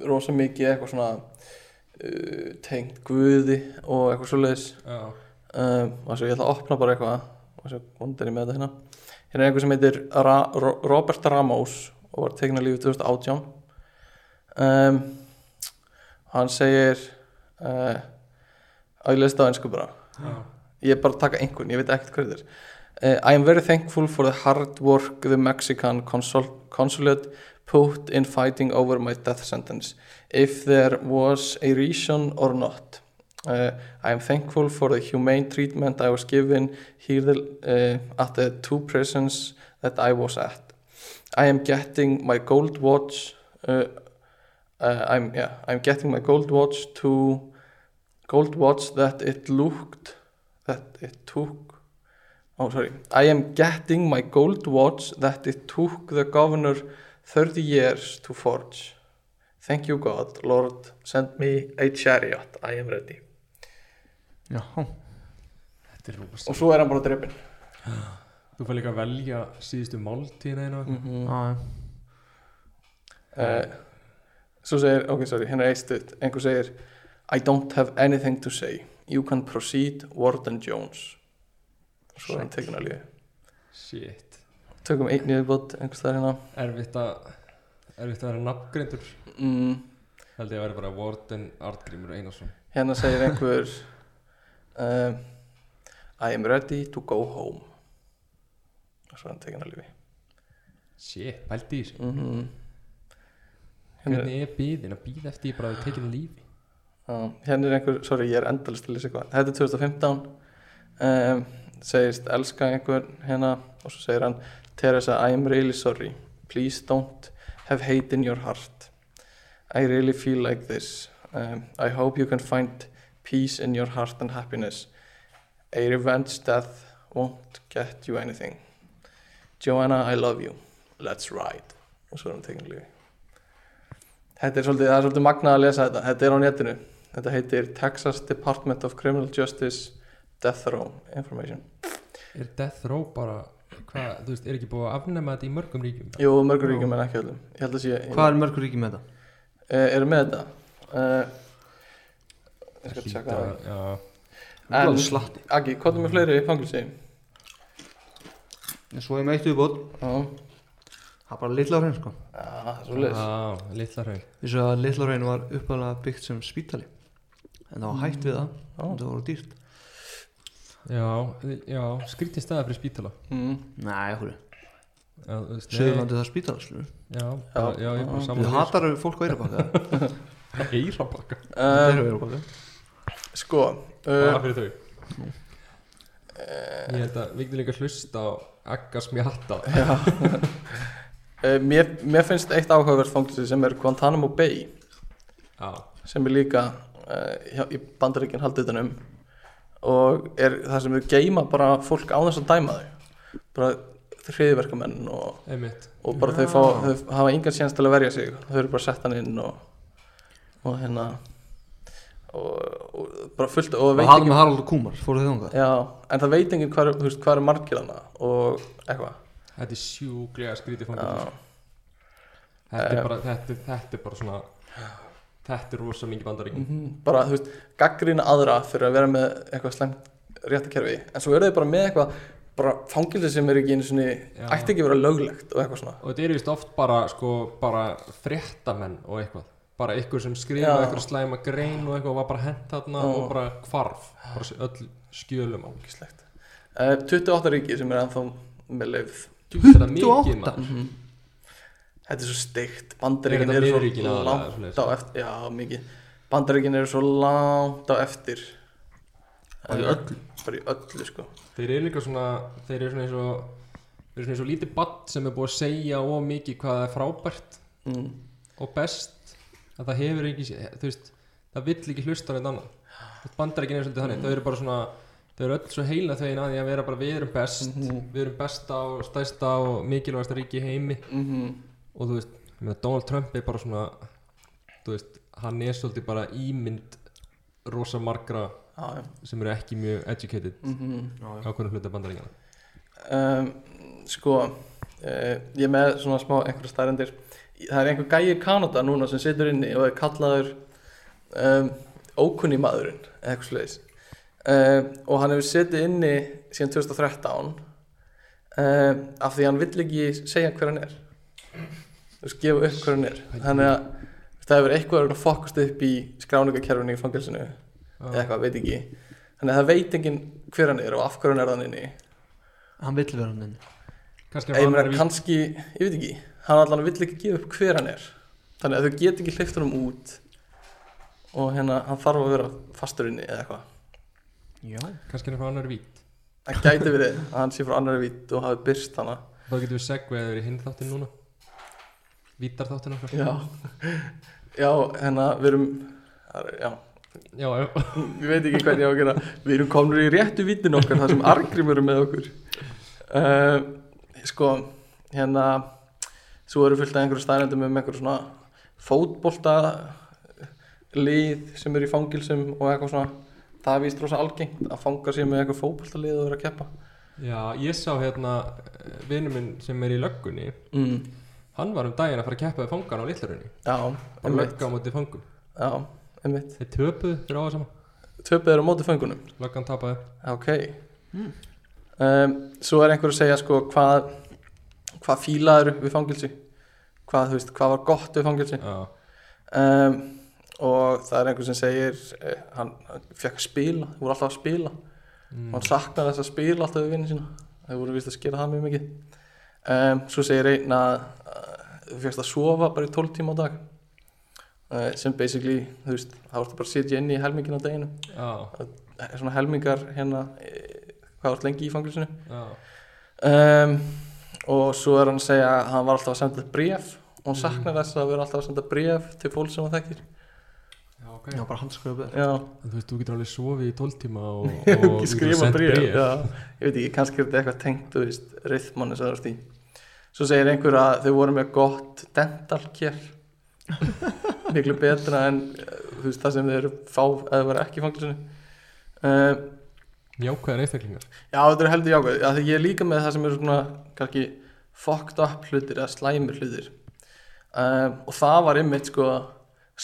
E: rosa mikið eitthvað svona uh, tengt guði og eitthvað svoleiðis
D: já,
E: um, og svo ég ætla að opna bara eitthvað og svo vondir ég með þetta hérna hérna er einhver sem heitir Ra Ro Robert Ramos og var tekin að lífi 2018 um, hann segir uh, að ég lest það á einsku bara
D: já,
E: ég er bara að taka einhvern, ég veit ekkert hver þetta er uh, I am very thankful for the hard work the Mexican consul consulate put in fighting over my death sentence if there was a reason or not uh, I am thankful for the humane treatment I was given here the, uh, at the two prisons that I was at I am getting my gold watch uh, uh, I'm, yeah, I'm getting my gold watch to gold watch that it looked that it took oh sorry I am getting my gold watch that it took the governor 30 years to forge thank you God Lord send me a chariot I am ready
A: Já,
D: Þetta er rosa
E: og svo er hann bara drefin
D: Þú fær líka að velja síðustu máltíðina einu mm.
E: Mm-hmm.
A: já,
E: uh, svo segir, ok sorry hérna er eitt stutt, einhver segir I don't have anything to say you can proceed Warden Jones og svo er hann tekinn að lífi
D: Shit
E: tökum einn viðbót einhvers þar hérna
D: Erfitt að Erfitt að vera nafngrindur
E: mm,
D: Held ég að vera bara Warden Artgrímur Einarsson
E: hérna segir einhver um, I am ready to go home og svo er hann tekinn að lífi
D: Shit, pældi í þessu
E: mm hérna,
D: Hvernig er bíðin að bíða eftir ég bara að tekið lífi
E: á, hérna er einhver, sorry ég er endalist til þessi hvað, þetta er 2015 um, segist elska einhver hérna og svo segir hann Teresa I am really sorry, please don't have hate in your heart I really feel like this um, I hope you can find peace in your heart and happiness a revenge death won't get you anything Joanna I love you, let's ride og svo er hann tekinn lífi þetta er svolítið, það er svolítið magnað að lesa þetta þetta er á netinu, þetta heitir Texas Department of Criminal Justice Death Row Information
D: Er Death Row bara Hvað, þú veist, er ekki búið að afnema þetta í mörgum ríkjum
E: Jú, mörgur ríkjum en ekki öllum Ég held að sé,
A: hvað er mörgur ríki með þetta?
E: Eh, eru með þetta uh, Ég skal tjekka það
D: Já
E: En-
A: Glóð slatti
E: Aggi, hvað er með fleiri fangilsi?
A: En Svo ég með eitt viðbót,
E: Já,
A: það er bara litla hraun sko
E: já, svo leis
D: Já, litla hraun
A: Vissu að litla hraun var uppalega byggt sem spítali En það var hætt við það, það voru dýrt
D: Já, já, skrítið staða fyrir spítala
E: mm.
A: Nei, hverju,
D: Já, þú veist, nei,
A: sögurlandi það spítala slunum
D: Já, já, já, ég er bara
A: Þú
D: saman
A: hatar að fólk á eyrabakka eða?
D: Eyrabakka
A: Þeir
E: um,
A: eru á eyrabakka
E: Sko
D: Það
E: uh,
D: fyrir þau Ég held að við getum líka hlusta á Agga smjatta
E: uh, mér, mér finnst eitt áhugaverð fangilsi sem er Guantanamo Bay
D: Já,
E: sem er líka uh, hjá, í bandaríkinn haldið utan um og er það sem þau geima bara fólk á þess að dæma þau bara hriðverkamenn og,
D: einmitt
E: og bara þau, fá, þau hafa engan séns til að verja sig þau eru bara sett hann inn og, og hérna og, og bara fullt og
A: Og
E: veit
A: hann
E: ekki
A: með Haraldur Kúmar, fóruð þið þangað?
E: já, en það veit enginn hvað, þú veist, hvað er margir hana og eitthvað
D: Þetta er sjúklega skrítið
E: Já. Eh.
D: fangilsi þetta, er bara- þetta, er- þetta er bara svona Þetta er rosa mikið bandaríkin
E: Mhm, bara, þú veist, gaggrina aðra fyrir að vera með eitthvað slemt réttakerfi en svo eru þau bara með eitthvað bara fangilsi sem er ekki einu svona
D: Já.
E: ætti ekki að vera löglegt og eitthvað svona
D: Og þetta eru vist oft bara, sko, bara fréttamenn og eitthvað Bara ykkur sem skrifa
E: Já.
D: eitthvað slæma grein og eitthvað og var bara hent þarna
E: Já.
D: og bara hvarf Bara s- öll skjölum á
E: Ógeðslegt. Eh, 28 ríki sem er ennþá með leif
D: Djú, þetta er mikið
A: 28?
D: maður
E: Mhm. þetta er svo steikt,
D: Er
E: bandaríkin
D: þetta
E: eru svo
D: miðríkin aðalega,
E: langt
D: svoleiðis?
E: á eftir já, mikið, bandaríkin eru svo langt á eftir
A: Bara í öllu?
E: bara í öllu, sko
D: Þeir eru líka svona, þeir eru svona eins og Þeir eru svona eins og lítið badd sem er búið að segja of mikið hvað það er frábært
E: mm.
D: og best að það hefur ekki, þú veist það vill ekki hlusta á neitt annað Þú veist, Bandaríkin er
E: Mm.
D: svolítið þannig, þau eru bara svona þau eru öll svo heila þau að því að vera bara við erum best,
E: Mhm.
D: við erum besta og stæsta og mikilvægasta ríki í heimi
E: Mm
D: og þú veist, ég meina, Donald Trump er bara svona þú veist, hann er svolítið bara ímynd rosa margra
E: já, já
D: sem eru ekki mjög educated
E: mm -hmm.
D: á hvernig hluta bandaríkina
E: um, sko uh, ég er með svona smá einhverja staðrendir það er einhver gæi í Kanada núna sem situr inni og er kallaður um, ókunni maðurinn eða eitthvað sliðis um, og hann hefur setið inni síðan 2013 um, ehm, af því hann vill ekki segja hver hann er þú veist, gefa upp hver hann er þannig að það hefur eitthvað verið að fokast upp í skráningakerfinu í fangilsinu eða eitthvað, veit ekki þannig að það veit enginn hver hann er og af hverju hann er þannig inni
A: Hann vill vera hann inn
D: kannski
E: Ég meina
D: í-
E: kannski, ég veit ekki Hann allan vill ekki gefa upp hver hann er Þannig að þau get ekki hleyft honum út Og hérna, hann þarf að vera fastur inni eða eitthvað
A: Já
D: kannski er eitthvað annar vít
E: Það gæti verið að hann sé frá annari vít og hafi byrst hana
D: þá getum við segveið yfir í hinn þáttin núna vítar þáttin okkar
E: Já já, hérna, við erum það er- já,
D: Já, já
E: ég veit ekki hvernig ég á að gera við erum komnur í réttu vittin okkar þar sem argrimur er með okkur uh, sko hérna svo eru fullt af einhverju stærendum um einhverju svona fótbolta lið sem eru í fangilsum og eitthvað svona það er víst rosa algengt að fanga sér með eitthvað fótbolta lið og vera að keppa
D: Já, ég sá hérna vinnu minn sem er í löggunni
E: mm.
D: Hann var um daginn að fara að keppa við fangan á litlurunni
E: já,
D: Og
E: einmitt
D: lögga á móti fangum
E: já, einmitt
D: Þeir töpuðu fyrir ára saman
E: töpið eru á móti föngunum
D: Löggan tapaði
E: Ok um, Svo er einhver að segja sko hvað hvað fílaður við fangilsi hvað, þú veist, hvað var gott við fangilsi
D: Já,
E: um, og það er einhver sem segir eh, hann, hann fekk að spila þau voru alltaf að spila
D: Mm.
E: og hann saknar þess að spila alltaf við vinnin sína þau voru vist að skera það mjög mikið um, Svo segir einn að eh, þú fyrst að sofa bara í 12 tíma á dag uh, sem basically þú veist, þá ertu bara að sitja inni í helmingin á deginu
D: já,
E: svona helmingar hérna eh, hvað vart lengi í fangilsinu
D: já
E: um, og svo er hann að segja að hann var alltaf að senda bréf
D: Mm.
E: og hann saknar þess að vera alltaf að senda bréf til fólk sem hann þekkir
D: Já, ok
A: Já, bara handskröfið
E: já,
D: En þú veist, þú getur alveg sofið í 12 tíma og, og
E: og
D: þú
E: ekki
D: getur
E: skrifa
D: sent
E: bréf, Já, ég veit ekki, kannski er þetta eitthvað tengt þú veist, rithmanni sem það er stíð svo segir einhver að þau voru með gott dentalkér miklu betra en eh, þú veist, það sem þau eru fá eða þau vera ekki í fangilsinu um,
D: Jákvæðar einstaklingar
E: Já, þetta er heldur jákvæð Já, þegar ég er líka með það sem eru svona kannski fucked up hlutir eða slæmir hlutir um, og það var einmitt sko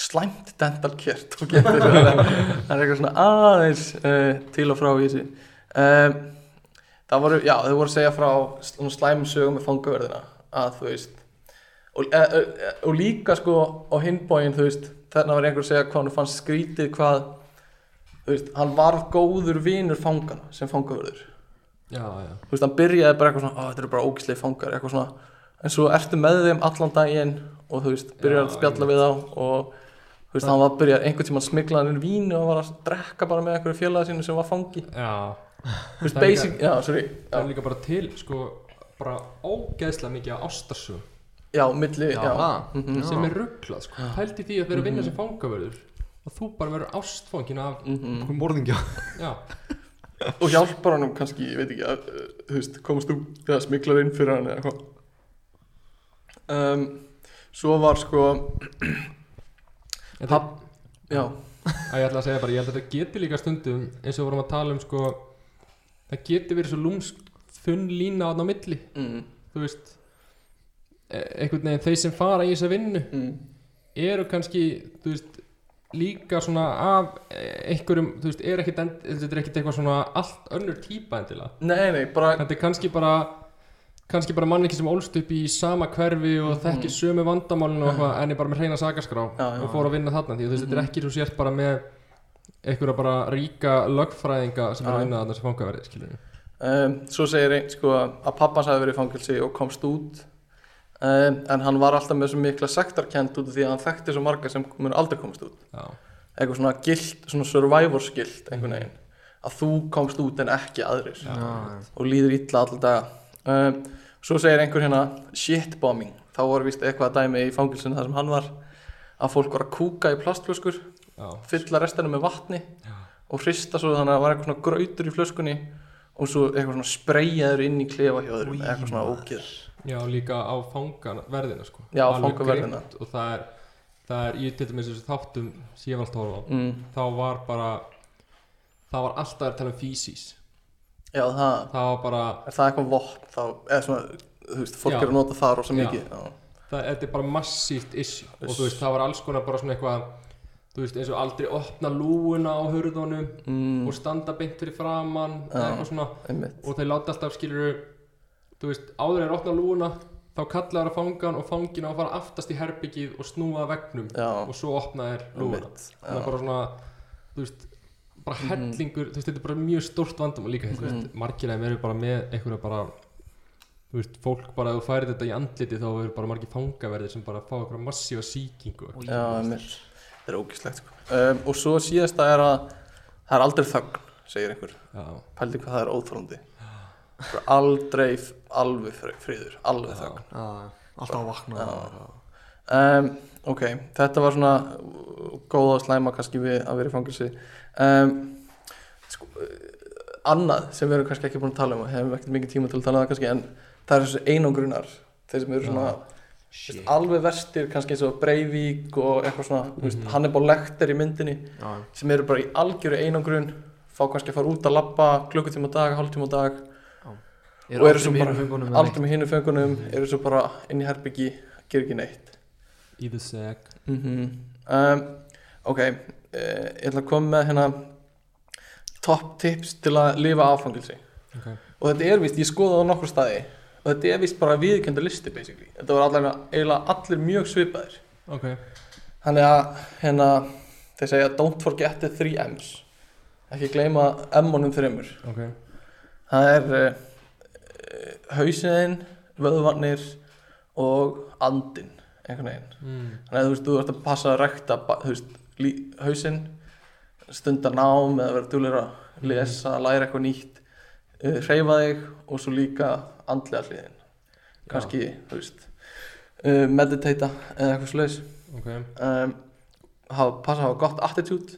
E: slæmt dental care tók ég eftir. það er eitthvað svona aðeins uh, til og frá í þessu um, það voru, já, þau voru að segja frá svona slæmum sögum með fangaverðina að þú veist og, e, e, e, og líka sko á hinbóin þú veist, þarna var einhver að segja hvað hann fannst skrítið hvað þú veist, hann varð góður vinur fangana sem fangaverður
D: Já, já
E: þú veist, hann byrjaði bara eitthvað svona, "Ó, þetta eru bara ógislega fangar, eitthvað svona en svo ertu með þeim allan daginn og þú veist,
D: Já,
E: byrjar að spjalla við þá og þú veist, hann var að byrja einhvern tímann smiklaðan inn vínu og var að drekka bara með einhverju félagi sínu sem var fangi
D: Já,
E: þú veist,
D: Það er líka-
E: basic, já, sorry
D: það
E: já,
D: er líka bara til, sko, bara ógeðslega mikið af ástarsögum
E: já, milli, já, Mm-hmm.
D: Já.
E: mhm,
D: sem er rugglað, sko Pældi því að þeir eru að vinna sem fangavörður og þú bara verður ástfangin af,
E: mhm.
A: Morðingja
D: já,
E: og hjálpar hann kannski, ég veit ekki að, uh, þú veist, komast þú eða smiklar inn fyrir hann eða hvað um, svo var sko,
D: en það-
E: Pabb- já
D: að ég ætla að segja bara, ég held að þetta geti líka stundum eins og við vorum að tala um sko það geti verið svo lúmsk þunn lína á á milli,
E: mm,
D: þú veist e- einhvern veginn þeir sem fara í þessa vinnu
E: mm,
D: eru kannski, þú veist líka svona af eh, einhverjum, þú veist, er ekkit end, þetta er ekkit eitthvað svona allt önnur típa endilega
E: nei, nei, bara
D: þetta er kannski bara kannski bara mannleiki sem ólst upp í sama hverfi og þekkir sömu vandamálinu og eitthvað en er bara með hreina sakaskrá
E: Já, já. Mhm.
D: og fór að vinna þarna því að þú veist, þetta er ekki svo sért bara með einhverja bara ríka lögfræðinga sem er
E: Já.
D: að vinna þarna sem fangaverði skilur
E: Um, svo segir einn sko að pappans hafi verið í fangelsi og komst út um, en hann var alltaf með svo mikla sektarkend út af því að hann þekkti svo marga sem mun aldrei komast út
D: já,
E: eitthvað svona gilt, svona survivor gilt einhvern veginn, að þú komst út en ekki aðrir
D: já,
E: og líður illa alltaf daga um, svo segir einhver hérna shitbombing, þá voru vist eitthvað dæmi í fangelsinu þar sem hann var að fólk var að kúka í plastflöskur
D: já,
E: fylla restinu með vatni og hrista svo þannig að það var eitthvað svona grautur í flöskunni og svo eitthvað svona spreyjaður inn í klefa hjá öðrum eitthvað svona ógeð
D: já, líka á fangaverðina sko.
E: Já, á
D: Alveg
E: fangaverðina.
D: grimmt og það er, það er ég til dæmis þessu þáttum sem ég var alltaf að horfa á
E: mm.
D: þá var bara það var alltaf að tala um físís
E: já það,
D: það var bara
E: er það eitthvað vopn þá, eða svona, þú veist, fólk
D: Já.
E: er að nota það rosa
D: Já.
E: mikið já,
D: það, þetta er bara massíft issue og þú veist, það var alls konar bara svona eitthvað þú veist, eins og aldrei opna lúuna á hurðunum
E: mm,
D: og standa beint fyrir framann eða
E: Já.
D: eitthvað svona
E: einmitt
D: og þeir láta alltaf skilur þú veist, áður er opna lúuna þá kallar að fangan og fangin á að fara aftast í herbyggið og snúa að veggnum
E: já,
D: og svo opna þeir lúuna
E: einmitt
D: þannig að
E: já,
D: bara svona, þú veist bara hellingur, þú veist, þetta er bara mjög stórt vandum líka, þú veist, margir að verður bara með einhverja bara þú veist, fólk bara, ef þú færir þetta í andliti þá verður bara margir fangaverðir sem bara fá einhverja massífa sýkingu og
E: já, einmitt það er ógislegt sko. um, og svo síðasta er að það er aldrei þögn, segir einhver
D: eitthvað. já,
E: pældi hvað það er óþrólandi aldrei f- alveg fri- friður alveg þögn
A: Alltaf að vakna
E: Já. um, ok, þetta var svona góða og slæma kannski við að vera í fangilsi um, sko, eh, annað sem við erum kannski ekki búin að tala um og hefum ekkert mikið tíma til að tala um það kannski en það er þessu einangrunar þeir sem eru svona veist, alveg verstir kannski eins og Breivík og eitthvað svona, mm veist, hann er bara lektar í myndinni sem eru bara í algjöru einangrun fá kannski að fara út að labba klukkutíma á dag, hálftíma á dag Og eru svo bara aldrei með hinu fengunum, eru svo bara inn í herbyggi, gerir ekki neitt
D: Í the seg
E: mm um, Ok, uh, ég ætla að koma með hérna top tips til að lifa áfangilsi
D: Ok.
E: og þetta er vist, ég skoða það á nokkur staði og þetta er vist bara viðkjönda listi basically, þetta var allavega eiginlega allir mjög svipaðir
D: Ok
E: Þannig að hérna, þeir segja don't forget the three M's ekki gleyma M-unum þreymur
D: Ok
E: Það er uh, hausiðin, vöðvarnir og andin einhvern veginn.
D: mm.
E: Þannig að þú veist, þú ert að passa að rækta ba- þú veist, lí, hausinn, stunda nám eða vera duglegur að lesa, læra eitthvað nýtt, uh, hreyfa þig og svo líka andlega hliðin. Kanski, þú veist, uh, meditata eða eitthvað slags
D: Ok
E: um, hafa, passa að hafa gott attitude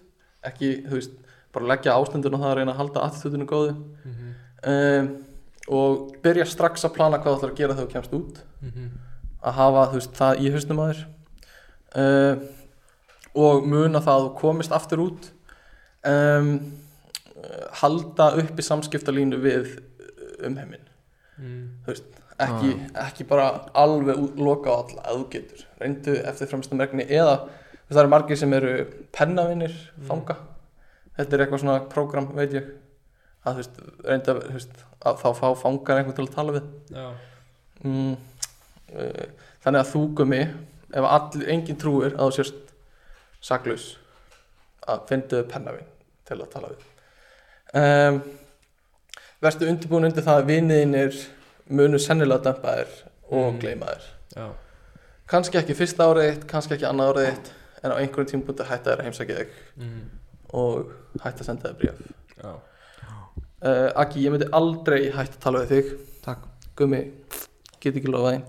E: ekki, þú veist, bara leggja ástundun og það að reyna að halda attitudinu góðu
D: mm -hmm.
E: um, og byrja strax að plana hvað þú ætlar að gera þegar þú kemst út
D: Mm
E: að hafa, þú veist, það í hausnum að þér um, og muna það að þú komist aftur út um, uh, halda uppi samskiptalínu við umheiminn
D: Mhm.
E: ekki, ekki bara alveg ú- loka á alla að þú getur reyndu eftir fremsta merkni eða það eru margir sem eru pennavinir
D: Mm.
E: fanga þetta er eitthvað svona prógram veit ég að þú veist, reyndu að, þú veist, að þá fá fangar einhvern til að tala við
D: Já
E: mm, uh, þannig að þú gummi ef all, engin trúir að þú sérst saklaus að fyndu pennavin til að tala við um, verstu undirbúin undir það að viniðinir munu sennilega dæmpa þér og
D: Mm.
E: gleyma þér
D: Já
E: kannski ekki fyrsta árið þitt, kannski ekki annað árið þitt en á einhverjum tímpúti hætta þér að heimsækja þig
D: mm.
E: og hætta að senda þér bréf
D: Já
E: uh, Akki, ég myndi aldrei hætta að tala við þig
A: Takk.
E: Gummi, get ekki lofa þig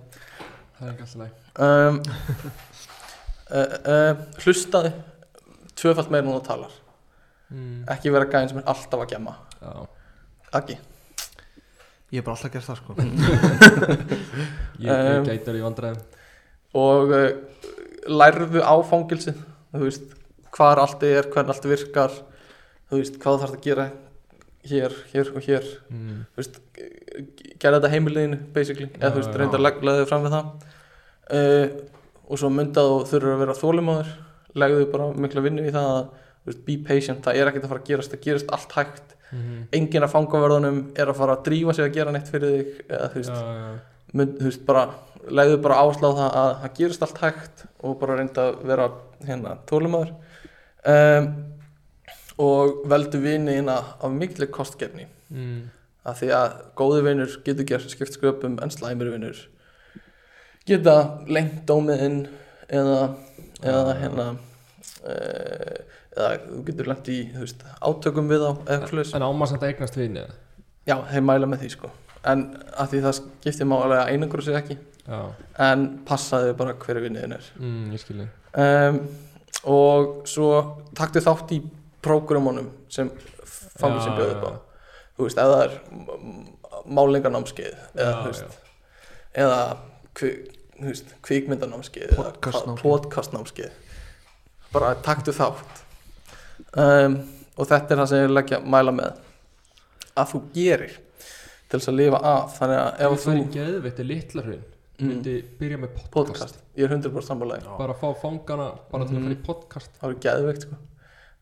D: Það er ekki alltaf læg
E: um, uh, uh, hlustaði tvöfalt meira en þú talar
D: mm.
E: ekki vera gæðin sem er alltaf að gemma
D: Já
E: ekki
A: Ég hef bara alltaf gert það sko
D: Ég, ég
E: Um.
D: gæti alveg í vandræðum
E: og uh, lærðu á fangilsið þú veist hvar allt er, hvern allt virkar þú veist hvað þarf að gera hér, hér og hér
D: mm.
E: þú veist, gera þetta heimiliðinu basically, eða þú veist,
D: Já,
E: reynda
D: já.
E: að leg- leggja þig fram við það uh, og svo myndað og þurfur að vera þólimáður leggðu þig bara mikla vinnu í það að þú veist, be patient, það er ekkert að fara að gerast það gerist allt hægt,
D: Mm.
E: enginn af fangaverðunum er að fara að drífa sig að gera neitt fyrir þig eða þú veist,
D: Já, já
E: mynd, þú veist bara leggðu bara áslá það að það gerist allt hægt og bara reynda að vera hérna, þólimáður um, og veldu vini inn af mikli kostgefni
D: mm.
E: að því að góði vinnur getur gert skipt sköpum en slæmir vinnur geta lengt dómiðinn eða, eða
D: Já.
E: hérna eh, eða þú getur lengt í þú veist, átökum við á eða eitthvað svoleiðis.
D: En ámar samt að eignast vinni
E: já, þeir mæla með því sko en að því það skiptir málega einangur sig ekki
D: Já
E: en passaðu bara hverju vinniðin er
D: mm, Ég skilji
E: um, og svo taktu þátt í prógramunum sem fangir sem bjóðu upp á þú veist, eða það er m- m- málingarnámskeið eða,
D: Já,
E: þú veist, eða kvi- þú veist, kvikmyndanámskeið eða
A: Podcastnámskeið.
E: hva- podcastnámskeið bara taktu þátt um, og þetta er það sem ég vil leggja mæla með að þú gerir til þess að lifa af þannig að
D: Ef
E: ef
D: þú
E: þú
D: er geðveitt í litla hrun
E: mm,
D: myndi byrja með podcast,
E: podcast, ég er 100% sammálaði
D: bara fá fangana bara til að
E: Mhm.
D: fara í podcast
E: það eru geðveikt sko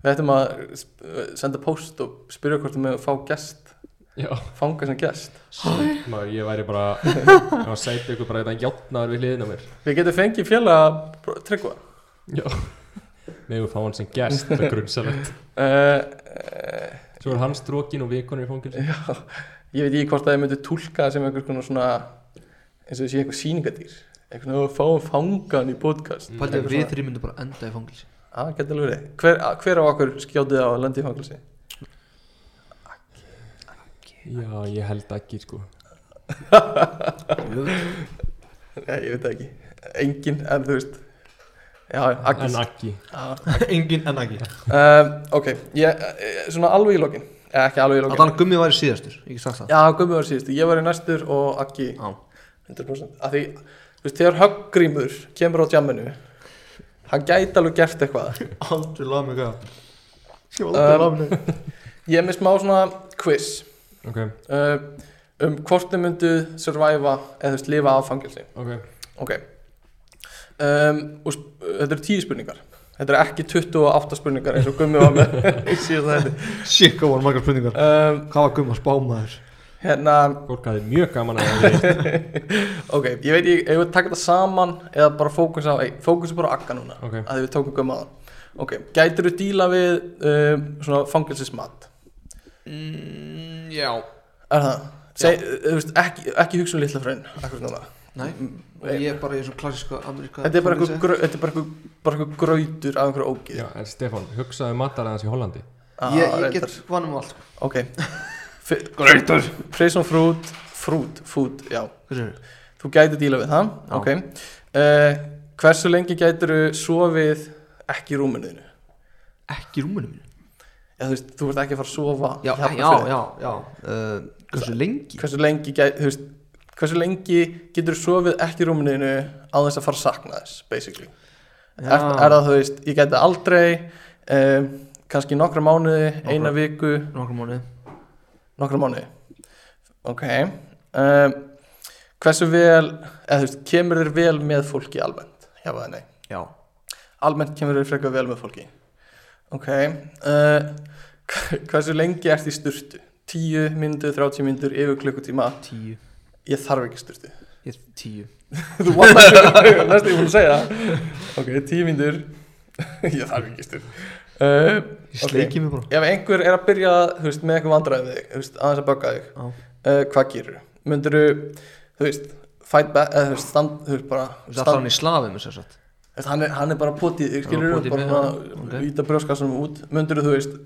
E: við ættum að sp- senda post og spyrja hvort þú með að fá gest
D: já,
E: fanga sem gest
D: Shit, maður, ég væri bara ég var sætið ykkur bara eitthvað játnaður við hliðina á mér
E: við getum fengið félaga tryggva
D: já með við fá hann sem gest, það er grunnsalegt
E: uh,
D: svo er hans drókin og vikonur í fangilsi
E: Já, ég veit ekki hvort að ég myndi tólka það sem einhvers konar svona eins og þessi eitthvað sýningadýr eitthvað svona að fá fangan í podcast
A: Paldið
E: Eitthvað
A: að við
E: svona.
A: þrjum myndum bara enda í fangilsi
E: Já, getur alveg verið hver, ah, hver á okkur skjótið á að lenda í fangelsi?
D: já, ég held ekki sko
A: Jöfull.
E: Nei, ég veit það ekki Engin, en þú veist Já, Agnes
D: en Aggi
A: Engin en ekki
E: um, Ok, ég, eh, svona alveg í lokin Eða ekki alveg í
A: Að
E: lokin
A: þannig gummi væri síðastur, ég get sagt það
E: Já, Gummi var síðust, ég var í næstur og Aggi
A: Já.
E: 100% Af því, þú veist, þegar Höggrímur kemur á djamminu Hann gæti alveg gert eitthvað
A: Aldrei laga mig hvað Ég hef
E: aldrei
A: laga mig
E: Ég er með smá svona quiz
D: ok,
E: uh, um hvort þið myndu surviva eða þú veist lifa af fangelsi
D: ok,
E: ok um, og sp- þetta eru tíu spurningar þetta eru ekki 28 spurningar eins og gummi var með í síðasta þetta
A: Shit, hvað voru margar spurningar
E: um,
A: Hvað var gummi að spá maður?
E: hérna
D: fólk hafði mjög gaman að það við
E: ok, ég veit ég, ef við taka þetta saman eða bara fókus á, ei, fókus er bara á akka núna
D: ok,
E: að því við tókum gummi aðan ok, gætir þú díla við um, svona fangelsismat
A: Mm, já
E: er það? Seg, þú veist, ekki, ekki hugsun litla fröinn akkurat núna
A: Nei, og
E: Nei.
A: ég er bara í svona klassíska ameríka
E: þetta er bara einhver grau- þetta er bara einhver- bara einhver grautur af einhverju ógið
D: já, en Stefan, hugsaðu mataræðans í Hollandi
E: Ah,
A: Ég, ég
E: reyndar.
A: get vann um allt
E: Ok Grautur Prison fruit Fruit, food, já
A: Hvað er
E: Þú gæti díla við það
A: Já.
E: Ok uh, Hversu lengi gætir þú sofið ekki í rúminuðinu?
A: Ekki í rúminu mínu
E: Já, þú veist, þú ert ekki að fara að sofa
A: Já,
E: hérna
A: já,
E: fyrir.
A: já, já uh, Hversu lengi?
E: Hversu lengi gæti, þú veist Hversu lengi getur þú sofið ekki í rúminuðinu á þess að fara að sakna þess, basically er, er það, þú veist, ég gæti aldrei um, kannski nokkra mánuði, eina viku
A: Nókra mánu
E: nokkra mánuði ok um, hversu vel eða þú veist, kemur þér vel með fólki almennt, já eða nei
A: Já
E: almennt kemur þér frekar vel með fólki ok uh, hversu lengi ert í sturtu 10 myndur, 30 myndur, yfir klukkutíma
A: Tíu
E: ég þarf ekki sturtu
A: Ég tíu
E: þú vann að klukkutíma, næstu ég búin að segja það. ok, 10 myndur ég þarf ekki sturtu uh,
A: Ég
E: Ok.
A: sleiki mig bara
E: ef einhver er að byrja þú veist, með eitthvað vandræði við þig, þú veist, aðeins að bögga þig
A: Já.
E: uh, hvað gerur myndir þú veist fight back eða þú veist stand þú veist bara
A: Það er
E: stand,
A: þannig slafið mér sér satt
E: þú veist, hann, er, hann er bara potið þig skilur
A: potið
E: bara
A: mig,
E: svona
A: já,
E: okay.
A: ok.
E: íta brjóskassanum út myndir þú veist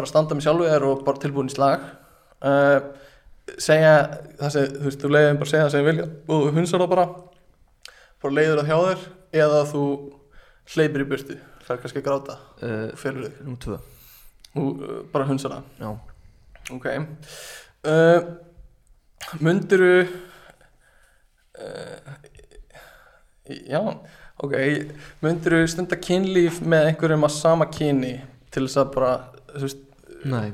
E: bara standa með sjálfu þér og bara tilbúin í slag uh, segja það sem þú veist þú leiðum bara segja það sem ég vilja og þú hunsar það bara bara leiður það hjá þér eða þú hleypir í burtu fær kannski að gráta
A: uh,
E: og felur þig
A: Nú tvö
E: og uh, bara hunsar það
A: Já
E: Ok uh, Mundiru uh, Já Ok Mundiru stunda kynlíf með einhverjum að sama kyni til þess að bara þú veist,
A: Nei,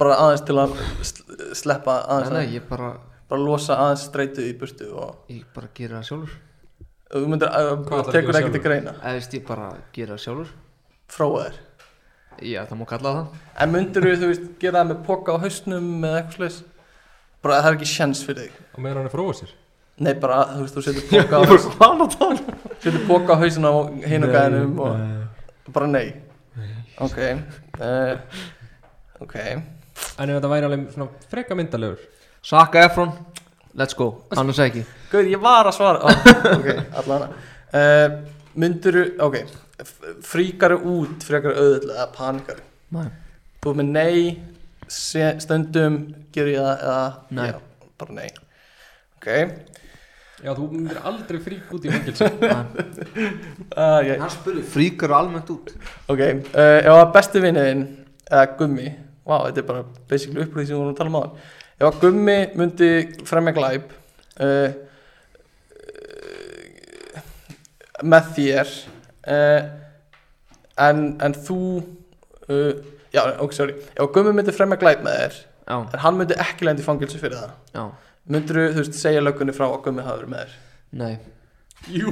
E: bara aðeins til að sl- sleppa
A: nei,
E: aðeins
A: nei, ég bara
E: bara losa aðeins streitu í burtu og
A: Ég bara gera það sjálfur
E: þú myndir
D: Hvað ætlarðu að
E: tekur
D: gera
E: ekki til greina
A: Eða veist ég bara gera það sjálfur
E: fróa þér
A: Já, það má kalla það
E: En mundiru þú veist gera það með poka á hausnum eða eitthvað slags bara það er ekki sjens fyrir þig
D: og meðan hann er fróða sér
E: Nei bara þú veist þú setur poka á hausnum
A: Hvað er það?
E: Setur boka á hausina á hinu gæðinum og bara nei. Ok. Uh, ok.
D: en ef þetta væri alveg svona freka myndalegur
A: Saka Efron Let's go Annars ekki
E: Guð, ég var að svara. Oh, ok, allan hana. Uh, mynduru, ok, f- fríkaru út frekar auðvitað eða panikaru.
A: Nei
E: Þú ert með nei, se- stundum ger ég það eða
A: Nei.
E: Já, bara nei. Ok.
D: já, þú myndir aldrei frík út í fangilsi
E: Uh, yeah.
A: Hann spurði Fríkar almennt út
E: Ok, uh, ef að besti vinniðin eða gummi, vá, þetta er bara basically upplýð sem við vorum að tala um áðan ef að gummi myndi fremja glæp uh, eh, með þér uh, en, en þú uh, já, ok, sorry ef að gummi myndi fremja glæp með þér
A: Já,
E: en hann myndi ekki lendi fangilsu fyrir það
A: já
E: myndir þú, veist, segja löggunni frá að gummi hafa verið með þér
A: Nei
E: Jú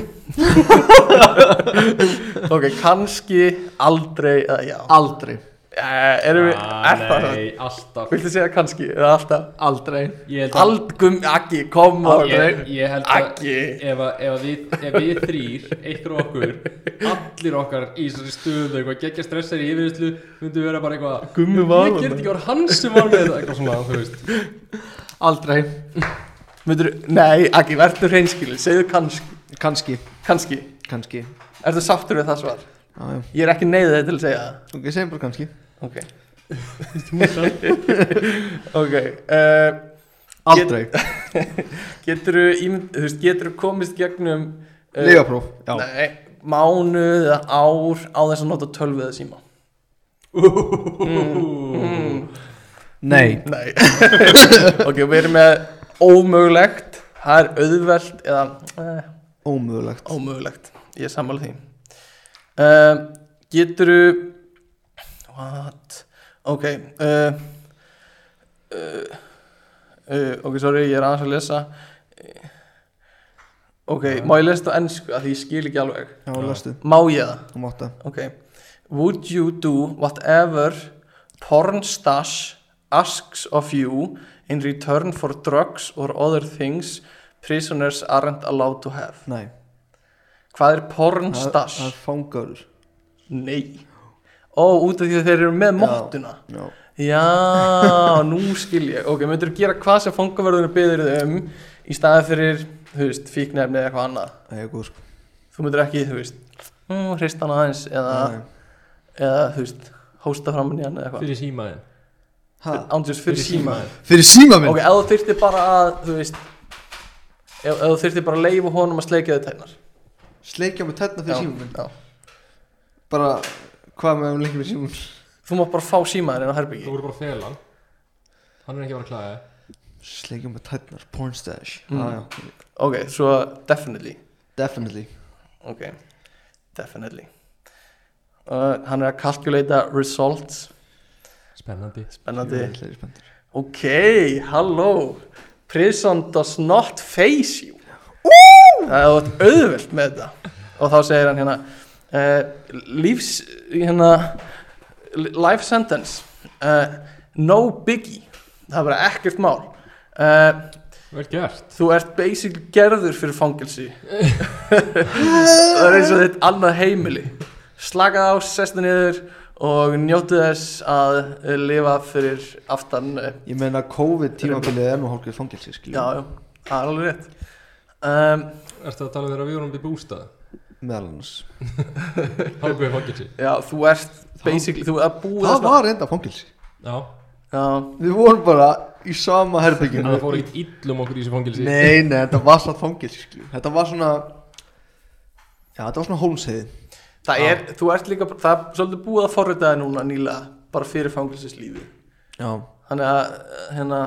E: Ok, kannski, aldrei eða já
A: Aldrei
E: Eh, erum við, er það það?
D: Ah, nei, alltaf
E: Viltu segja kannski, eða alltaf?
A: Aldrei
D: ég held að
E: Aldgum, Aggi, kom á
D: Ég, ég held að
E: Aggi.
D: ef, að- ef, að við, ef við þrýr, einhver og okkur allir okkar í þessari stöðu eitthvað geggja stressar í yfirvislu myndum vera bara eitthvað
E: Gummi
D: ég gerði ekki var hann sem var með þetta eitthvað svona, þú veist
A: Aldrei
E: Myndur, nei, Aggi, verður hreinskilin, segðu kannski
A: Kanski
E: Kannski,
A: Kanski
E: ertu sáttur við það svar?
A: Já, já
E: Ég er ekki neyðið til að segja það
A: Ok, segjum bara kannski
E: Ok Ok, uh,
A: Aldrei
E: geturðu ímynd, þú veist, geturðu komist gegnum eh,
A: Legapróf Já
E: Nei, mánuð eða ár á þess að nota tölvið eða síma
A: Nei
E: Nei Ok, við erum með ómögulegt Það er auðvelt eða eh,
A: Ómögulegt
E: ómögulegt Ég er sammála því uh, Geturðu What? Ok uh, uh, uh, Ok, sorry, ég er aðeins að lesa Eh, Ok, má ég lesa þetta á ennsku að því ég skil ekki alveg
A: Já, lastu
E: Má ég það?
A: Þú mátt það
E: Okay. Would you do whatever porn stash asks of you in return for drugs or other things prisoners aren't allowed to have?
A: Nei
E: Hvað er porn
A: Það-
E: stash?
A: Það er fangaður
E: Nei. Ó, út af því að þeir eru með
A: Já.
E: móttuna.
A: Já
E: Já, nú skil ég. Ok, myndirðu gera hvað sem fangavörðunum byður þau um í staði fyrir, þú veist, fíknefni eða eitthvað annað.
A: Það er góð sko
E: Þú myndir ekki, þú veist, mm, hrista hana aðeins eða,
A: Nei.
E: eða, þú veist, hósta fram hann í hann eða eitthvað.
D: Fyrir símaðin
A: Ha?
E: ándjós fyrir síma
A: Fyrir síma minn
E: ok, ef þú þyrftir bara að þú veist ef, ef þú þyrftir bara að leifa honum að sleikja þau tæknar
A: Sleikja með tætna fyrir síma minn
E: já.
A: Bara Hvað með um lengi fyrir síma minn
E: þú mátt bara fá símaðin inn á
D: Þú
E: herbyggi
D: voru bara að fela hann Hann er ekki að vera að klæða
A: Sleikja með tætnar Pornstash
E: Mm.
A: mm. ah, já.
E: ok, svo definitely
A: Definitely
E: ok, definitely uh, hann er að kalkulata results
D: Spennandi
E: spennandi
A: Ég er spenntur
E: ok, halló prison does not face you það er oft auðvelt með þetta og þá segir hann hérna uh, lífs hérna, li- life sentence uh, no biggie það er bara ekkert mál uh,
D: Vel gert
E: þú ert basically gerður fyrir fangelsi það er eins og þitt annað heimili slakað á, sestu niður og njóttu þess að eh, lifa fyrir aftan eh,
A: Ég meina COVID tímabilið er nú hálfgeir fangelsi skilja
E: já, já, það er alveg rétt um,
D: Ertu að tala um þeirra við vorum við bústað
A: Meðal annars
D: Hálfguði fangilsi
E: já, þú ert basically, þú ert búið
A: Það var enda fangelsi
D: Já
E: já,
A: Við vorum bara í sama herbygginu
D: Það fór ekkert illum okkur í þessu fangilsi
A: Nei, nei, þetta var satt fangelsi skilju Þetta var svona Já, þetta var svona hólmsheiði
E: það er, þú ert líka það er svolítið búið að forrita það núna nýlega, bara fyrir fangelsislífi
A: Já,
E: þannig að, eh, hérna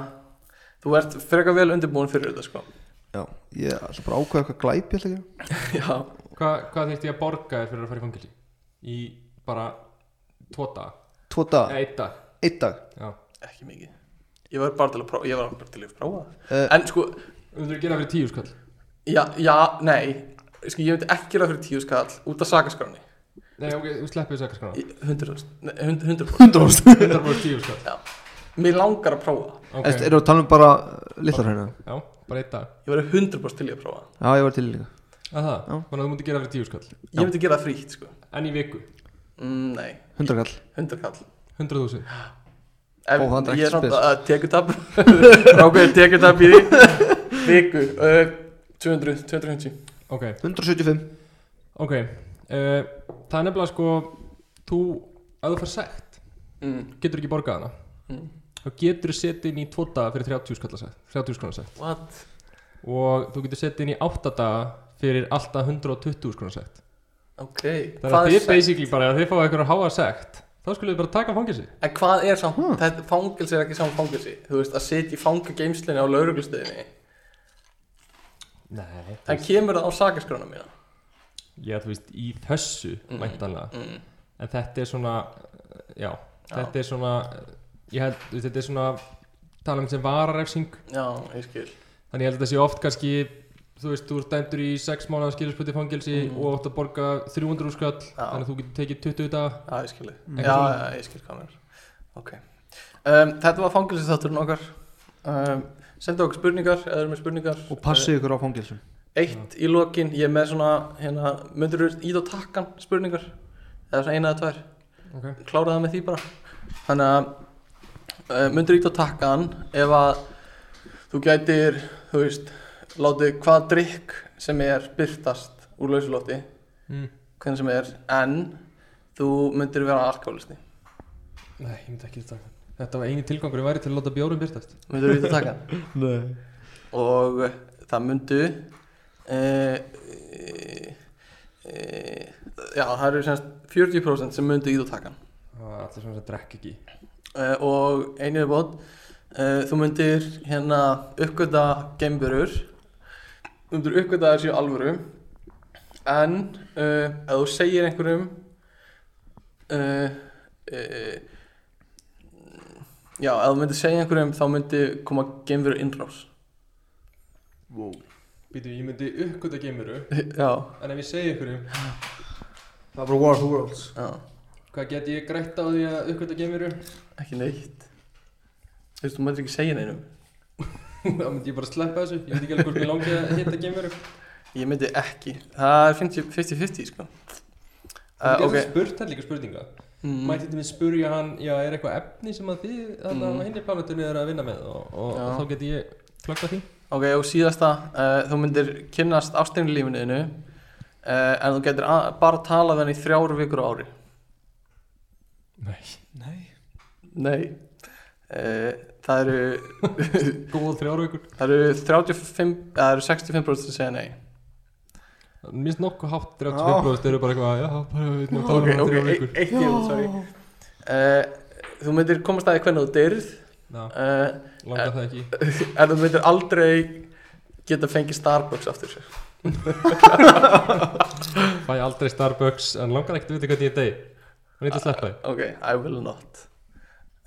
E: þú ert frekar vel undirbúin fyrir þetta sko
A: já, ég ætla bara að ákveða eitthvað glæp ég ætla ekki
E: já,
D: Hva, Hvað þurfti ég að borga þér fyrir að fara í fangilsi? Í bara tvo dag
A: Tvo dag,
D: Eða eitt dag
A: einn dag
D: Já
E: ekki mikið ég var bara til að prófa, ég var bara til að prófa það
A: Eh.
E: en sko,
D: Þú þurfti að gera fyrir tíu skall
E: já, já, nei sko, ég myndi ekki gera fyrir tíu skall út af sakaskránni
D: Nei, ok, þú sleppið þess ekkert
E: Í- 100%, nei,
A: 100
E: 100%,
D: skona 100% tíu skall
E: mér langar að prófa það.
D: Ok,
A: Erum við að tala um bara litlar hérna?
D: já, bara eitt dag
E: ég var 100% til í að prófa það.
A: Já, ég var til í líka
D: Að það,
A: Já.
D: þannig að þú mútti gera fyrir tíu skall
E: ég myndi gera það frítt sko
D: En í viku,
E: mm, nei,
A: 100 kall
E: 100 kall
D: 100.000
E: Ef,
A: Ó, það er
E: ég
A: ekki
E: er eh, samt
A: spes.
E: að tekutap Rákaði tekutap í því Viku uh, 200, 250
D: Ok,
A: 175
D: ok uh, Það er nefnilega sko Þú, að þú fær sekt
E: mm.
D: Getur ekki borgað hana
E: Mm.
D: Þá getur þú setið inn í tvo daga fyrir 30 skall sekt 30 skall sekt
E: What?
D: Og þú getur setið inn í 8 daga Fyrir alltaf 120 skall sekt
E: Ok
D: Þannig að
E: Hvað
D: þið
E: er sekt?
D: basically bara, ef þið fáið eitthvað háa sekt Þá skulle þið bara taka fangilsi
E: En hvað er samt? Þetta fangelsi er ekki saman fangelsi Þú veist að sitja í fangageimslinni á lauruglustöðinni
D: Nei
E: En kemur það á sakaskrána mína
D: Já, þú veist, í þessu
E: Mm.
D: Mæntanlega
E: mm.
D: en þetta er svona já, Ah. þetta er svona ég held, þú veist, þetta er svona tala um sem vararefsing
E: Já, ég skil
D: þannig ég held að þetta sé oft kannski þú veist, þú ert dæmdur í 6 mánuða skilurspöti fangelsi
E: Mhm.
D: og átt að borga 300 úrskall
E: Já.
D: þannig að þú getur tekið 20 dag
E: Já, ég skil
A: Mm.
E: Já, já, ég skil hvað mér Ok um, Þetta var fangelsi þátturinn okkar um, Senda okkur spurningar Eða erum með spurningar Eh,
A: Og passið ykkur á fangelsum
E: Eitt í lokin, ég er með svona hérna, myndur þú ít á takkan spurningar eða svona eina eða tvær,
D: okay.
E: klára það með því bara þannig að uh, myndur þú ít á takkan ef að þú gætir, þú veist látið hvað drikk sem er byrtast úr lausulóti
D: mm.
E: hvernig sem er, en þú myndir vera alkoholisti,
D: nei, ég myndi ekki þetta þetta var eini tilgangur ég væri til að láta bjórum byrtast
E: myndur þú ít á takkan
A: Nei
E: eh, og það myndu uh, uh, uh, já, það eru semst 40% sem myndu íða og taka hann
D: Það er allir sem það drekk ekki
E: uh, og einið bótt uh, þú myndir hérna uppgöta geimverur þú myndir uppgöta þær séu alvöru en uh, ef þú segir einhverjum uh, uh, já, ef þú myndir segja einhverjum þá myndi koma geimveru innrás wow.
D: Býtu, ég myndi uppgöta geimuru
E: já,
D: En ef ég segi ykkur um
A: Það er bara War of the Worlds
E: já,
D: Hvað get ég grætt á því að uppgöta geimuru?
E: ekki neitt þú veist, þú myndir ekki segja neinum
D: Þá myndi ég bara sleppa þessu Ég veit ekki alveg hvort mér langi að hitta geimuru
E: ég myndi ekki, það er 50 50-50 sko
D: Það
E: uh,
D: getur
E: ok
D: okay. spurt hann líka spurninga
E: Mm.
D: Mætti þetta minn spurja hann, já, er eitthvað efni sem að þið þarna á hinni planetunni eru að vinna með og, og
E: Mm. Já.
D: þá geti ég klokka því
E: Ok, og síðasta, uh, þú myndir kynnast ástinni lífinu uh, en þú getur a- bara talað við hann í þrjár vikur á ári.
D: Nei
A: Nei
E: Nei. Uh, það eru,
D: Góð þrjárveikur
E: það eru 35, eða það eru 65% sem segja nei.
D: Minnst nokkuð hátt 35% eru bara eitthvað, já, bara við erum
E: Ok,
D: talað um
E: ok,
D: þrjárveikur
E: e- eitt ég, sorry. Uh, þú myndir komast að því hvernig þú dyrð
D: Ná,
E: uh,
D: langar það ekki
E: en þú myndir aldrei geta fengið Starbucks aftur.
D: Fæ aldrei Starbucks en langar ekkert að vita hvernig ég dey Hún eitthvað sleppa því
E: Ok, I will not.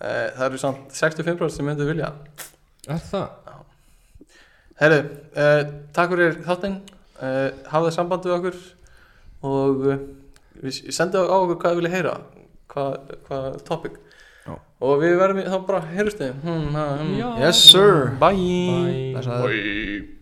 E: Uh, það eru samt 65% sem myndir vilja.
D: Er það?
E: Herru, uh, takk fyrir þáttinn uh, hafið samband við okkur og uh, við sendum á okkur hvað við vilja heyra hvað, hvað topic
A: Já.
E: og við verðum í- þá bara heyrstu hmm, hmm,
D: Já.
A: Yes sir
E: Bye.
D: Bye
A: Blessaður.
E: Bye.